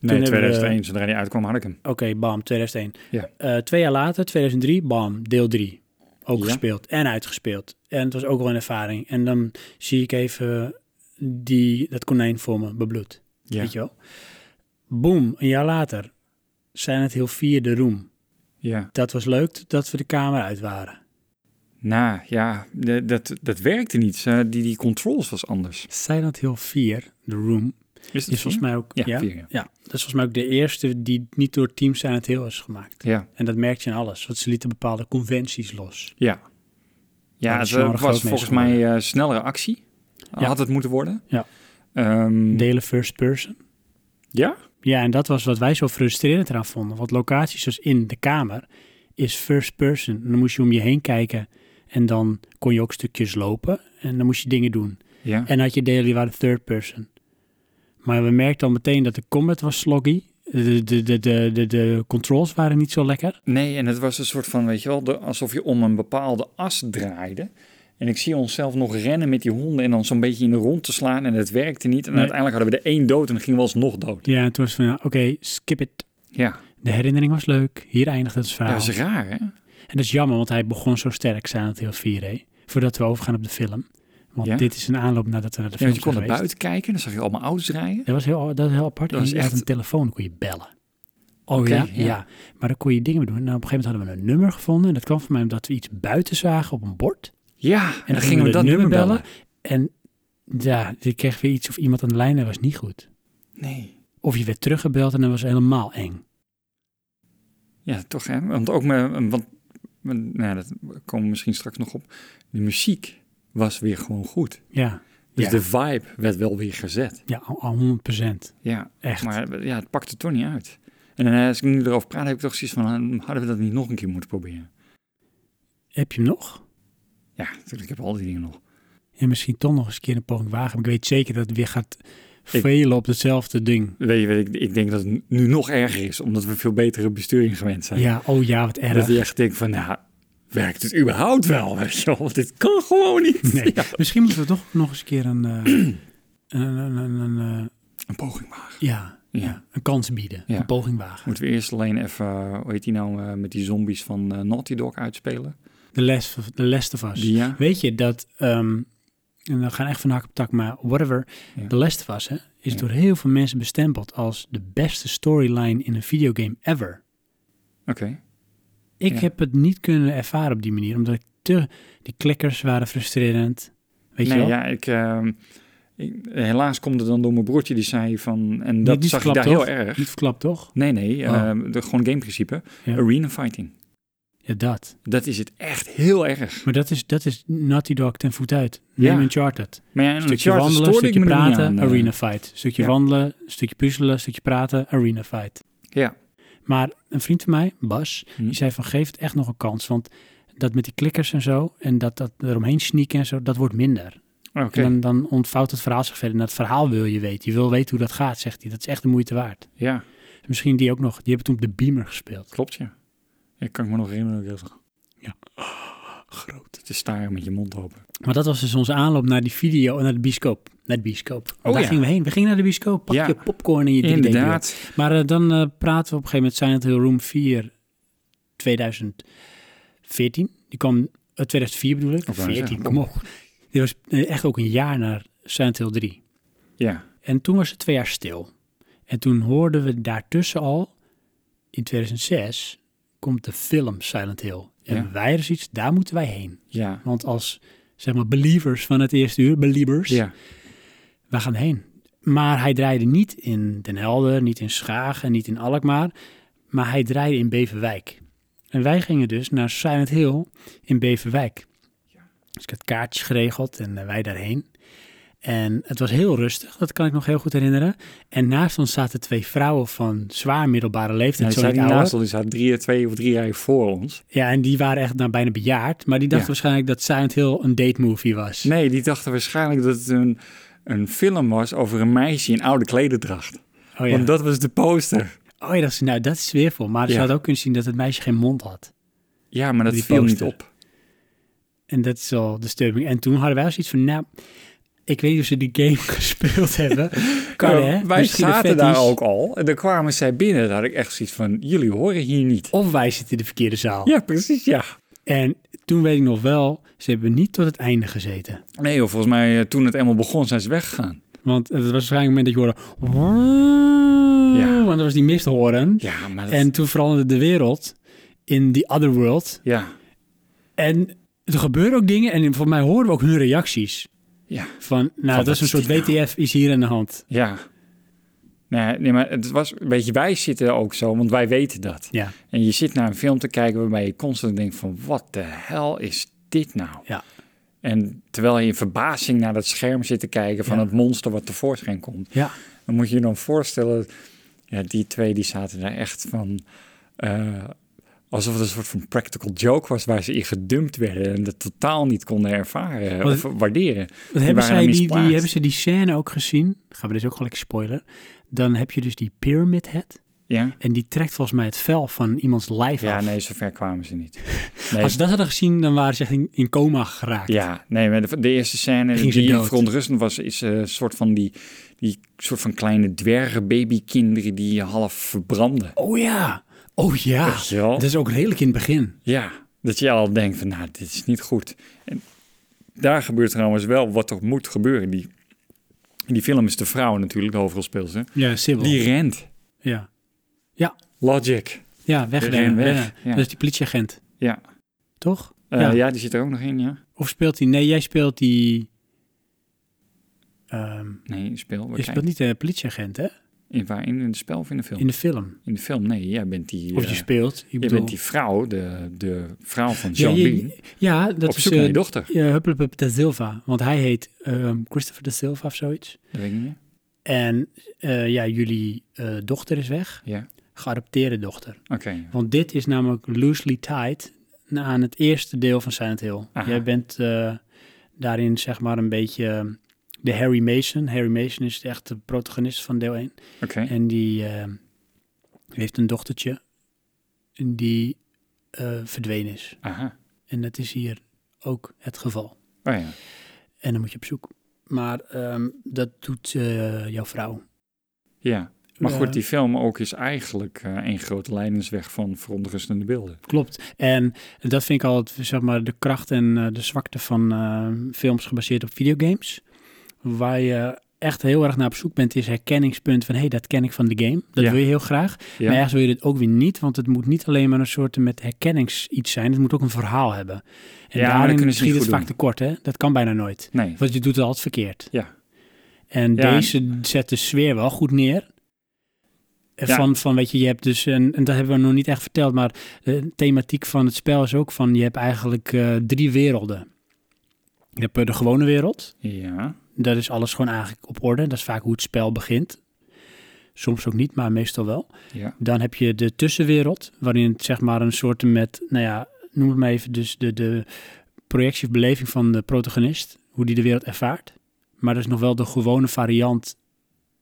Nee, hebben we- 2001, zodra die uitkwam, had ik hem. Oké, bam, 2001. Ja. Eh, twee jaar later, 2003, bam, deel 3. Ook Ja. gespeeld en uitgespeeld. En het was ook wel een ervaring. En dan zie ik even die, dat konijn voor me bebloed. Ja. Weet je wel? Boom, een jaar later zijn het heel vier de room. ja. Dat was leuk dat we de kamer uit waren. Nou ja, de- dat, dat werkte niet. Eh, die, die controls was anders. Silent Hill 4, de Room, Is is volgens mij ook... Ja, vier, ja. Mhm. Ja, dat is volgens mij ook de eerste die niet door Team Silent Hill is gemaakt. Ja, En dat merk je in alles, want ze lieten bepaalde conventies los. ja. Ja, Ja, het dat is wel een eh, groot was volgens meester mij eh, snellere actie. Ja. Had het moeten worden. Ja. Ehm, Delen first person. ja? Ja, en dat was wat wij zo frustrerend eraan vonden. Want locaties zoals in de kamer is first person. En dan moest je om je heen kijken en dan kon je ook stukjes lopen en dan moest je dingen doen. Ja. En had je delen die waren third person. Maar we merkten al meteen dat de combat was sloggy. De, de, de, de, de, de controls waren niet zo lekker. Nee, en het was een soort van, weet je wel, de- alsof je om een bepaalde as draaide. En ik zie onszelf nog rennen met die honden en dan zo'n beetje in de rond te slaan. En het werkte niet. En Nee. uiteindelijk hadden we de één dood en dan gingen we alsnog dood. Ja, en toen was het van, ja, oké, skip it. Ja, De herinnering was leuk. Hier eindigt het dat verhaal. is raar, hè? En dat is jammer, want hij begon zo sterk, Silent Hill 4, hè? Voordat we overgaan op de film. Want Ja? dit is een aanloop nadat we naar de Ja, film want je kon zijn naar buiten geweest. kijken, dan zag je allemaal auto's rijden. Dat was heel, dat was heel apart. Dat En was je had echt- een telefoon, kon je bellen. Oh Oké, ja? ja? ja. Maar dan kon je dingen mee doen. Nou, op een gegeven moment hadden we een nummer gevonden. En dat kwam van mij omdat we iets buiten zagen op een bord. Ja, en, En dan gingen we dat nummer bellen. En ja, ik kreeg weer iets of iemand aan de lijn, dat was niet goed. Nee. Of je werd teruggebeld en dat was helemaal eng. Ja, toch, hè? Want ook, me, want, nou, ja, dat komen we misschien straks nog op. De muziek was weer gewoon goed. Ja, Dus Ja. de vibe werd wel weer gezet. ja al, al 100 Ja, Echt. Maar ja, het pakte toch niet uit. En eh, als ik nu erover praat, heb ik toch zoiets van, eh, hadden we dat niet nog een keer moeten proberen? Heb je hem nog? Ja, natuurlijk, ik heb al die dingen nog. En misschien toch nog eens een keer een poging wagen. Maar ik weet zeker dat het weer gaat Ik- velen op hetzelfde ding. Weet je, weet ik, ik denk dat het nu nog erger is, omdat we veel betere besturing gewend zijn. Ja, oh ja, wat Dat erg. je echt denkt van, nou, werkt het überhaupt wel? Weet je wel, want dit kan gewoon niet. Nee. Ja. Misschien moeten we toch nog eens een keer een, eh, een, een, een, een, eh, Een poging wagen. ja, ja. Ja. een kans bieden. Ja. Een poging wagen. Moeten we eerst alleen even, eh, hoe heet die nou, eh, met die zombies van eh, Naughty Dog uitspelen? De les, de les te vast. Die, ja. Weet je dat, ehm, en we gaan echt van hak op tak, maar whatever, Ja. de Last of Us hè, is Ja. door heel veel mensen bestempeld als de beste storyline in een videogame ever. Oké. Ik Ja. heb het niet kunnen ervaren op die manier, omdat ik te, die klikkers waren frustrerend. Weet nee, je wel? ja, ik, ehm, ik- helaas komt het dan door mijn broertje die zei van, en dat niet zag ik daar verklapt, heel erg. Niet verklapt, toch? Nee, nee, Oh. ehm, de, gewoon gameprincipe. Ja. Arena fighting. Ja, dat. Dat is het echt heel erg. Maar dat is, dat is Naughty Dog ten voet uit. Neem Ja. Uncharted. Maar ja, en Stukje Uncharted wandelen, stoorde stukje ik me er niet praten, aan, eh. arena fight. Stukje ja. wandelen, stukje puzzelen, stukje praten, arena fight. Ja. Maar een vriend van mij, Bas, Hm. Die zei van geef het echt nog een kans. Want dat met die klikkers en zo en dat, dat eromheen sneaken en zo, dat wordt minder. Oké. En dan, dan ontvouwt het verhaal zich verder. En dat verhaal wil je weten. Je wil weten hoe dat gaat, zegt hij. Dat is echt de moeite waard. Ja, Misschien die ook nog. Die hebben toen op de Beamer gespeeld. klopt ja. Ik kan ik me nog herinneren. dat ik dacht, Groot. Het is staren met je mond open. Maar dat was dus onze aanloop naar die video, naar de bioscoop. Naar de bioscoop. Want Oh, daar ja. gingen we heen. We gingen naar de bioscoop. Pak Ja. je popcorn en je 3 Inderdaad. Maar eh, dan eh, praten we op een gegeven moment Silent Hill Room 4 2014. Die kwam, eh, 2004 bedoel ik. Ik wou 14, zeggen, kom op. Dit was eh, echt ook een jaar naar Silent Hill 3. Ja. En toen was het twee jaar stil. En toen hoorden we daartussen al, in 2006, komt de film Silent Hill. En Ja. wij er iets, daar moeten wij heen. Ja. Want als, zeg maar, believers van het eerste uur, believers, Ja. we gaan heen. Maar hij draaide niet in Den Helder, niet in Schagen, niet in Alkmaar. Maar hij draaide in Beverwijk. En wij gingen dus naar Silent Hill in Beverwijk. Dus ik had kaartjes geregeld en eh, wij daarheen. En het was heel rustig, dat kan ik nog heel goed herinneren. En naast ons zaten twee vrouwen van zwaar middelbare Ja, leeftijd. Nou, die zo niet zaten niet ouder. naast ons, die zaten drie, twee of drie jaar voor ons. Ja, en die waren echt nou bijna bejaard. Maar die dachten Ja. waarschijnlijk dat Silent Hill een date movie was. Nee, die dachten waarschijnlijk dat het een, een film was over een meisje in oude klederdracht. Oh, ja. Want dat was de poster. oh ja, dat is, nou, dat is sfeervol. Maar ze Ja. had ook kunnen zien dat het meisje geen mond had. Ja, maar dat Die viel niet poster. op. En dat is al disturbing. En toen hadden wij zoiets van, nou, ik weet niet of ze die game gespeeld hebben. Kan Ja, hè? Eh, Wij Misschien een zaten daar fetish. ook al. En dan kwamen zij binnen. Daar had ik echt zoiets van, jullie horen hier niet. Of wij zitten in de verkeerde zaal. Ja, precies, ja. En toen weet ik nog wel, ze hebben niet tot het einde gezeten. Nee, joh, volgens mij eh, toen het eenmaal begon zijn ze weggegaan. Want het was waarschijnlijk het moment dat je hoorde... Ja. Want dat was die misthoorn. Ja, maar dat... En toen veranderde de wereld in The Other World. Ja, En er gebeuren ook dingen. En voor mij hoorden we ook hun reacties. ja, Van, nou, dat wat is een is soort dit nou? WTF, is hier aan de hand. ja. Nee, nee, maar het was een beetje, wij zitten ook zo, want wij weten dat. Ja. En je zit naar een film te kijken waarbij je constant denkt van, wat de hel is dit nou? Ja. En terwijl je in verbazing naar dat scherm zit te kijken van Ja. het monster wat tevoorschijn komt. Ja. Dan moet je je dan voorstellen, ja, die twee die zaten daar echt van... eh, alsof het een soort van practical joke was waar ze in gedumpt werden... en dat totaal niet konden ervaren Wat- of waarderen. Wat waren hebben, zij dan die, die, misplaatst. hebben ze die scène ook gezien? Gaan we dus ook wel lekker spoilen. Dan heb je dus die Pyramid Head. Ja? En die trekt volgens mij het vel van iemands lijf Ja, af. nee, zover kwamen ze niet. Nee, Als ze dat hadden gezien, dan waren ze echt in, in coma geraakt. Ja, nee, maar de, de eerste scène Ging ze die dood. verontrustend was, is eh, een soort van die, die soort van kleine dwergen, babykinderen die half verbranden. Oh ja, oh ja. Weet je wel? Dat is ook redelijk in het begin. Ja, dat je al denkt van, nou, dit is niet goed. En daar gebeurt trouwens wel wat er moet gebeuren. Die, in die film is de vrouw natuurlijk, de hoofdrolspeelster. Ja, Sibyl. Die rent. Ja, Logic. ja wegrennen. rennen weg, rennen. ja. Dat is die politieagent, Ja. toch? Eh, Ja. ja. die zit er ook nog in, ja. Of speelt hij... Nee, jij speelt die... ehm Nee, speel. je Wat speelt niet de politieagent, hè? in, waar, in het spel of in de film? In In, de film. de film, nee. Jij bent die, Of eh, je speelt. Ik jij bedoel... bent die vrouw, de, de vrouw van Ja, Jean je- Bean. ja, dat Op is... zoek eh, naar je dochter. Ja, Hupplepup da Silva. Want hij heet ehm, Christopher da Silva of zoiets. Dat weet ik niet meer. En eh, ja, jullie eh, dochter is weg. Ja, Geadopteerde dochter. oké. Want dit is namelijk loosely tied na- aan het eerste deel van Silent Hill. Aha. Jij bent eh, daarin zeg maar een beetje eh, de Harry Mason. Harry Mason is echt de protagonist van deel 1. Oké. En die eh, heeft een dochtertje die eh, verdwenen is. Aha. En dat is hier ook het geval. Oh ja. En dan moet je op zoek. Maar ehm, dat doet eh, jouw vrouw. Ja. Maar Eh, goed, die film ook is eigenlijk eh een grote leidensweg van verontrustende beelden. Klopt. En dat vind ik altijd zeg maar, de kracht en eh, de zwakte van eh, films gebaseerd op videogames. Waar je echt heel erg naar op zoek bent, is herkenningspunt van... hé, hey, dat ken ik van de game. Dat Ja. wil je heel graag. Ja. Maar ergens wil je dit ook weer niet, want het moet niet alleen maar een soort met herkennings iets zijn. Het moet ook een verhaal hebben. En Ja, maar dat daarin kunnen ze schiet niet het goed vaak tekort, hè? Dat kan bijna nooit. Nee. Want je doet het altijd verkeerd. Ja. En Ja, en- deze zet de sfeer wel goed neer. En Ja. Van, van, weet je, je hebt dus, en, en dat hebben we nog niet echt verteld, maar de thematiek van het spel is ook van, je hebt eigenlijk eh, drie werelden. Je hebt eh, de gewone wereld, Ja. dat is alles gewoon eigenlijk op orde. Dat is vaak hoe het spel begint. Soms ook niet, maar meestal wel. Ja. Dan heb je de tussenwereld, waarin het zeg maar een soort met, nou ja, noem het maar even, dus de, de projectie of beleving van de protagonist, hoe die de wereld ervaart. Maar dat is nog wel de gewone variant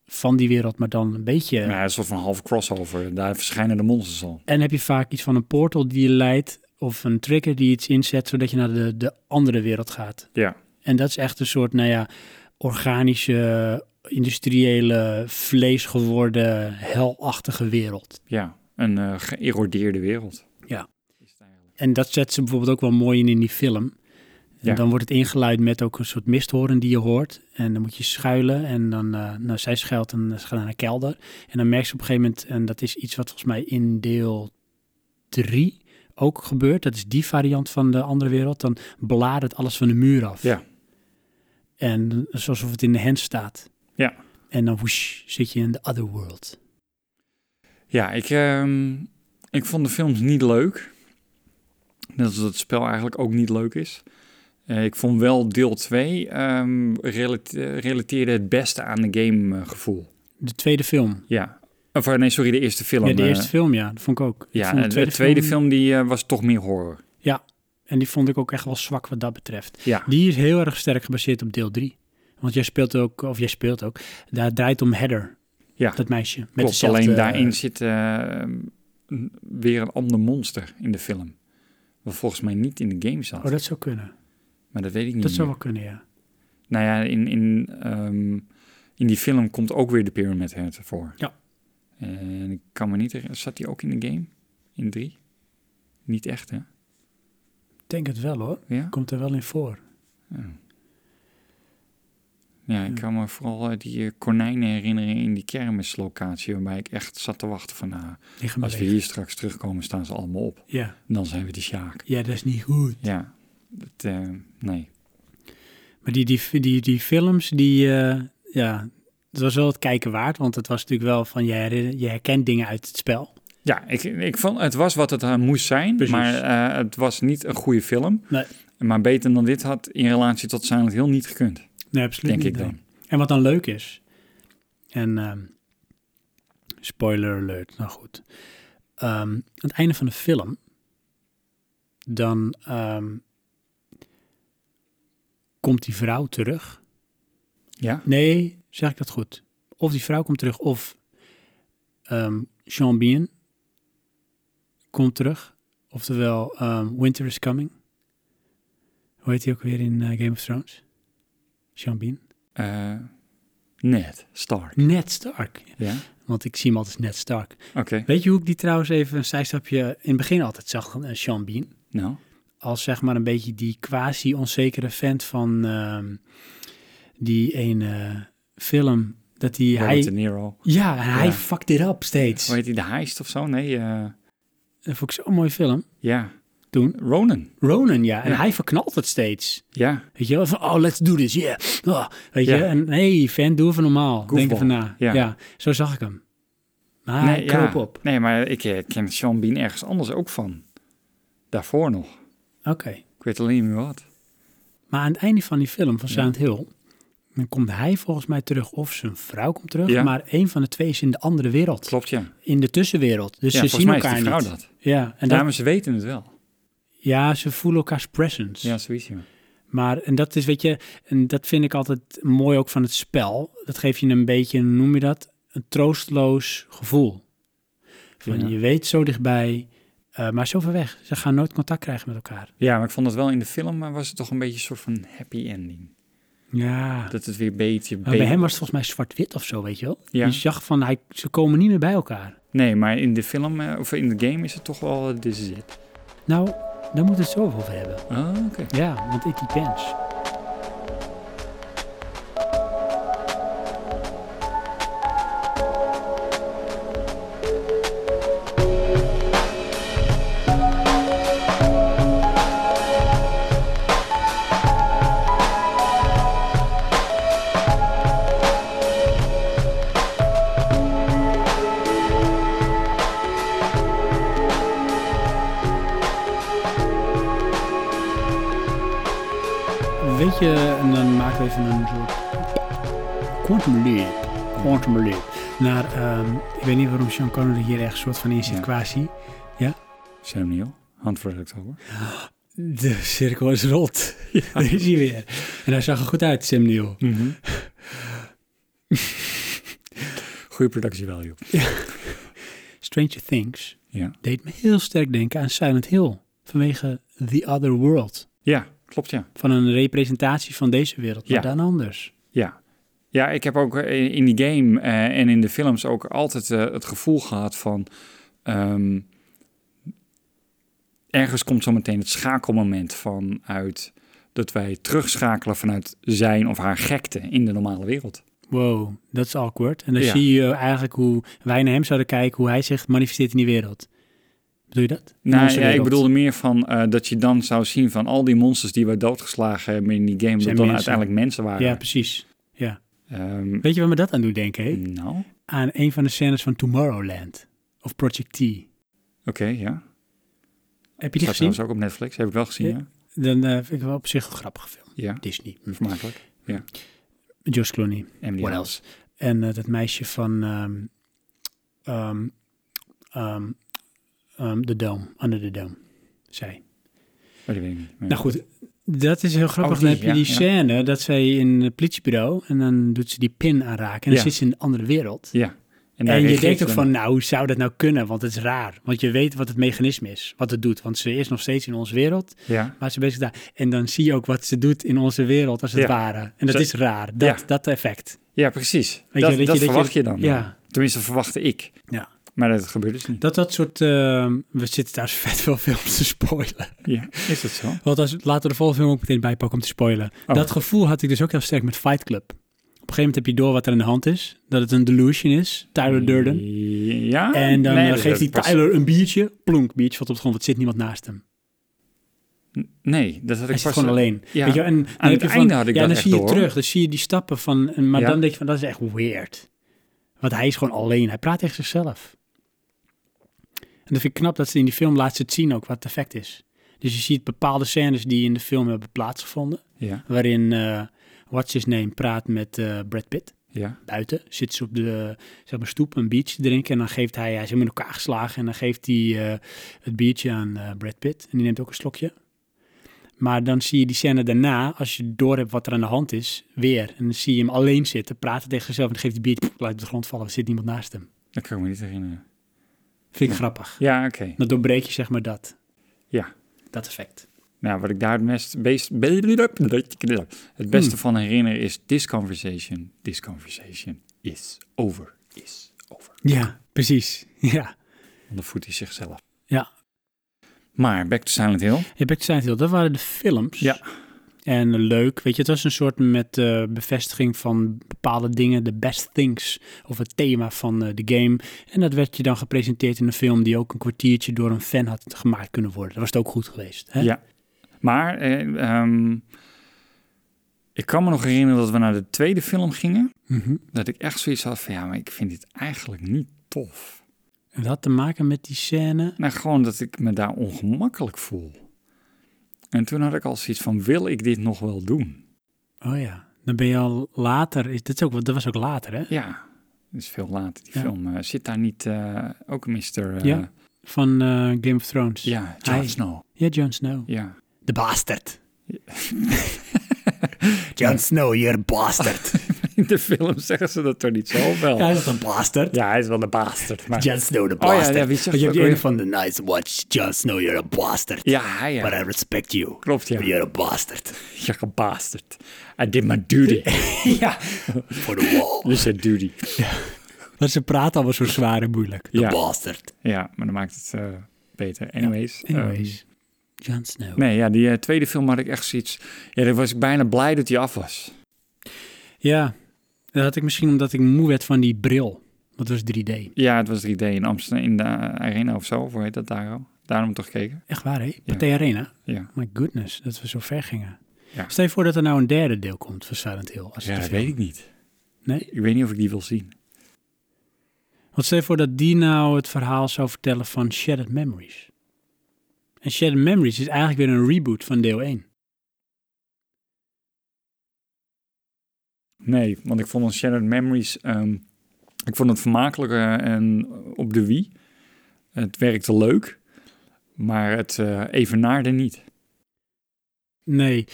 van die wereld, maar dan een beetje. eh, Ja, een soort van half crossover. Daar verschijnen de monsters al. En heb je vaak iets van een portal die je leidt, of een trigger die iets inzet, zodat je naar de, de andere wereld gaat. Ja. En dat is echt een soort, nou ja, organische, industriële, vlees geworden, helachtige wereld. Ja. Een eh, geërodeerde wereld. Ja. Is het eigenlijk. En dat zet ze bijvoorbeeld ook wel mooi in in die film. En Ja. dan wordt het ingeluid met ook een soort misthoren die je hoort. En dan moet je schuilen. En dan, eh, nou, zij schuilt en ze gaat naar een kelder. En dan merk je op een gegeven moment, en dat is iets wat volgens mij in deel 3 ook gebeurt. Dat is die variant van de andere wereld. Dan bladert alles van de muur af. Ja. En dat is alsof het in de hand staat. Ja. En dan woesh, zit je in de other world. Ja, ik, ehm, ik vond de films niet leuk. Net als dat het spel eigenlijk ook niet leuk is. Eh, ik vond wel deel 2 ehm, relate- relateerde het beste aan de gamegevoel. De tweede film. Ja. Of eh, nee, sorry, de eerste film. Ja, de eh, eerste film, ja. Dat vond ik ook. Ik ja, vond en de tweede, film, die, eh, was toch meer horror. Ja, en die vond ik ook echt wel zwak wat dat betreft. Ja, Die is heel erg sterk gebaseerd op deel 3. Want jij speelt ook, of jij speelt ook, daar draait om Heather. Ja, Dat meisje. Met klopt. dezelfde- Alleen daarin zit eh, een- weer een ander monster in de film. Wat volgens mij niet in de game zat. Oh, dat zou kunnen. Mm. maar dat weet ik niet Dat zou meer. wel kunnen, ja. Nou ja, in, in, ehm, in die film komt ook weer de Pyramid Head voor. Ja. En ik kan me niet herinneren, zat die ook in de game? In 3? Niet echt, hè? Ik denk het wel hoor. Ja? Komt er wel in voor. Oh. Ja, ik Ja. kan me vooral eh, die eh, konijnen herinneren in die kermislocatie... waarbij ik echt zat te wachten van... nou, Die gaan als we bewegen. hier straks terugkomen, staan ze allemaal op. Ja. En dan zijn we de Sjaak. ja, dat is niet goed. Ja, dat, eh, nee. Maar die, die, die, die films, die, eh, ja, dat was wel het kijken waard. Want het was natuurlijk wel van, je, herinner- je herkent dingen uit het spel. Ja, ik, ik vond het was wat het eh, moest zijn, Precies. maar eh, het was niet een goede film. Nee. Maar beter dan dit had in relatie tot Silent Hill niet gekund, Nee, absoluut denk niet, ik nee. dan. En wat dan leuk is. En ehm, spoiler alert, nou goed. Ehm, aan het einde van de film. Dan ehm, komt die vrouw terug. Ja, Nee, zeg ik dat goed. Of die vrouw komt terug, of ehm Sean Bean komt terug. Oftewel, ehm, Winter is Coming. Hoe heet hij ook weer in eh, Game of Thrones? Sean Bean. Eh net, Stark. Ned Stark. Ja, Want ik zie hem altijd als Ned Stark. oké. Weet je hoe ik die trouwens even een zijstapje in het begin altijd zag? eh, Sean Bean. Nou, Als zeg maar een beetje die quasi-onzekere vent van ehm, die ene eh, film. Dat die, Robert De hij... Niro. Ja, en hij Ja. fucked it up steeds. Hoe heet hij, de heist of zo? Nee, eh, Dat vond ik zo'n mooie film. ja. Toen? Ronan, Ronan, ja. En Ja. hij verknalt het steeds. ja. Weet je wel? Van, oh, let's do this, yeah. Oh, weet Ja. je? En hey, fan, doe even normaal. Denk Goofball. even na. Ja. Ja. zo zag ik hem. Maar hij nee, kroop ja. Ah, op. Nee, maar ik eh, ken Sean Bean ergens anders ook van. Daarvoor nog. Oké. Ik weet alleen niet meer wat. Maar aan het einde van die film van Ja. Silent Hill, dan komt hij volgens mij terug of zijn vrouw komt terug, Ja. maar een van de twee is in de andere wereld, Klopt, ja. in de tussenwereld. Dus ja, ze volgens zien mij is elkaar die vrouw niet. dat. Ja, en ja, dat, maar ze weten het wel. ja, ze voelen elkaars presence. Ja, zoiets, ja. Maar en dat is, weet je, en dat vind ik altijd mooi ook van het spel. Dat geeft je een beetje, hoe noem je dat, een troosteloos gevoel. Van Ja. je weet zo dichtbij, eh, maar zo ver weg. Ze gaan nooit contact krijgen met elkaar. Ja, maar ik vond het wel in de film, maar was het toch een beetje een soort van happy ending. Ja. Dat het weer beetje... Maar Oh, bij be- hem was het volgens mij zwart-wit of zo, weet je wel. Ja. Je zag van, hij, ze komen niet meer bij elkaar. Nee, maar in de film, eh, of in de game is het toch wel eh, This Is It. Nou, daar moeten we het zo over hebben. Ah, oké. Ja, want it depends. Weet je, en dan maken we even een soort quantum leap. Quantum leap. Naar, ehm, ik weet niet waarom Sean Connery hier echt een soort van in zit Ja. quasi. Sam Neill, Hand for October. De cirkel is rot. Daar is hij weer. En hij zag er goed uit, Sam Neill. Goede productie value. Stranger Things Ja. deed me heel sterk denken aan Silent Hill. Vanwege The Other World. ja, klopt ja. Van een representatie van deze wereld, maar Ja. dan anders. Ja. Ja, ik heb ook eh, in die game eh, en in de films ook altijd eh, het gevoel gehad van... ehm, ergens komt zometeen het schakelmoment vanuit... dat wij terugschakelen vanuit zijn of haar gekte in de normale wereld. Wow, dat is awkward. En dan Ja. zie je eigenlijk hoe wij naar hem zouden kijken, hoe hij zich manifesteert in die wereld. Bedoel je dat? In Nou onze ja, ik wereld. bedoelde meer van eh, dat je dan zou zien van al die monsters die we doodgeslagen hebben in die game... dat dan Zijn mensen. uiteindelijk mensen waren. Ja, precies. Ja. Ehm, Weet je waar me dat aan doet denken? Hè? nou, oké, Aan een van de scènes van Tomorrowland. Of Project T. ja. Heb je die Staat gezien? nou trouwens ook op Netflix, heb ik wel gezien, Ja. ja. dan eh, vind ik het wel op zich een grappige film. Ja, Disney. Hm. vermakelijk. Josh Clooney. En What else? En eh, dat meisje van ehm, ehm, ehm, ehm, The Dome, Under the Dome, zij. Oh, die weet ik niet. Ja. Nou goed, dat is heel grappig. Oh, dan die, heb je die ja, ja. scène dat zij in het politiebureau en dan doet ze die pin aanraken en dan Ja. zit ze in een andere wereld. Ja. daar En je reageert denkt ook ze van, nou, hoe zou dat nou kunnen? Want het is raar. Want je weet wat het mechanisme is, wat het doet. Want ze is nog steeds in onze wereld, dan- Ja. maar ze is bezig daar. En dan zie je ook wat ze doet in onze wereld, als het Ja. ware. En dat Ze- is raar, dat, Ja. dat effect. ja, precies. dat je, dat je- dat dat je- verwacht je, dan. Ja. Tenminste, verwachtte ik. Ja. Maar dat gebeurt dus niet. Dat dat soort... ehm, we zitten daar vet veel films te spoilen. Ja. Is dat zo? Want als, laten we de volgende film ook meteen bijpakken om te spoilen. Oh. Dat gevoel had ik dus ook heel sterk met Fight Club. Op een gegeven moment heb je door wat er aan de hand is. Dat het een delusion is. Tyler Durden. Ja. En dan nee, eh, dat- geeft hij dat past- Tyler een biertje. Plonk, biertje valt op de grond. Want er zit niemand naast hem. Nee, dat had Hij ik zit pas... gewoon alleen. Ja. Weet je, wel, en dan Aan heb het je van, einde had ik ja, dat dan echt zie je door. terug. Dan zie je die stappen van... en- Maar Ja. dan denk je van, dat is echt weird. Want hij is gewoon alleen. Hij praat tegen zichzelf. En dat vind ik knap dat ze in die film laat ze het zien ook, wat het effect is. Dus je ziet bepaalde scènes die in de film hebben plaatsgevonden. Ja. Waarin eh What's His Name praat met eh, Brad Pitt Ja. buiten. Zit ze op de zeg maar, stoep een biertje te drinken. En dan geeft hij, hij is helemaal in elkaar geslagen. En dan geeft hij eh, het biertje aan eh Brad Pitt. En die neemt ook een slokje. Maar dan zie je die scène daarna, als je doorhebt wat er aan de hand is, weer. En dan zie je hem alleen zitten, praten tegen zichzelf. En dan geeft hij biertje, pff, laat het op de grond vallen. Er zit niemand naast hem. Dat kan ik me niet herinneren. Vind ik grappig. Ja, oké. Dan doorbreek je zeg maar dat. Ja. Dat effect. Nou, wat ik daar het meest... Beest, het beste Hmm. van herinner is... This conversation, this conversation is over. Is over. Ja, precies. Ja. Want dan voedt hij zichzelf. Ja. Maar back to Silent Hill. Je Back to Silent Hill, dat waren de films. Ja. En leuk, weet je, het was een soort met eh, bevestiging van bepaalde dingen, de best things of het thema van eh, de game. En dat werd je dan gepresenteerd in een film die ook een kwartiertje door een fan had gemaakt kunnen worden. Dat was het ook goed geweest. Hè? Ja. Maar eh, ehm, ik kan me nog herinneren dat we naar de tweede film gingen. Mhm. Dat ik echt zoiets had van ja, maar ik vind dit eigenlijk niet tof. En dat had te maken met die scène. Nou, gewoon dat ik me daar ongemakkelijk voel. En toen had ik al zoiets van wil ik dit nog wel doen? Oh ja, dan ben je al later, is, dit is ook, wat- dat was ook later hè? Ja, dat is veel later die Ja. film. Eh, zit daar niet eh, ook Mr. eh, Ja. Van eh, Game of Thrones. ja, Jon Hij. Snow. ja Jon Snow. Ja. De bastard. Jon Snow, you're a bastard. In de film zeggen ze dat toch niet zo wel? Hij Ja, is een bastard. hij is wel een bastard. Maar... Jon Snow the Oh ja, bastard. ja, wie zegt Want je hebt dat die ook ene weer? van The Night's Watch. Jon Snow, you're a bastard. Ja, hij ja. But I respect you. Klopt, ja. You're a bastard. eh, Je gebasterd. I did my duty. ja. For the wall. You said duty. Want ze praten allemaal zo zwaar en moeilijk. Ja, Bastard. ja maar dan maakt het eh, beter. Anyways. ehm, Um, Anyways, Jon Snow. nee, ja, die eh, tweede film had ik echt zoiets... Ja, daar was ik bijna blij dat die af was. Ja, dat had ik misschien omdat ik moe werd van die bril. Dat was 3D. Ja, het was 3D in Amsterdam, in de eh, Arena of zo. Of hoe heet dat daar al? Daarom toch gekeken? Echt waar, hè? Pathé Arena. Ja. My goodness, dat we zo ver gingen. Ja. Stel je voor dat er nou een derde deel komt van Silent Hill. Als het Ja, te dat veel- weet ik niet. Nee? Ik weet niet of ik die wil zien. Want stel je voor dat die nou het verhaal zou vertellen van Shattered Memories. En Shattered Memories is eigenlijk weer een reboot van deel 1. Nee, want ik vond Shattered Memories... ehm, ik vond het vermakelijker eh, en op de Wii. Het werkte leuk, maar het eh, evenaarde niet. Nee,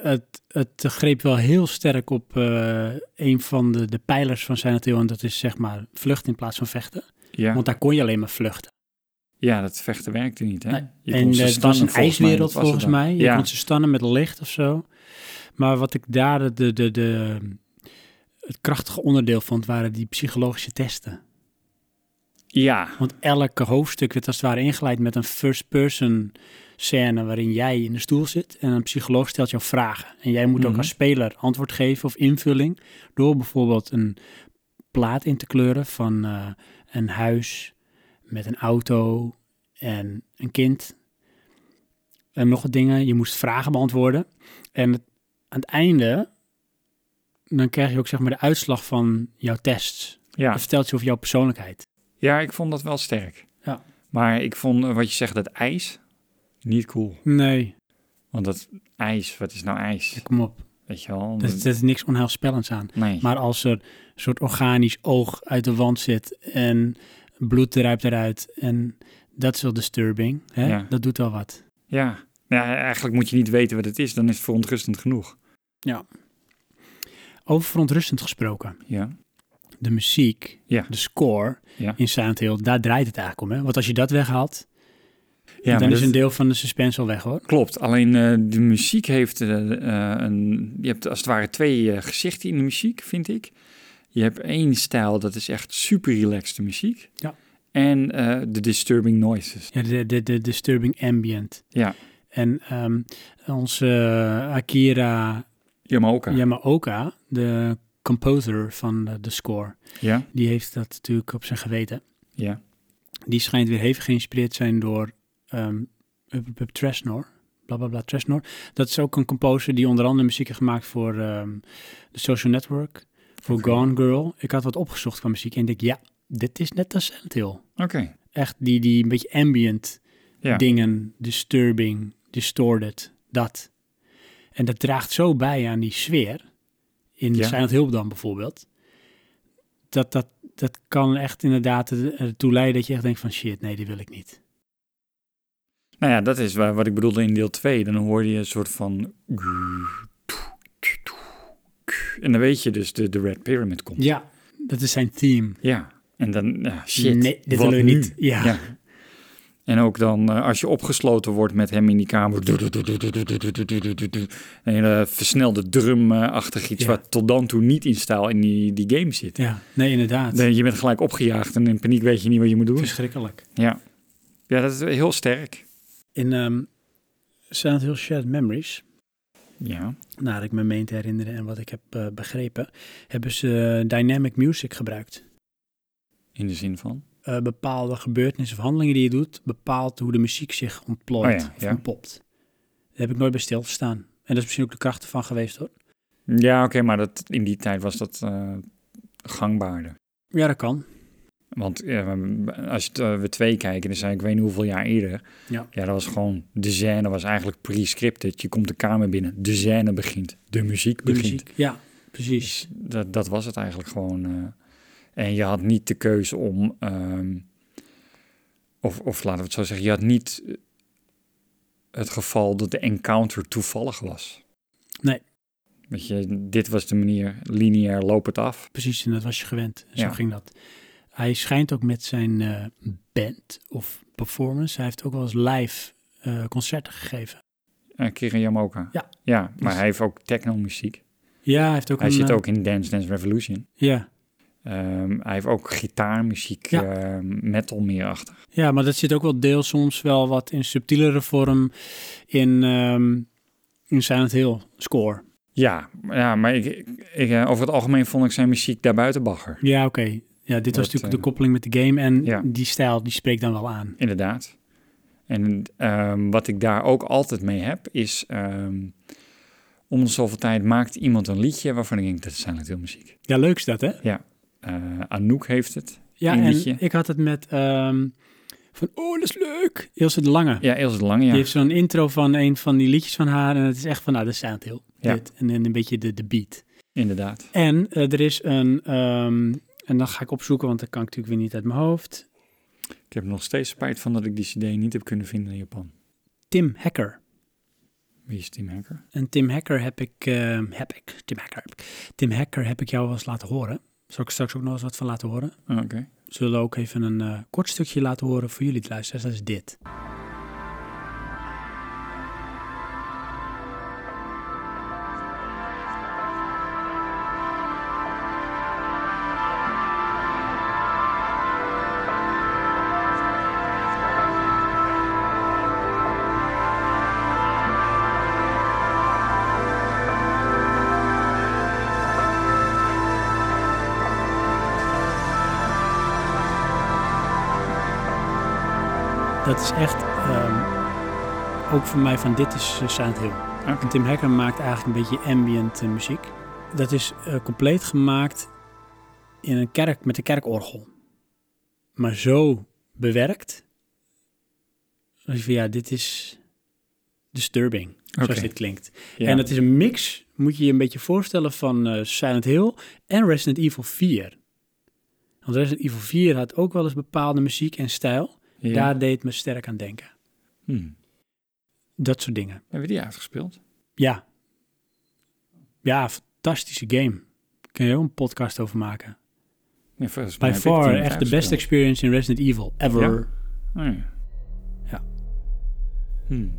het, het greep wel heel sterk op eh, een van de, de pijlers van Silent Hill. En dat is zeg maar vluchten in plaats van vechten. Ja. Want daar kon je alleen maar vluchten. Ja, dat vechten werkte niet, hè? En Je eh, kon ze het was stannen, een volgens mij, ijswereld dat was volgens het dan. mij. Je Ja, kon ze stannen met licht of zo. Maar wat ik daar de, de, de, de- het krachtige onderdeel vond, waren die psychologische testen. ja, Want elke hoofdstuk werd als het ware ingeleid met een first-person scène waarin jij in de stoel zit en een psycholoog stelt jou vragen. En jij moet ook Mhm. als speler antwoord geven of invulling door bijvoorbeeld een plaat in te kleuren van eh, een huis met een auto en een kind. En nog wat dingen. Je moest vragen beantwoorden. En het- aan het einde, dan krijg je ook zeg maar de uitslag van jouw tests. ja. Dat vertelt je over jouw persoonlijkheid. ja, ik vond dat wel sterk. Ja. Maar ik vond, eh, wat je zegt, dat ijs, niet cool. Nee, Want dat ijs, wat is nou ijs? Kom op, Weet je wel? er zit niks onheilspellends aan. nee. Maar als er een soort organisch oog uit de wand zit en bloed druipt eruit en dat is wel disturbing, hè? Ja. dat doet wel wat. Ja. ja, eigenlijk moet je niet weten wat het is. Dan is het verontrustend genoeg. Over verontrustend gesproken, Ja. de muziek, Ja. de score Ja. in Silent Hill, daar draait het eigenlijk om. Hè? Want als je dat weghaalt, ja dan maar is dat- een deel van de suspense al weg hoor. Klopt, alleen eh, de muziek heeft eh, eh, een... Je hebt als het ware twee eh, gezichten in de muziek, vind ik. Je hebt één stijl, dat is echt super relaxed muziek. Ja. En eh, de disturbing noises. Ja, de, de, de disturbing ambient. Ja. En ehm, onze eh, Akira Yamaoka. Ja. Yamaoka, de composer van de, de score, Ja, die heeft dat natuurlijk op zijn geweten. ja. Die schijnt weer hevig geïnspireerd te zijn door ehm Up, Up, Up Tresnor. Bla bla bla, Tresnor. Dat is ook een composer die onder andere muziek heeft gemaakt voor ehm The Social Network, voor Oké. Gone Girl. Ik had wat opgezocht van muziek en ik denk, ja, dit is net als Silent Hill. Oké, Echt die, die een beetje ambient ja. dingen, disturbing, distorted, dat. En dat draagt zo bij aan die sfeer, in Ja. Silent Hill dan bijvoorbeeld, dat, dat, dat kan echt inderdaad er- ertoe leiden dat je echt denkt van shit, nee, die wil ik niet. Nou ja, dat is wa- wat ik bedoelde in deel 2. Dan hoor je een soort van... En dan weet je dus de, de Red Pyramid komt. Ja. Dat is zijn theme. Ja, en dan, ja, shit. nee, dit wat willen we nu? niet. Ja. Ja. En ook dan eh, als je opgesloten wordt met hem in die kamer. Een hele versnelde drumachtig iets Ja. wat tot dan toe niet in stijl in die, die game zit. Ja. nee, inderdaad. Nee, Je bent gelijk opgejaagd en in paniek weet je niet wat je moet Dus- doen. Verschrikkelijk. Ja, ja dat is heel sterk. In ehm Silent Hill Shared Memories, Ja, naar ik me meen te herinneren en wat ik heb eh, begrepen, hebben ze eh, dynamic music gebruikt. in de zin van. eh, bepaalde gebeurtenissen of handelingen die je doet, bepaalt hoe de muziek zich ontplooit Oh ja, of ja. ontpopt. Daar heb ik nooit bij stilgestaan. En dat is misschien ook de kracht ervan geweest hoor. Ja, oké, maar dat, in die tijd was dat eh, gangbaarder. Ja, dat kan. Want eh, als je het, eh, we twee kijken, dan zijn ik weet niet hoeveel jaar eerder. Ja. ja, dat was gewoon, de scène was eigenlijk pre-scripted. Je komt de kamer binnen, de scène begint, de muziek De begint. muziek. Ja, precies. Dus dat, dat was het eigenlijk gewoon. eh. en je had niet de keuze om, ehm, of, of laten we het zo zeggen, je had niet eh, het geval dat de encounter toevallig was. Nee. Weet je, dit was de manier, lineair, loop het af. Precies, en dat was je gewend. En zo Ja. ging dat. Hij schijnt ook met zijn eh, band of performance. Hij heeft ook wel eens live eh, concerten gegeven. Uh, Kirin Yamoka. Ja. Ja, maar Dus- hij heeft ook techno-muziek. Ja, hij heeft ook Hij een... zit eh, ook in Dance Dance Revolution. Ja. Ehm, hij heeft ook gitaarmuziek, Ja. ehm, metal meer achter. ja, maar dat zit ook wel deel soms wel wat in subtielere vorm in, ehm in Silent Hill score. Ja, ja maar ik, ik, eh, over het algemeen vond ik zijn muziek daarbuiten bagger. Ja, oké. Ja, dit was Dat, natuurlijk eh, de koppeling met de game en ja. die stijl die spreekt dan wel aan. Inderdaad. En ehm, wat ik daar ook altijd mee heb, is ehm, om de zoveel tijd maakt iemand een liedje waarvan ik denk, dat is Silent Hill muziek. Ja, leuk is dat, hè? Eh, Anouk heeft het. Ja, Eén en liedje. ik had het met ehm, van, oh, dat is leuk. Ilse de Lange. Ja, Ilse de Lange, ja. Die heeft zo'n intro van een van die liedjes van haar en het is echt van, nou, dat is Silent Hill. Ja. Dit. En, en een beetje de, de beat. Inderdaad. En eh, er is een, ehm, en dan ga ik opzoeken, want dat kan ik natuurlijk weer niet uit mijn hoofd. Ik heb nog steeds spijt van dat ik die cd niet heb kunnen vinden in Japan. Tim Hacker. Wie is Tim Hacker? En Tim Hacker heb ik, ehm, heb ik, Tim Hacker heb ik, Tim Hacker heb ik jou wel eens laten horen. Zal ik straks ook nog eens wat van laten horen? Oh, Oké. zullen ook even een eh, kort stukje laten horen voor jullie te luisteren. Dat is dit. Dat is echt ehm, ook voor mij van dit is eh, Silent Hill. Oké. En Tim Hacker maakt eigenlijk een beetje ambient eh, muziek. Dat is eh, compleet gemaakt in een kerk met een kerkorgel. Maar zo bewerkt. Dus ja, dit is disturbing, zoals Oké. dit klinkt. Ja. En het is een mix, moet je je een beetje voorstellen, van eh, Silent Hill en Resident Evil 4. Want Resident Evil 4 had ook wel eens bepaalde muziek en stijl. Ja. Daar deed het me sterk aan denken. Hmm. Dat soort dingen. Hebben we die uitgespeeld? Ja. Ja, fantastische game. Kun je ook een podcast over maken. Nee, volgens mij By heb ik die far niet echt de beste uitgespeeld. experience in Resident Evil ever. Ja? Oh, ja. Ja. Hmm.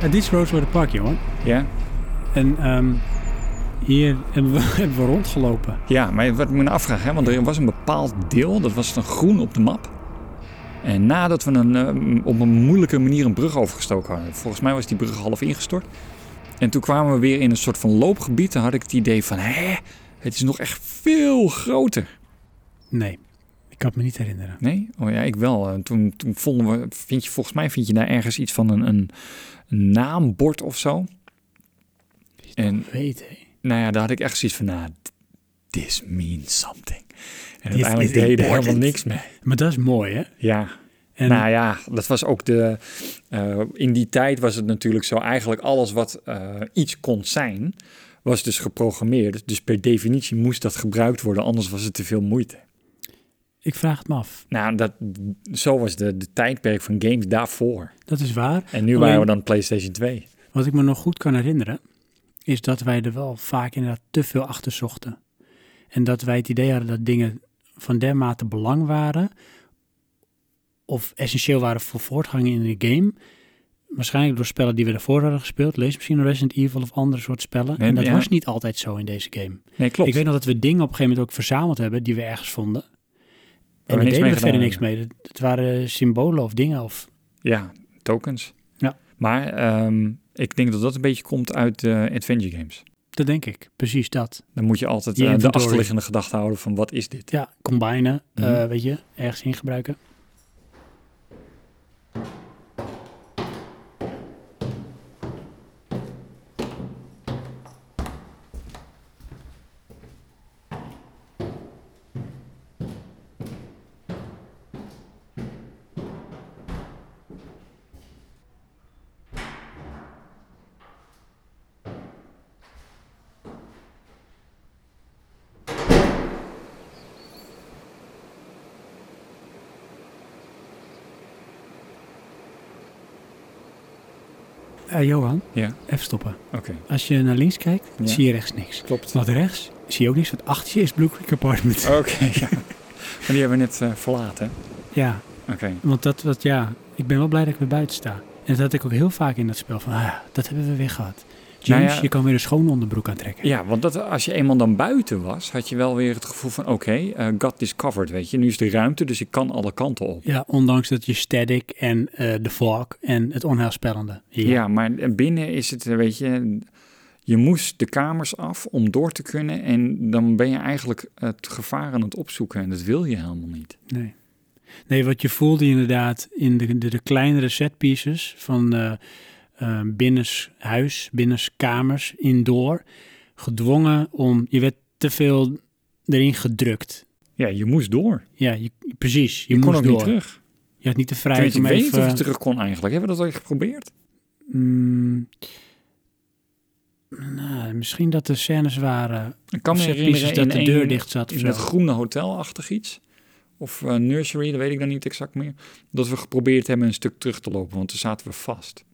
En dit is Rosewater Park, jongen. Ja? En ehm, hier hebben we, hebben we rondgelopen. Ja, maar wat ik me nou afvraag, hè, want er was een bepaald deel, dat was dan groen op de map. En nadat we een, eh, op een moeilijke manier een brug overgestoken hadden, volgens mij was die brug half ingestort. En toen kwamen we weer in een soort van loopgebied, dan had ik het idee van, hè, het is nog echt veel groter. Nee, ik kan het me niet herinneren. Nee? Oh ja, ik wel. Eh, Toen, toen vonden we, vind je, volgens mij vind je daar ergens iets van een, een, een naambord of zo. En Weet hé. nou ja, daar had ik echt zoiets van, nou, this means something. En is uiteindelijk deed je er helemaal important. niks mee. Maar dat is mooi, hè? Ja, En nou ja, dat was ook de. eh, in die tijd was het natuurlijk zo, eigenlijk alles wat eh, iets kon zijn, was dus geprogrammeerd. Dus per definitie moest dat gebruikt worden, anders was het te veel moeite. ik vraag het me af. Nou, dat, zo was de, de tijdperk van games daarvoor. Dat is waar. En nu Alleen- waren we dan PlayStation 2. Wat ik me nog goed kan herinneren, is dat wij er wel vaak inderdaad te veel achter zochten. En dat wij het idee hadden dat dingen van dermate belang waren, of essentieel waren voor voortgang in de game. Waarschijnlijk door spellen die we daarvoor hadden gespeeld. Lees misschien Resident Evil of andere soort spellen. Nee, en dat ja. was niet altijd zo in deze game. Nee, klopt. Ik weet nog dat we dingen op een gegeven moment ook verzameld hebben die we ergens vonden. En we daar niks deden mee we verder gedaan niks mee. Het- Het waren symbolen of dingen of... Ja, tokens. Ja. Maar ehm, ik denk dat dat een beetje komt uit eh, adventure games. Dat denk ik, precies dat. Dan moet je altijd Die eh, de inventory. achterliggende gedachte houden van wat is dit? Ja, combinen, eh, Mhm. weet je, ergens in gebruiken. Eh, Johan, Ja, even stoppen. oké. Als je naar links kijkt, Ja. zie je rechts niks. Klopt. Want rechts zie je ook niks, want achter je is Blue Creek Apartment. Oké, ja. Maar die hebben we net eh, verlaten. hè? Ja, Oké. want dat, wat, ja, ik ben wel blij dat ik weer buiten sta. En dat had ik ook heel vaak in dat spel, van ah, dat hebben we weer gehad. James, Nou ja. je kan weer een schone onderbroek aantrekken. Ja, want dat, als je eenmaal dan buiten was, had je wel weer het gevoel van... oké, eh, got this covered, weet je. Nu is de ruimte, dus ik kan alle kanten op. Ja, ondanks dat je static en eh, de fog en het onheilspellende. Ja. maar binnen is het, eh, weet je... Je moest de kamers af om door te kunnen... en dan ben je eigenlijk het gevaar aan het opzoeken... en dat wil je helemaal niet. Nee. Nee, wat je voelde inderdaad in de, de, de kleinere setpieces van eh eh, binnenshuis, binnenskamers, indoor, gedwongen om, je werd te veel erin gedrukt. Ja, je moest door. Ja, je, precies. Je, Je, kon moest ook door. niet terug. Je had niet de vrijheid Terwijl je om weet of even... je terug kon eigenlijk. Hebben we dat al geprobeerd? Mm, nou, misschien dat er scènes waren, Ik kan me setpieces herinneren dat in de deur één- dicht zat of In zo. dat groene hotelachtig iets. of eh, nursery, dat weet ik dan niet exact meer. Dat we geprobeerd hebben een stuk terug te lopen, want toen zaten we vast.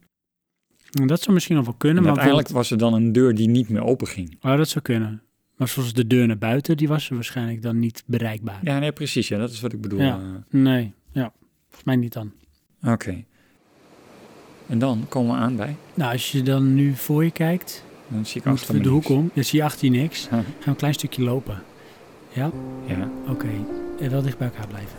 Nou, Dat zou misschien nog wel kunnen, En maar uiteindelijk was er dan een deur die niet meer open ging. bijvoorbeeld- Oh, dat zou kunnen. Maar zoals de deur naar buiten, die was waarschijnlijk dan niet bereikbaar. Ja, nee, precies. Ja, dat is wat ik bedoel. Ja. eh. Nee, ja. Volgens mij niet dan. Oké. En dan komen we aan bij. Nou, als je dan nu voor je kijkt, Dan zie ik moet achter we me de hoek niks. om. Dan zie je achter je niks. Huh. Gaan we een klein stukje lopen. Ja, Ja. oké. En wel dicht bij elkaar blijven.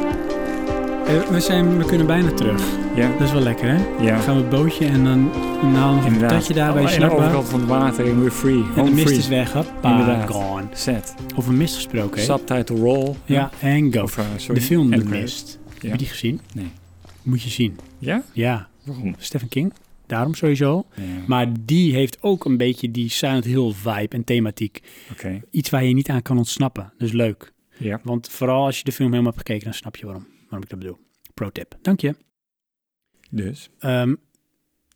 Eh, We, zijn, we kunnen bijna terug. Ja. Dat is wel lekker, hè? Dan Ja. gaan we het bootje en dan dan halen we nog een Inderdaad. patatje daar bij Oh, je en de snackbar. overkant van het water. En we're free. En de Home mist free. is weg, hoppa, Inderdaad. gone. Set. Over mist gesproken, hè? Subtitle roll. Ja, en go. Of, eh, sorry. De film En De credits. Mist. Heb Ja. je die gezien? Nee. Moet je zien. Ja? Ja, Waarom? Stephen King. Daarom sowieso. Ja. Maar die heeft ook een beetje die Silent Hill vibe en thematiek. Oké. Iets waar je niet aan kan ontsnappen. Dus leuk. Ja. Want vooral als je de film helemaal hebt gekeken, dan snap je waarom. Waarom ik dat bedoel. Pro tip. Dank je. Dus. Ehm,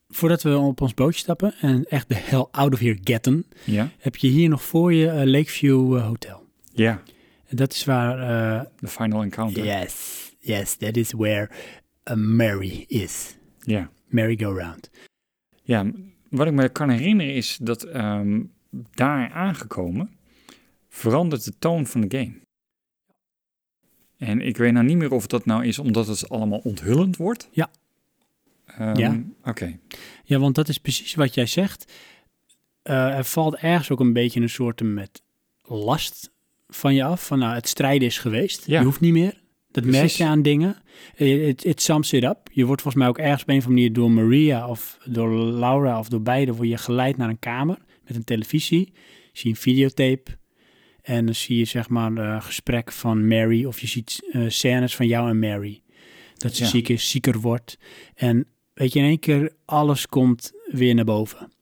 voordat we op ons bootje stappen en echt de hell out of here getten, Ja. heb je hier nog voor je eh, Lakeview eh, Hotel. Ja. En Dat is waar eh, The final encounter. Yes, yes, that is where a Mary is. Ja. Merry-go-round. Ja. Wat ik me kan herinneren is dat ehm, daar aangekomen verandert de toon van de game. En ik weet nou niet meer of dat nou is omdat het allemaal onthullend wordt. Ja. Ehm, Ja. Oké. Ja, want dat is precies wat jij zegt. Eh, er valt ergens ook een beetje een soort met last van je af. Van nou, het strijden is geweest. Ja. Je hoeft niet meer. Dat merk Precies. je aan dingen. Eh, It, it sums it up. Je wordt volgens mij ook ergens op een of andere manier door Maria of door Laura of door beide... word je geleid naar een kamer met een televisie. Zie een videotape. En dan zie je zeg maar eh, gesprek van Mary of je ziet eh, scènes van jou en Mary. Dat ze Ja. ziek is, zieker wordt. En weet je, in één keer alles komt weer naar boven.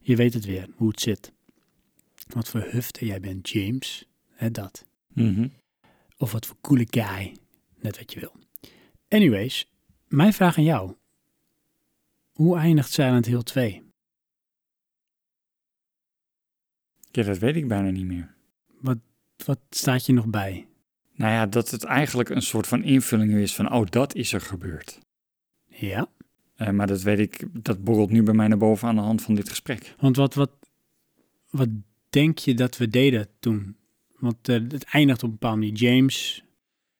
Je weet het weer, hoe het zit. Wat voor hufte jij bent, James. Hè, dat. Mhm. Of wat voor coole guy. Net wat je wil. Anyways, mijn vraag aan jou. Hoe eindigt Silent Hill 2? Ja, dat weet ik bijna niet meer. Wat staat je nog bij? Nou ja, dat het eigenlijk een soort van invulling is van, oh, dat is er gebeurd. Ja? Eh, maar dat weet ik, dat borrelt nu bij mij naar boven aan de hand van dit gesprek. Want wat, wat, wat denk je dat we deden toen? Want eh, het eindigt op een bepaalde manier. James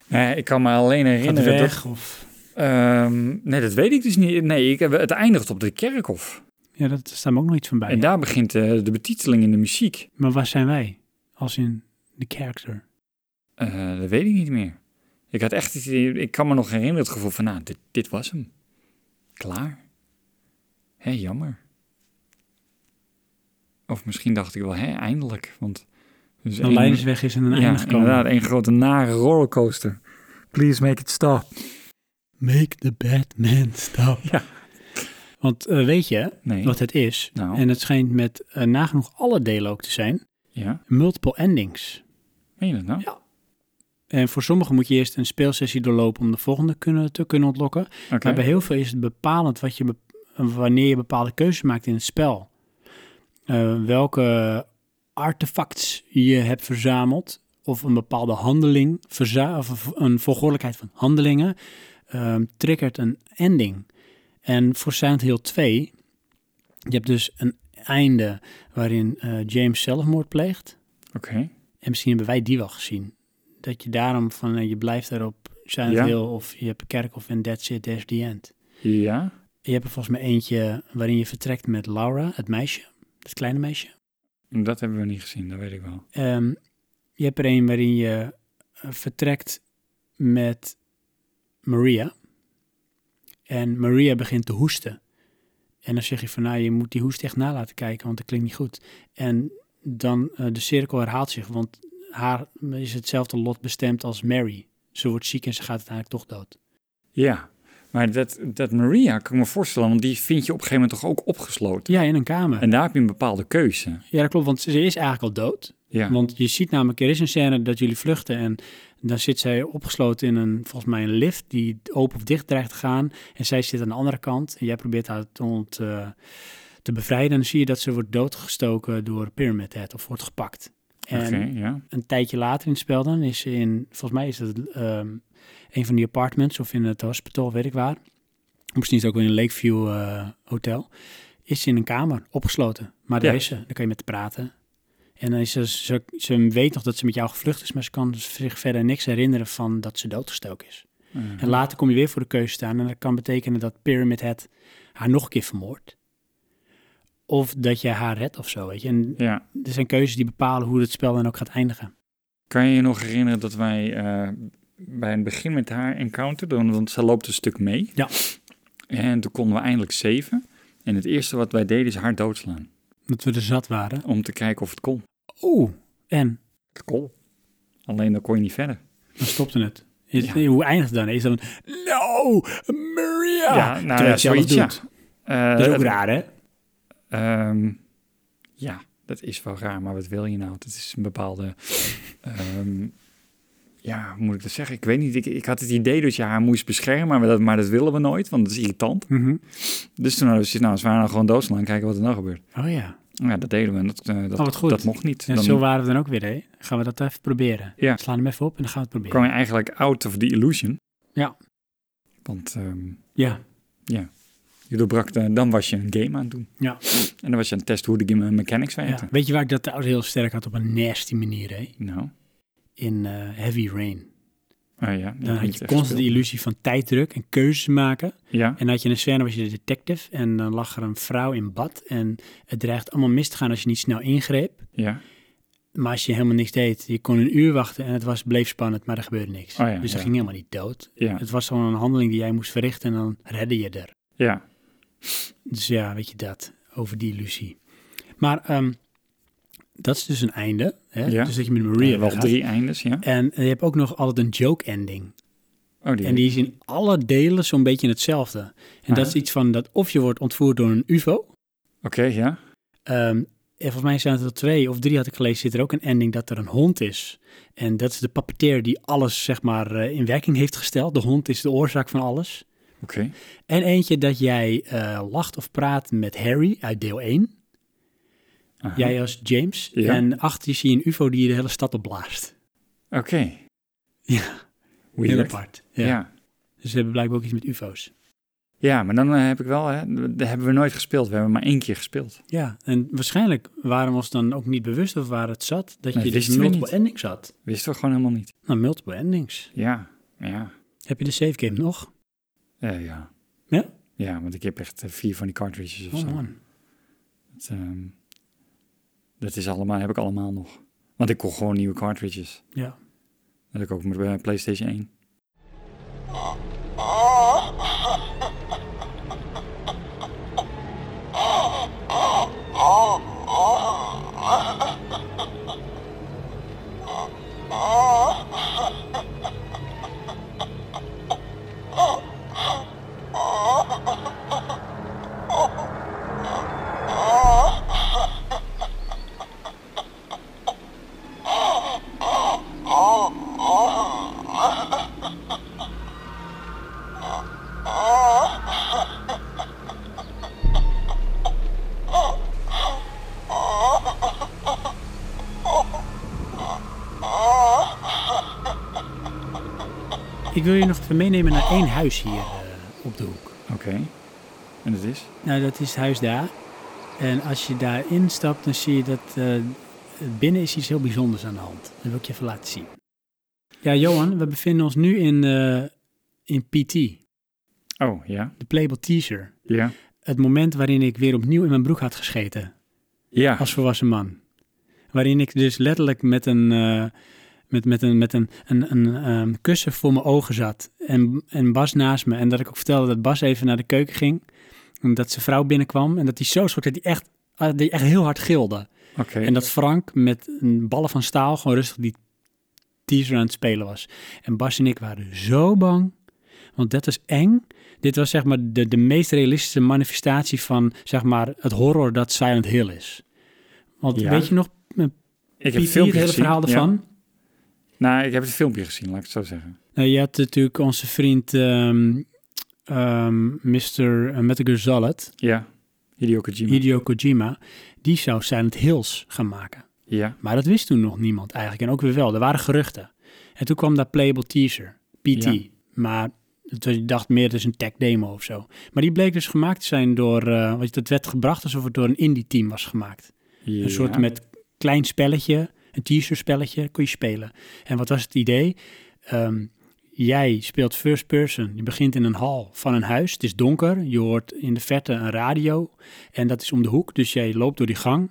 Nou ja, ik kan me alleen gaat herinneren weg. dat... Of, ehm, nee, dat weet ik dus niet. Nee, ik, heb- het eindigt op de kerkhof. ja, dat daar staat me ook nog iets van bij. En daar begint eh, de betiteling in de muziek. Maar waar zijn wij? Als in de character. Eh, dat weet ik niet meer. Ik had echt, het idee- ik kan me nog herinneren het gevoel van, nou, dit, dit was hem. Klaar. Hé, jammer. Of misschien dacht ik wel, hé, eindelijk. Want dus Een leidersweg is en een ja, eindig komen. inderdaad, een grote nare rollercoaster. Please make it stop. Make the Batman stop. Ja. Want eh, weet je Nee. wat het is? Nou. En het schijnt met eh, nagenoeg alle delen ook te zijn. Ja, Multiple endings. meen je dat nou? En voor sommigen moet je eerst een speelsessie doorlopen om de volgende kunnen, te kunnen ontlokken. Oké. Maar bij heel veel is het bepalend wat je bep- wanneer je bepaalde keuzes maakt in het spel. Eh, welke artefacts je hebt verzameld of een bepaalde handeling, verza- of een volgordelijkheid van handelingen, ehm, triggert een ending. En voor Silent Hill 2, je hebt dus een einde waarin eh, James zelfmoord pleegt. Oké. En misschien hebben wij die wel gezien. Dat je daarom van, eh, je blijft erop Silent Ja. Hill of je hebt Kerkhof en That's It, That's The End. Ja. Je hebt er volgens mij eentje waarin je vertrekt met Laura, het meisje, het kleine meisje. Dat hebben we niet gezien, dat weet ik wel. Ehm, je hebt er een waarin je eh, vertrekt met Maria. En Maria begint te hoesten. En dan zeg je van, nou, je moet die hoest echt na laten kijken, want dat klinkt niet goed. En dan, eh, de cirkel herhaalt zich, want haar is hetzelfde lot bestemd als Mary. Ze wordt ziek en ze gaat uiteindelijk toch dood. Ja. Maar dat, dat Maria, kan ik me voorstellen, want die vind je op een gegeven moment toch ook opgesloten. Ja, in een kamer. En daar heb je een bepaalde keuze. Ja, dat klopt, want ze is eigenlijk al dood. Ja. Want je ziet namelijk, er is een scène dat jullie vluchten en dan zit zij opgesloten in een, volgens mij een lift die open of dicht dreigt te gaan. En zij zit aan de andere kant en jij probeert haar te, ont, eh, te bevrijden. En dan zie je dat ze wordt doodgestoken door Pyramid Head of wordt gepakt. En Oké, ja. een tijdje later in het spel dan is ze in, volgens mij is het ehm, een van die apartments of in het hospital, weet ik waar. Misschien is het ook wel in een Lakeview eh, hotel. Is ze in een kamer opgesloten. Maar daar Ja. is ze, daar kan je met haar praten. En dan is ze, ze, ze weet nog dat ze met jou gevlucht is, maar ze kan zich verder niks herinneren van dat ze doodgestoken is. Eh, En later kom je weer voor de keuze staan en dat kan betekenen dat Pyramid Head haar nog een keer vermoordt. Of dat je haar redt of zo, weet je. En ja. er zijn keuzes die bepalen hoe het spel dan ook gaat eindigen. Kan je je nog herinneren dat wij eh, bij het begin met haar encounterden, want zij loopt een stuk mee. Ja. En toen konden we eindelijk zeven. En het eerste wat wij deden is haar doodslaan. Dat we er zat waren. Om te kijken of het kon. Oeh, en Het kon. Alleen dan kon je niet verder. dan stopte het. Is- Ja. nee, Hoe eindigt het dan? Is dan een, no, Maria! Ja, nou ja, Terwijl je het zelf zoiets, doet. Eh, Dat is ook het- raar, hè? Ehm, ja, dat is wel raar, maar wat wil je nou? Dat is een bepaalde. ehm, ja, hoe moet ik dat zeggen? Ik weet niet. Ik, ik had het idee dat je haar moest beschermen, maar dat, maar dat willen we nooit, want dat is irritant. Dus toen hadden we zoiets, nou, als we haar nou gewoon doodslaan, en kijken wat er nou gebeurt. Oh ja. Ja, dat deden we en dat, eh, dat, Oh, wat goed. dat mocht niet. En Dan zo waren we dan ook weer, hè? Gaan we dat even proberen? Ja. Slaan hem even op en dan gaan we het proberen. kwam je eigenlijk out of the illusion. Ja. Want ehm, Ja. je doorbrak, de- dan was je een game aan het doen. Ja. En dan was je aan het testen hoe de game mechanics werkte. ja. Weet je waar ik dat trouwens heel sterk had op een nasty manier, hè? Nou, In eh, Heavy Rain. ah ja. Dan had je constant de constant illusie van tijddruk en keuzes maken. Ja, En dan had je een scène, was je de detective en dan lag er een vrouw in bad. En het dreigt allemaal mis te gaan als je niet snel ingreep. ja. Maar als je helemaal niks deed, je kon een uur wachten en het was, bleef spannend, maar er gebeurde niks. Oh ja, dus ze ja. ging helemaal niet dood. Ja, Het was gewoon een handeling die jij moest verrichten en dan redde je er. ja. Dus ja, weet je dat, over die illusie. Maar ehm, dat is dus een einde. Hè? Ja. Dus dat je met Ja, Maria Eh, wel weggaat. drie eindes, ja. En eh, je hebt ook nog altijd een joke ending. Oh, die. En die is in alle delen zo'n beetje hetzelfde. En dat Aha. is iets van dat of je wordt ontvoerd door een ufo. Oké, ja. Ehm, en volgens mij zijn er twee of drie had ik gelezen, zit er ook een ending dat er een hond is. En dat is de puppeteer die alles zeg maar eh, in werking heeft gesteld. De hond is de oorzaak van alles. Oké. En eentje dat jij eh, lacht of praat met Harry uit deel 1. Aha. Jij als James. Ja. En achter je zie je een ufo die de hele stad opblaast. Oké. Ja, Weird. heel apart. Ja. Ja. Ja. Dus ze hebben blijkbaar ook iets met ufo's. maar dan eh, heb ik wel, hè, dat hebben we nooit gespeeld. We hebben maar één keer gespeeld. Ja, en waarschijnlijk waren we ons dan ook niet bewust of waar het zat. Dat Nee, je dus wisten we multiple niet. endings had. Wisten we gewoon helemaal niet. Nou, multiple endings. Ja, ja, Heb je de save game nog? Eh, ja. Ja? Ja, want ik heb echt eh, vier van die cartridges of Oh zo. man. Dat, ehm, dat is allemaal, heb ik allemaal nog. Want ik kon gewoon nieuwe cartridges. Ja. Dat ik ook met eh, PlayStation 1. Ik wil je nog even meenemen naar één huis hier eh, op de hoek. Oké. En dat is? Nou, dat is het huis daar. En als je daar instapt, dan zie je dat eh, binnen is iets heel bijzonders aan de hand. Dat wil ik je even laten zien. Ja, Johan, we bevinden ons nu in, eh, in PT, Oh, ja. de Playable Teaser. Ja. Het moment waarin ik weer opnieuw in mijn broek had gescheten Ja. als volwassen man. Waarin ik dus letterlijk met een, eh, met, met een, met een, een, een ehm, kussen voor mijn ogen zat. En, en Bas naast me. En dat ik ook vertelde dat Bas even naar de keuken ging. En dat zijn vrouw binnenkwam. En dat hij zo schrok dat hij echt, ah, dat hij echt heel hard gilde. Oké. En dat Frank met een ballen van staal gewoon rustig die teaser aan het spelen was. En Bas en ik waren zo bang, want dat was eng. Dit was zeg maar de, de meest realistische manifestatie van zeg maar het horror dat Silent Hill is. Want Ja. weet je nog, met Ik heb Piet, het het filmpje hele gezien. verhaal Ja. ervan? Nou, ik heb het filmpje gezien, laat ik het zo zeggen. Nou, je had natuurlijk onze vriend ehm ehm Mr. Metal Gear Solid, Ja. Hideo Kojima. Hideo Kojima, die zou Silent Hills gaan maken. Ja. Maar dat wist toen nog niemand eigenlijk. En ook weer wel, er waren geruchten. En toen kwam daar Playable Teaser, PT. Ja. Maar het was, ik dacht meer, het is een tech demo of zo. Maar die bleek dus gemaakt te zijn door, eh want dat werd gebracht alsof het door een indie team was gemaakt. ja. Een soort met klein spelletje, een teaser spelletje, kon je spelen. En wat was het idee? Ehm, jij speelt first person. Je begint in een hal van een huis. Het is donker. Je hoort in de verte een radio. En dat is om de hoek. Dus jij loopt door die gang.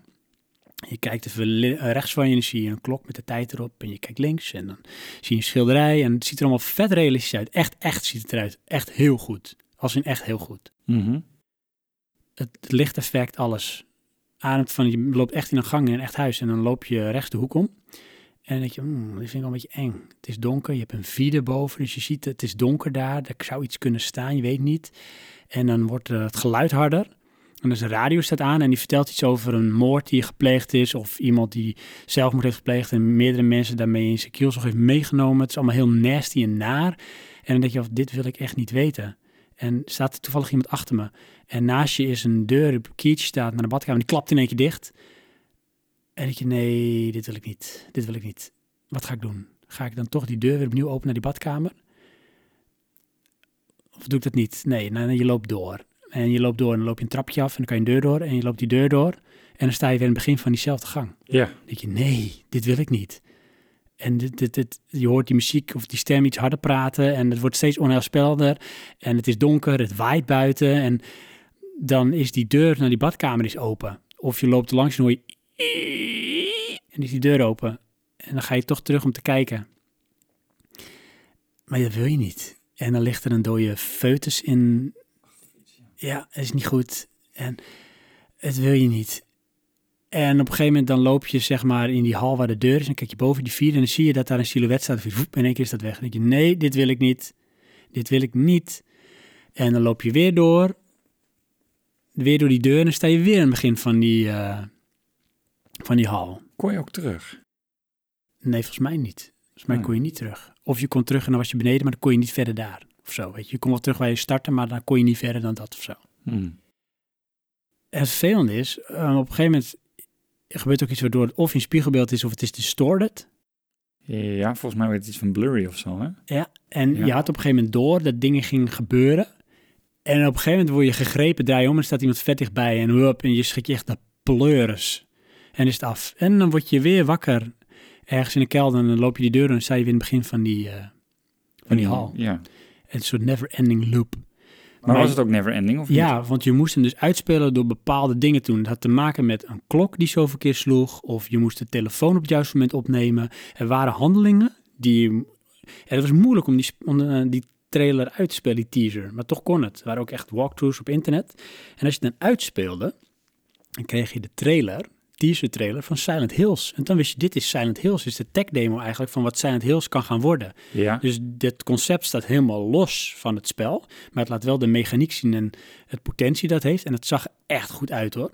Je kijkt even li- eh, rechts van je en dan zie je een klok met de tijd erop. En je kijkt links en dan zie je een schilderij. En het ziet er allemaal vet realistisch uit. Echt, echt ziet het eruit. Echt heel goed. Als in echt heel goed Mhm. het lichteffect, alles. Adem van, je loopt echt in een gang in een echt huis en dan loop je rechts de hoek om. En dan denk je, "Hmm, dit vind ik wel een beetje eng. Het is donker, je hebt een vierde boven, dus je ziet het, het is donker daar. Er zou iets kunnen staan, je weet niet. En dan wordt eh, het geluid harder. En dus de radio staat aan en die vertelt iets over een moord die gepleegd is. Of iemand die zelfmoord heeft gepleegd en meerdere mensen daarmee in zijn kielzog heeft meegenomen. Het is allemaal heel nasty en naar. En dan denk je, "Oh, dit wil ik echt niet weten. En staat er toevallig iemand achter me. En naast je is een deur, een kiertje staat naar de badkamer. Die klapt in één keer dicht. En ik denk, nee, dit wil ik niet. Dit wil ik niet. Wat ga ik doen? Ga ik dan toch die deur weer opnieuw openen naar die badkamer? Of doe ik dat niet? Nee, nou, je loopt door. En je loopt door en dan loop je een trapje af en dan kan je een deur door. En je loopt die deur door. En dan sta je weer in het begin van diezelfde gang Ja. denk je, nee, dit wil ik niet. En dit, dit, dit, je hoort die muziek of die stem iets harder praten en het wordt steeds onheilspellender. En het is donker, het waait buiten en dan is die deur naar die badkamer is open. Of je loopt er langs en hoor je... En is die deur open. En dan ga je toch terug om te kijken. Maar dat wil je niet. En dan ligt er een dode foetus in... Ja, dat is niet goed. En het wil je niet. En op een gegeven moment dan loop je zeg maar in die hal waar de deur is. En kijk je boven die vier en dan zie je dat daar een silhouet staat. Voep, in één keer is dat weg. Dan denk je, nee, dit wil ik niet. Dit wil ik niet. En dan loop je weer door. Weer door die deur en dan sta je weer aan het begin van die, eh, van die hal. Kon je ook terug? Nee, volgens mij niet. Volgens mij Nee. kon je niet terug. Of je kon terug en dan was je beneden, maar dan kon je niet verder daar. Of zo, weet je. Je kon wel terug waar je startte, maar dan kon je niet verder dan dat of zo. Hm. En het vervelende is, eh, op een gegeven moment gebeurt ook iets waardoor het of in spiegelbeeld is of het is distorted. Ja, volgens mij werd het iets van blurry of zo, hè? En Ja. je had op een gegeven moment door dat dingen gingen gebeuren. En op een gegeven moment word je gegrepen, draai je om en staat iemand vet dichtbij. En, hup, en je schrik je echt de pleuris. En is het af. En dan word je weer wakker ergens in de kelder. En dan loop je die deur en dan sta je weer in het begin van die, eh, van die hal. Ja. Een soort never-ending loop. Maar Maar- was het ook never ending of niet? Ja, want je moest hem dus uitspelen door bepaalde dingen te doen. Dat had te maken met een klok die zoveel keer sloeg. Of je moest de telefoon op het juiste moment opnemen. Er waren handelingen die... En het was moeilijk om die, sp- om, eh, die trailer uit te spelen, die teaser. Maar toch kon het. Er waren ook echt walkthroughs op internet. En als je het dan uitspeelde, dan kreeg je de trailer, teaser trailer van Silent Hills. En dan wist je, dit is Silent Hills. Dit is de tech demo eigenlijk van wat Silent Hills kan gaan worden. Ja. Dus dit concept staat helemaal los van het spel. Maar het laat wel de mechaniek zien en het potentie dat heeft. En het zag er echt goed uit hoor.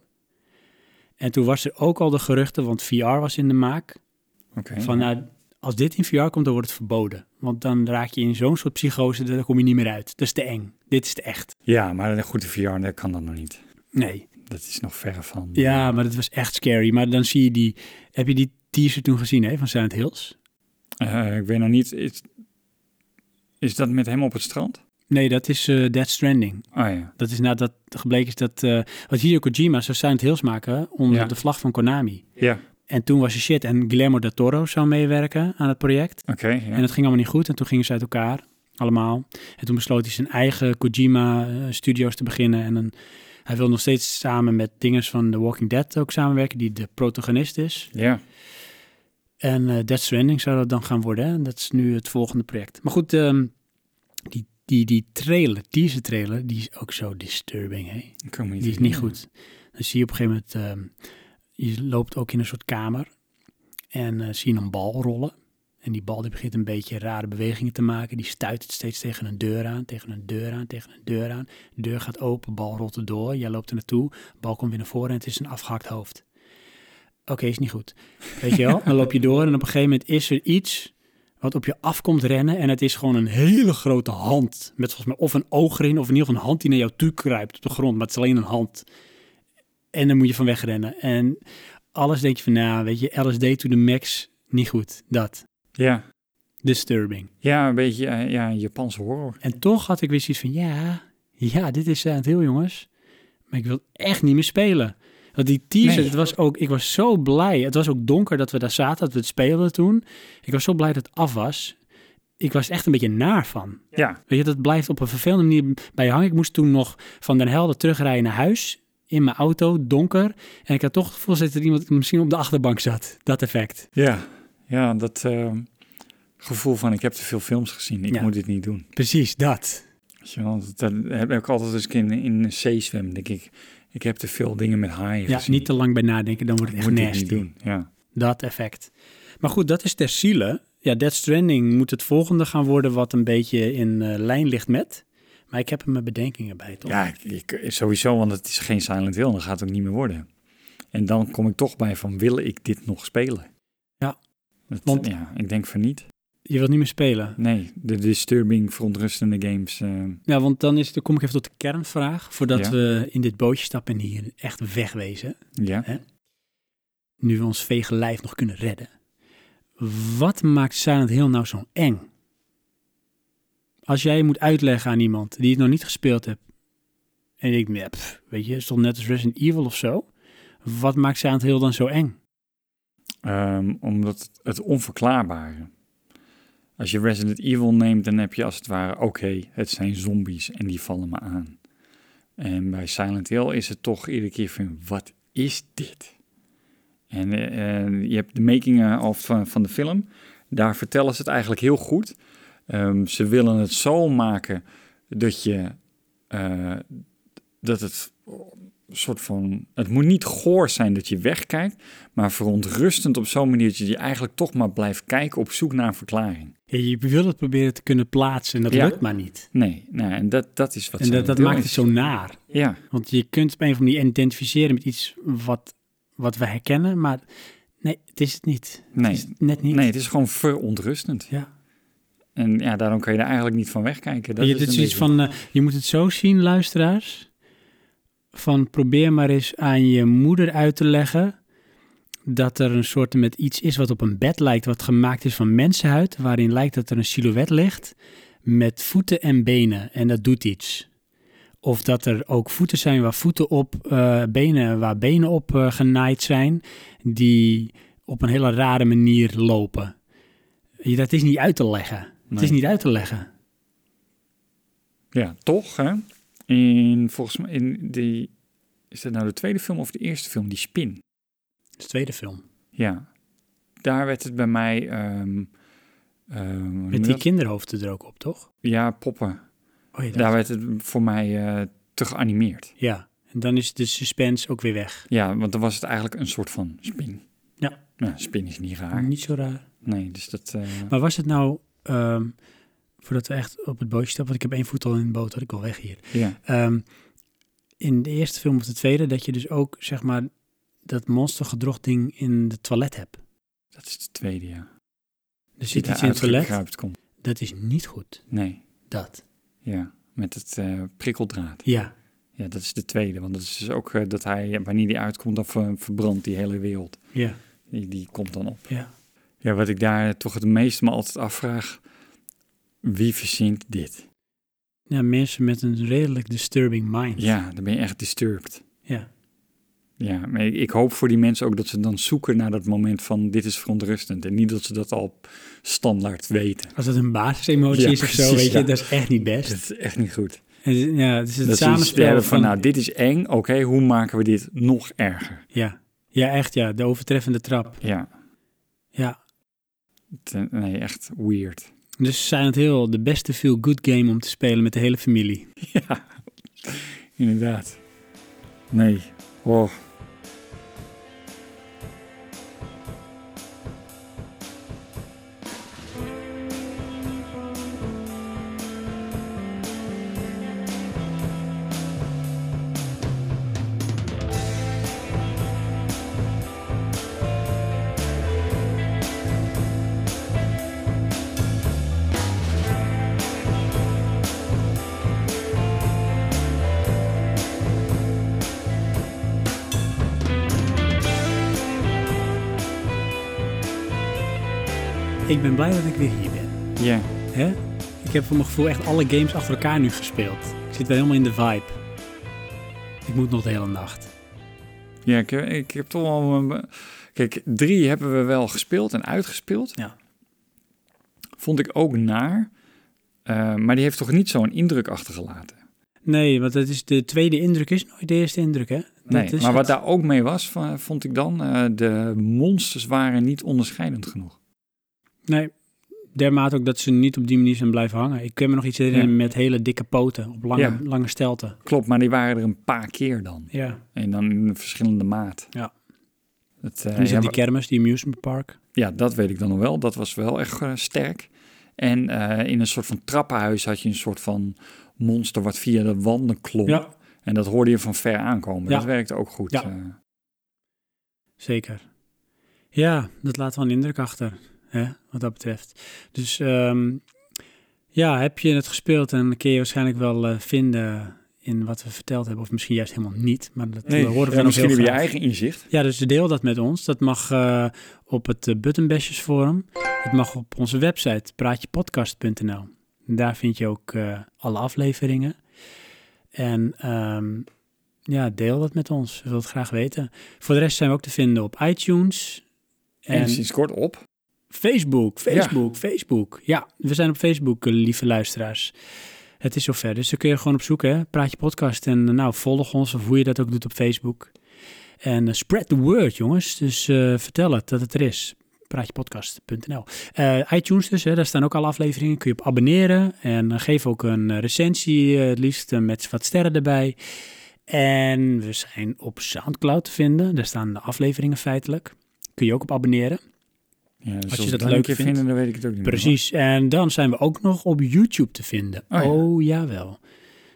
En toen was er ook al de geruchten, want VR was in de maak. Oké. Van nou, als dit in VR komt, dan wordt het verboden. Want dan raak je in zo'n soort psychose, daar kom je niet meer uit. Dat is te eng. Dit is te echt. Ja, maar een goede VR, dat kan dat nog niet. Nee. Dat is nog ver van. eh, Ja, maar dat was echt scary. Maar dan zie je die... Heb je die teaser toen gezien hè, van Silent Hills? Eh, ik weet nog niet. Is, Is dat met hem op het strand? Nee, dat is eh Dead Stranding. Oh ja. Dat is nadat gebleken is dat... eh wat Hideo Kojima zou Silent Hills maken onder Ja. de vlag van Konami. Ja, En toen was er shit en Guillermo del Toro zou meewerken aan het project. oké. ja. En dat ging allemaal niet goed en toen gingen ze uit elkaar, allemaal. En toen besloot hij zijn eigen Kojima-studios te beginnen. En een, hij wil nog steeds samen met dinges van The Walking Dead ook samenwerken, die de protagonist is. Ja, En eh, Death Stranding zou dat dan gaan worden. hè? En dat is nu het volgende project. Maar goed, ehm, die, die, die trailer, teaser trailer, die is ook zo disturbing. Hè? ik kan me Die is niet goed. Dan zie je op een gegeven moment, ehm, je loopt ook in een soort kamer en eh, zie je een bal rollen. En die bal die begint een beetje rare bewegingen te maken. Die stuit het steeds tegen een deur aan, tegen een deur aan, tegen een deur aan. De deur gaat open, bal rolt er door. Jij loopt er naartoe, bal komt weer naar voren en het is een afgehakt hoofd. Oké, is niet goed. Weet je wel? Dan loop je door en op een gegeven moment is er iets wat op je af komt rennen. En het is gewoon een hele grote hand. Met volgens mij of een oog erin, of in ieder geval een hand die naar jou toe kruipt op de grond. Maar het is alleen een hand. En dan moet je van wegrennen. En alles denk je van, nou weet je, LSD to the max, niet goed. Dat. Ja. Disturbing. ja, een beetje eh, ja, Japanse horror. En toch had ik weer zoiets van, ja, ja, dit is aan het heel jongens. Maar ik wil echt niet meer spelen. Want die teaser, Nee. het was ook, ik was zo blij. Het was ook donker dat we daar zaten, dat we het speelden toen. Ik was zo blij dat het af was. Ik was echt een beetje naar van. Ja, Weet je, dat blijft op een vervelende manier bij je hangen. Ik moest toen nog van Den Helder terugrijden naar huis. In mijn auto, donker. En ik had toch het gevoel dat er iemand misschien op de achterbank zat. Dat effect. ja. ja dat eh, gevoel van ik heb te veel films gezien, ik Ja. moet dit niet doen. Precies, dat. Weet je wel, dat heb ik altijd als ik in, in een zee zwem, denk ik. Ik heb te veel dingen met haaien Ja, gezien. niet te lang bij nadenken, dan wordt Ik het echt moet dit nasty. niet doen. Ja. Dat effect. Maar goed, dat is ter ziele. Ja, Dead Stranding moet het volgende gaan worden wat een beetje in eh, lijn ligt met. Maar ik heb er mijn bedenkingen bij, toch? Ja, ik, ik- sowieso, want het is geen Silent Hill. Dan gaat het ook niet meer worden. En dan kom ik toch bij van, wil ik dit nog spelen? Ja. Dat- Want- ja, ik denk van niet. Je wilt niet meer spelen. Nee, de disturbing, verontrustende games. eh, Ja, want dan, is, dan kom ik even tot de kernvraag. Voordat Ja. we in dit bootje stappen en hier echt wegwezen. ja. nu we ons vege lijf nog kunnen redden. Wat maakt Silent Hill nou zo eng? Als jij moet uitleggen aan iemand die het nog niet gespeeld hebt. En ik denk, ja, pff, weet je, het is toch net als Resident Evil of zo. Wat maakt Silent Hill dan zo eng? Ehm, omdat het, het onverklaarbare. Als je Resident Evil neemt, dan heb je als het ware... Oké, het zijn zombies en die vallen me aan. En bij Silent Hill is het toch iedere keer van... Wat is dit? En eh, eh, je hebt de making of van, van de film. Daar vertellen ze het eigenlijk heel goed. Ehm, ze willen het zo maken dat je... eh, dat het eh, soort van... Het moet niet goor zijn dat je wegkijkt maar verontrustend op zo'n manier dat je die eigenlijk toch maar blijft kijken op zoek naar een verklaring. Ja, Je wil het proberen te kunnen plaatsen en dat Ja. lukt maar niet. Nee, nou, en dat, dat is wat en dat, Silent dat Hill maakt het is. zo naar. Ja, Want je kunt op een of andere manier identificeren met iets wat, wat we herkennen. Maar nee, het is het niet. nee. Het is het net niet. nee, het is gewoon verontrustend. Ja. En ja, daarom kan je er eigenlijk niet van wegkijken. Dat je, is dit een is iets beetje- van, eh, je moet het zo zien, luisteraars. Van probeer maar eens aan je moeder uit te leggen dat er een soort met iets is wat op een bed lijkt, wat gemaakt is van mensenhuid, waarin lijkt dat er een silhouet ligt met voeten en benen en dat doet iets. Of dat er ook voeten zijn waar voeten op, eh, benen waar benen op eh, genaaid zijn, die op een hele rare manier lopen. Ja, Dat is niet uit te leggen. Het Nee. is niet uit te leggen. Ja, toch, hè? In, volgens mij, in die... Is dat nou de tweede film of de eerste film? Die Spin. Het is de tweede film. Ja. Daar werd het bij mij... ehm, ehm, hoe noem je Met die dat? kinderhoofden er ook op, toch? Ja, poppen. Oh, ja, dat- Daar werd het voor mij eh, te geanimeerd. ja, en dan is de suspense ook weer weg. Ja, want dan was het eigenlijk een soort van spin. Ja. Mm. Nou, spin is niet raar. Niet zo raar. Nee, dus dat... eh, Maar was het nou, ehm, voordat we echt op het bootje stappen, want ik heb één voet al in de boot, had ik al weg hier. ja. Ehm, in de eerste film of de tweede, dat je dus ook, zeg maar, dat monstergedrochtding in de toilet hebt. dat is de tweede, ja. Er Die zit daar iets in het toilet, uitgekruipt komt. dat is niet goed. Nee, Dat. ja. Met het eh, prikkeldraad. Ja, Ja, dat is de tweede. Want dat is dus ook eh, dat hij, eh, wanneer die uitkomt, dan ver- verbrandt die hele wereld. ja, Die, die komt dan op. ja. Ja, wat ik daar toch het meeste me altijd afvraag... Wie verzint dit? Ja, mensen met een redelijk disturbing mind. Ja, dan ben je echt disturbed. Ja. Ja, maar ik, ik hoop voor die mensen ook dat ze dan zoeken naar dat moment van dit is verontrustend. En niet dat ze dat al standaard weten. Als dat een basisemotie Ja, is of zo, precies, weet je, ja. dat is echt niet Dat best. is echt niet goed. En het- Ja, het is het dat ze iets te samenspel hebben van, van... nou, dit is eng. Oké, hoe maken we dit nog erger? ja. ja, echt ja, de overtreffende trap. Ja, Ja. het- nee, echt weird. Dus Silent Hill, de beste feel-good game om te spelen met de hele familie. Ja, inderdaad. Nee, oh. Ik ben blij dat ik weer hier ben. Ja, Hè? Ik heb voor mijn gevoel echt alle games achter elkaar nu gespeeld. Ik zit weer helemaal in de vibe. Ik moet nog de hele nacht. ja ik, ik heb toch al... een- Kijk, drie hebben we wel gespeeld en uitgespeeld. Ja. Vond ik ook naar. Eh, maar die heeft toch niet zo'n indruk achtergelaten? Nee, want dat is de tweede indruk is nooit de eerste indruk, hè? Nee, Dat is maar wat het. daar ook mee was, va- vond ik dan... eh, de monsters waren niet onderscheidend genoeg. Nee, dermate ook dat ze niet op die manier zijn blijven hangen. Ik kan me nog iets herinneren Ja. met hele dikke poten op lange, Ja. lange stelten. Klopt, maar die waren er een paar keer dan. Ja, En dan in een verschillende maat. Ja. Het, eh, en is ja, dat die kermis, die amusement park. Ja, dat weet ik dan nog wel. Dat was wel echt eh, sterk. En eh, in een soort van trappenhuis had je een soort van monster wat via de wanden klom. Ja, En dat hoorde je van ver aankomen. Ja. Dat werkte ook goed. Ja. eh. zeker. Ja, dat laat wel een indruk achter, hè, wat dat betreft. Dus ehm, ja, heb je het gespeeld en kun je waarschijnlijk wel eh, vinden in wat we verteld hebben. Of misschien juist helemaal niet, maar dat eh, horen ja, we dan ook heel misschien heb je graag. eigen inzicht. Ja, dus deel dat met ons. Dat mag eh, op het eh, Buttonbashers forum. Het mag op onze website praatjepodcast.nl. En Daar vind je ook eh, alle afleveringen. En ehm, ja, deel dat met ons. We willen het graag weten. Voor de rest zijn we ook te vinden op iTunes. En, En sinds kort op. Facebook, Facebook, Facebook. Ja, we zijn op Facebook, eh, lieve luisteraars. Het is zover. Dus dan kun je gewoon op zoeken, hè? Praat je podcast. En eh, nou, volg ons of hoe je dat ook doet op Facebook. En eh, spread the word, jongens. Dus eh, vertel het dat het er is. Praatjepodcast.nl. Eh, iTunes dus, hè, daar staan ook alle afleveringen. Kun je op abonneren. En eh, geef ook een eh, recensie, eh, het liefst eh, met wat sterren erbij. En we zijn op Soundcloud te vinden. Daar staan de afleveringen feitelijk. Kun je ook op abonneren. Ja, dus je we dat een leuk keer vindt. vinden, dan weet ik het ook niet meer. Precies. En dan zijn we ook nog op YouTube te vinden. Oh Oh, ja. jawel.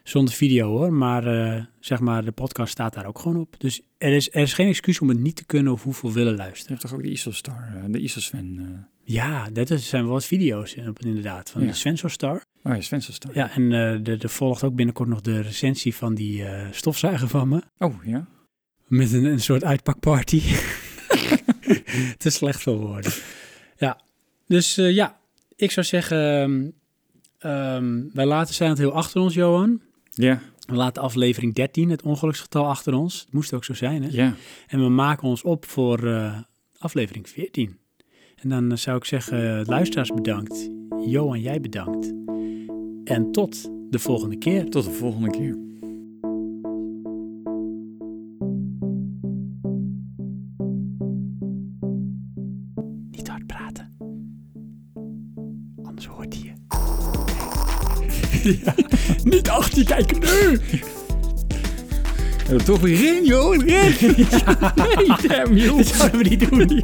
Zonder video hoor, maar eh, zeg maar, de podcast staat daar ook gewoon op. Dus er is, er is geen excuus om het niet te kunnen of hoeveel willen Je luisteren. hebt toch ook de ISO-star, eh, de ISO-Sven. eh. Ja, dat is- zijn wel wat video's in- op- inderdaad. Van Ja. de Svensostar. oh ja, Sven-star. Ja, en eh, de er volgt ook binnenkort nog de recensie van die eh, stofzuiger van me. Oh ja. Met een, een soort uitpakparty. Te slecht voor woorden. Ja, dus eh, ja, ik zou zeggen, ehm, ehm, wij laten zijn het heel achter ons, Johan. Ja, We laten aflevering 13, het ongeluksgetal, achter ons. Het moest ook zo zijn, hè? ja. En we maken ons op voor eh, aflevering 14. En dan eh, zou ik zeggen, eh, luisteraars bedankt. Johan, jij bedankt. En tot de volgende keer. Tot de volgende keer. Niet hard praten. Anders hoort hij je. Niet achter je kijken nu! We hebben toch weer in, joh. Ren. Nee, damn, joh. Dat zouden we niet doen.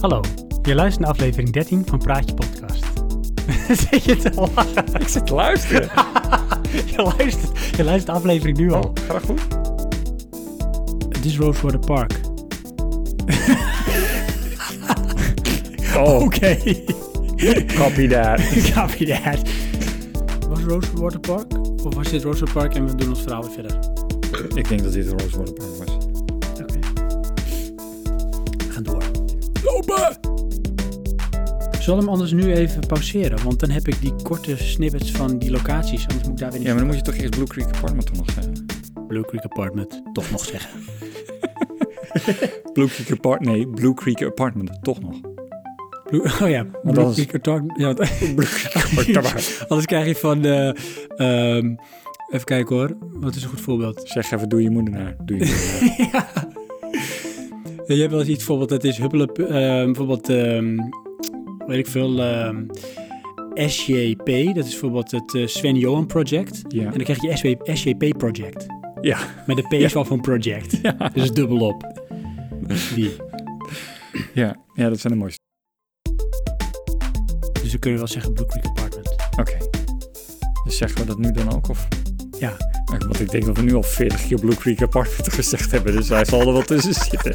Hallo, je luistert naar aflevering 13 van Praatje Podcast. Zit je te lachen? Ik zit te luisteren. Je luistert, je luistert de aflevering nu al. Gaat dat goed? Het is Rosewater Park. Oh, Oké, copy that. copy that. Was Rosewater Park? Of was dit Rosewater Park en we doen ons verhaal weer verder? Ik denk dat dit een Rosewater Park was. Oké. We gaan door. Lopen! Zal hem anders nu even pauzeren, want dan heb ik die korte snippets van die locaties. Anders moet ik daar weer Ja, maar dan moet je toch eerst Blue Creek Apartment nog zeggen. Blue Creek Apartment toch nog zeggen. Blue Creek Apartment, nee, Blue Creek Apartment, toch nog. Blue, oh ja, Blue anders- Creek Apartment. Ja, want- Blue Creek Apartment. anders krijg je van... eh, ehm, even kijken hoor, wat is een goed voorbeeld? zeg even, doe je moeder naar. Doe je moeder naar. ja. Ja, Je hebt wel eens iets, bijvoorbeeld, dat is huppelen, eh, bijvoorbeeld, ehm, weet ik veel, ehm, SJP, dat is bijvoorbeeld het eh, Sven Johan Project. Ja. En dan krijg je SW SJP Project. ja. Maar de P is wel van project. Ja. Dus dubbel op. Die. ja, ja, dat zijn de mooiste. Dus we kunnen wel zeggen Blue Creek Apartment. Oké. Dus zeggen we dat nu dan ook? Of? Ja. Eh, Want ik denk dat we nu al 40 keer Blue Creek Apartment gezegd hebben, dus hij zal er wel tussen zitten.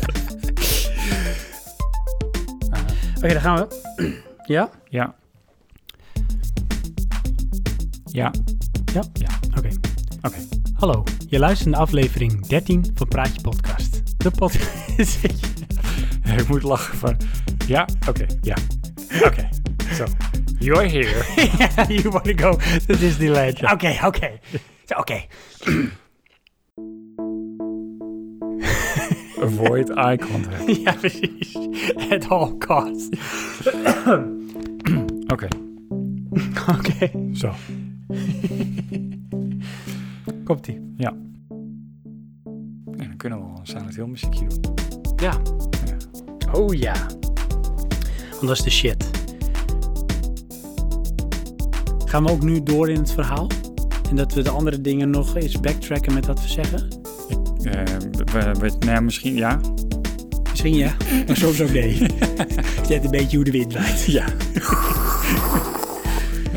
Oké, daar gaan we. ja? Ja. Ja. Oké. Oké. Hallo, je luistert naar aflevering 13 van Praatje Podcast. De podcast. Ik moet lachen van... Ja, oké. ja. Oké. Zo. You're here. yeah, you want to go to Disneyland. Okay, okay. So, okay. Avoid eye contact. ja, precies. At all costs. Oké. Oké. Zo. Komt-ie. En dan kunnen we al een Silent Hill muziekje doen. Ja. Oh ja. Want dat is de shit. Gaan we ook nu door in het verhaal? En dat we de andere dingen nog eens backtracken met wat we zeggen? Eh, we, we, nou ja, misschien ja. Misschien ja, maar soms ook nee. Zet een beetje hoe de wind waait. Ja.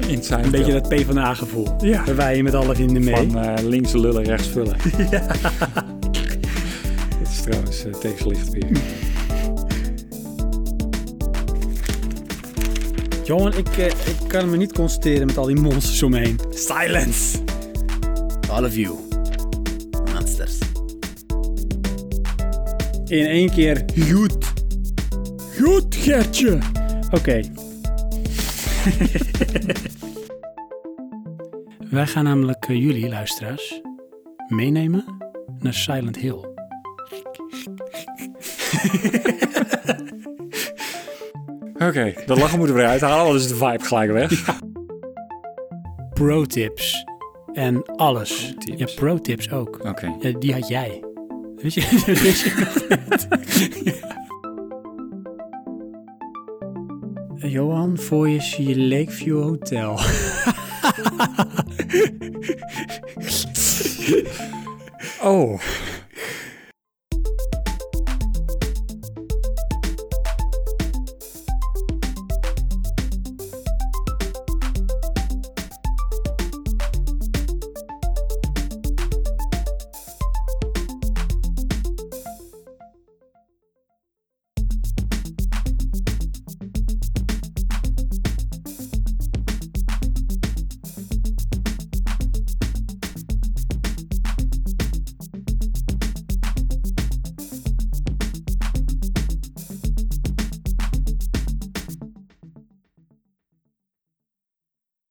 Inside Een beetje Hill. dat P van A gevoel. Ja. We waaien met alle vinden mee. Van eh, links lullen, rechts vullen. ja. Het is trouwens eh, tegenlicht weer. Jongen, ik, eh, ik kan me niet concentreren met al die monsters om me heen. Silence! All of you. Monsters. In één keer. Goed. Goed, Gertje. Oké. Wij gaan namelijk eh, jullie, luisteraars, meenemen naar Silent Hill. Oké, de lachen moeten we eruit halen, want dan is de vibe gelijk weg. Pro-tips en alles. Pro-tips. Ja, pro-tips ook. Oké. Ja, Eh, die had jij. Weet je, weet je nog niet? Eh, Johan, voor je zie je Lakeview Hotel. Oh,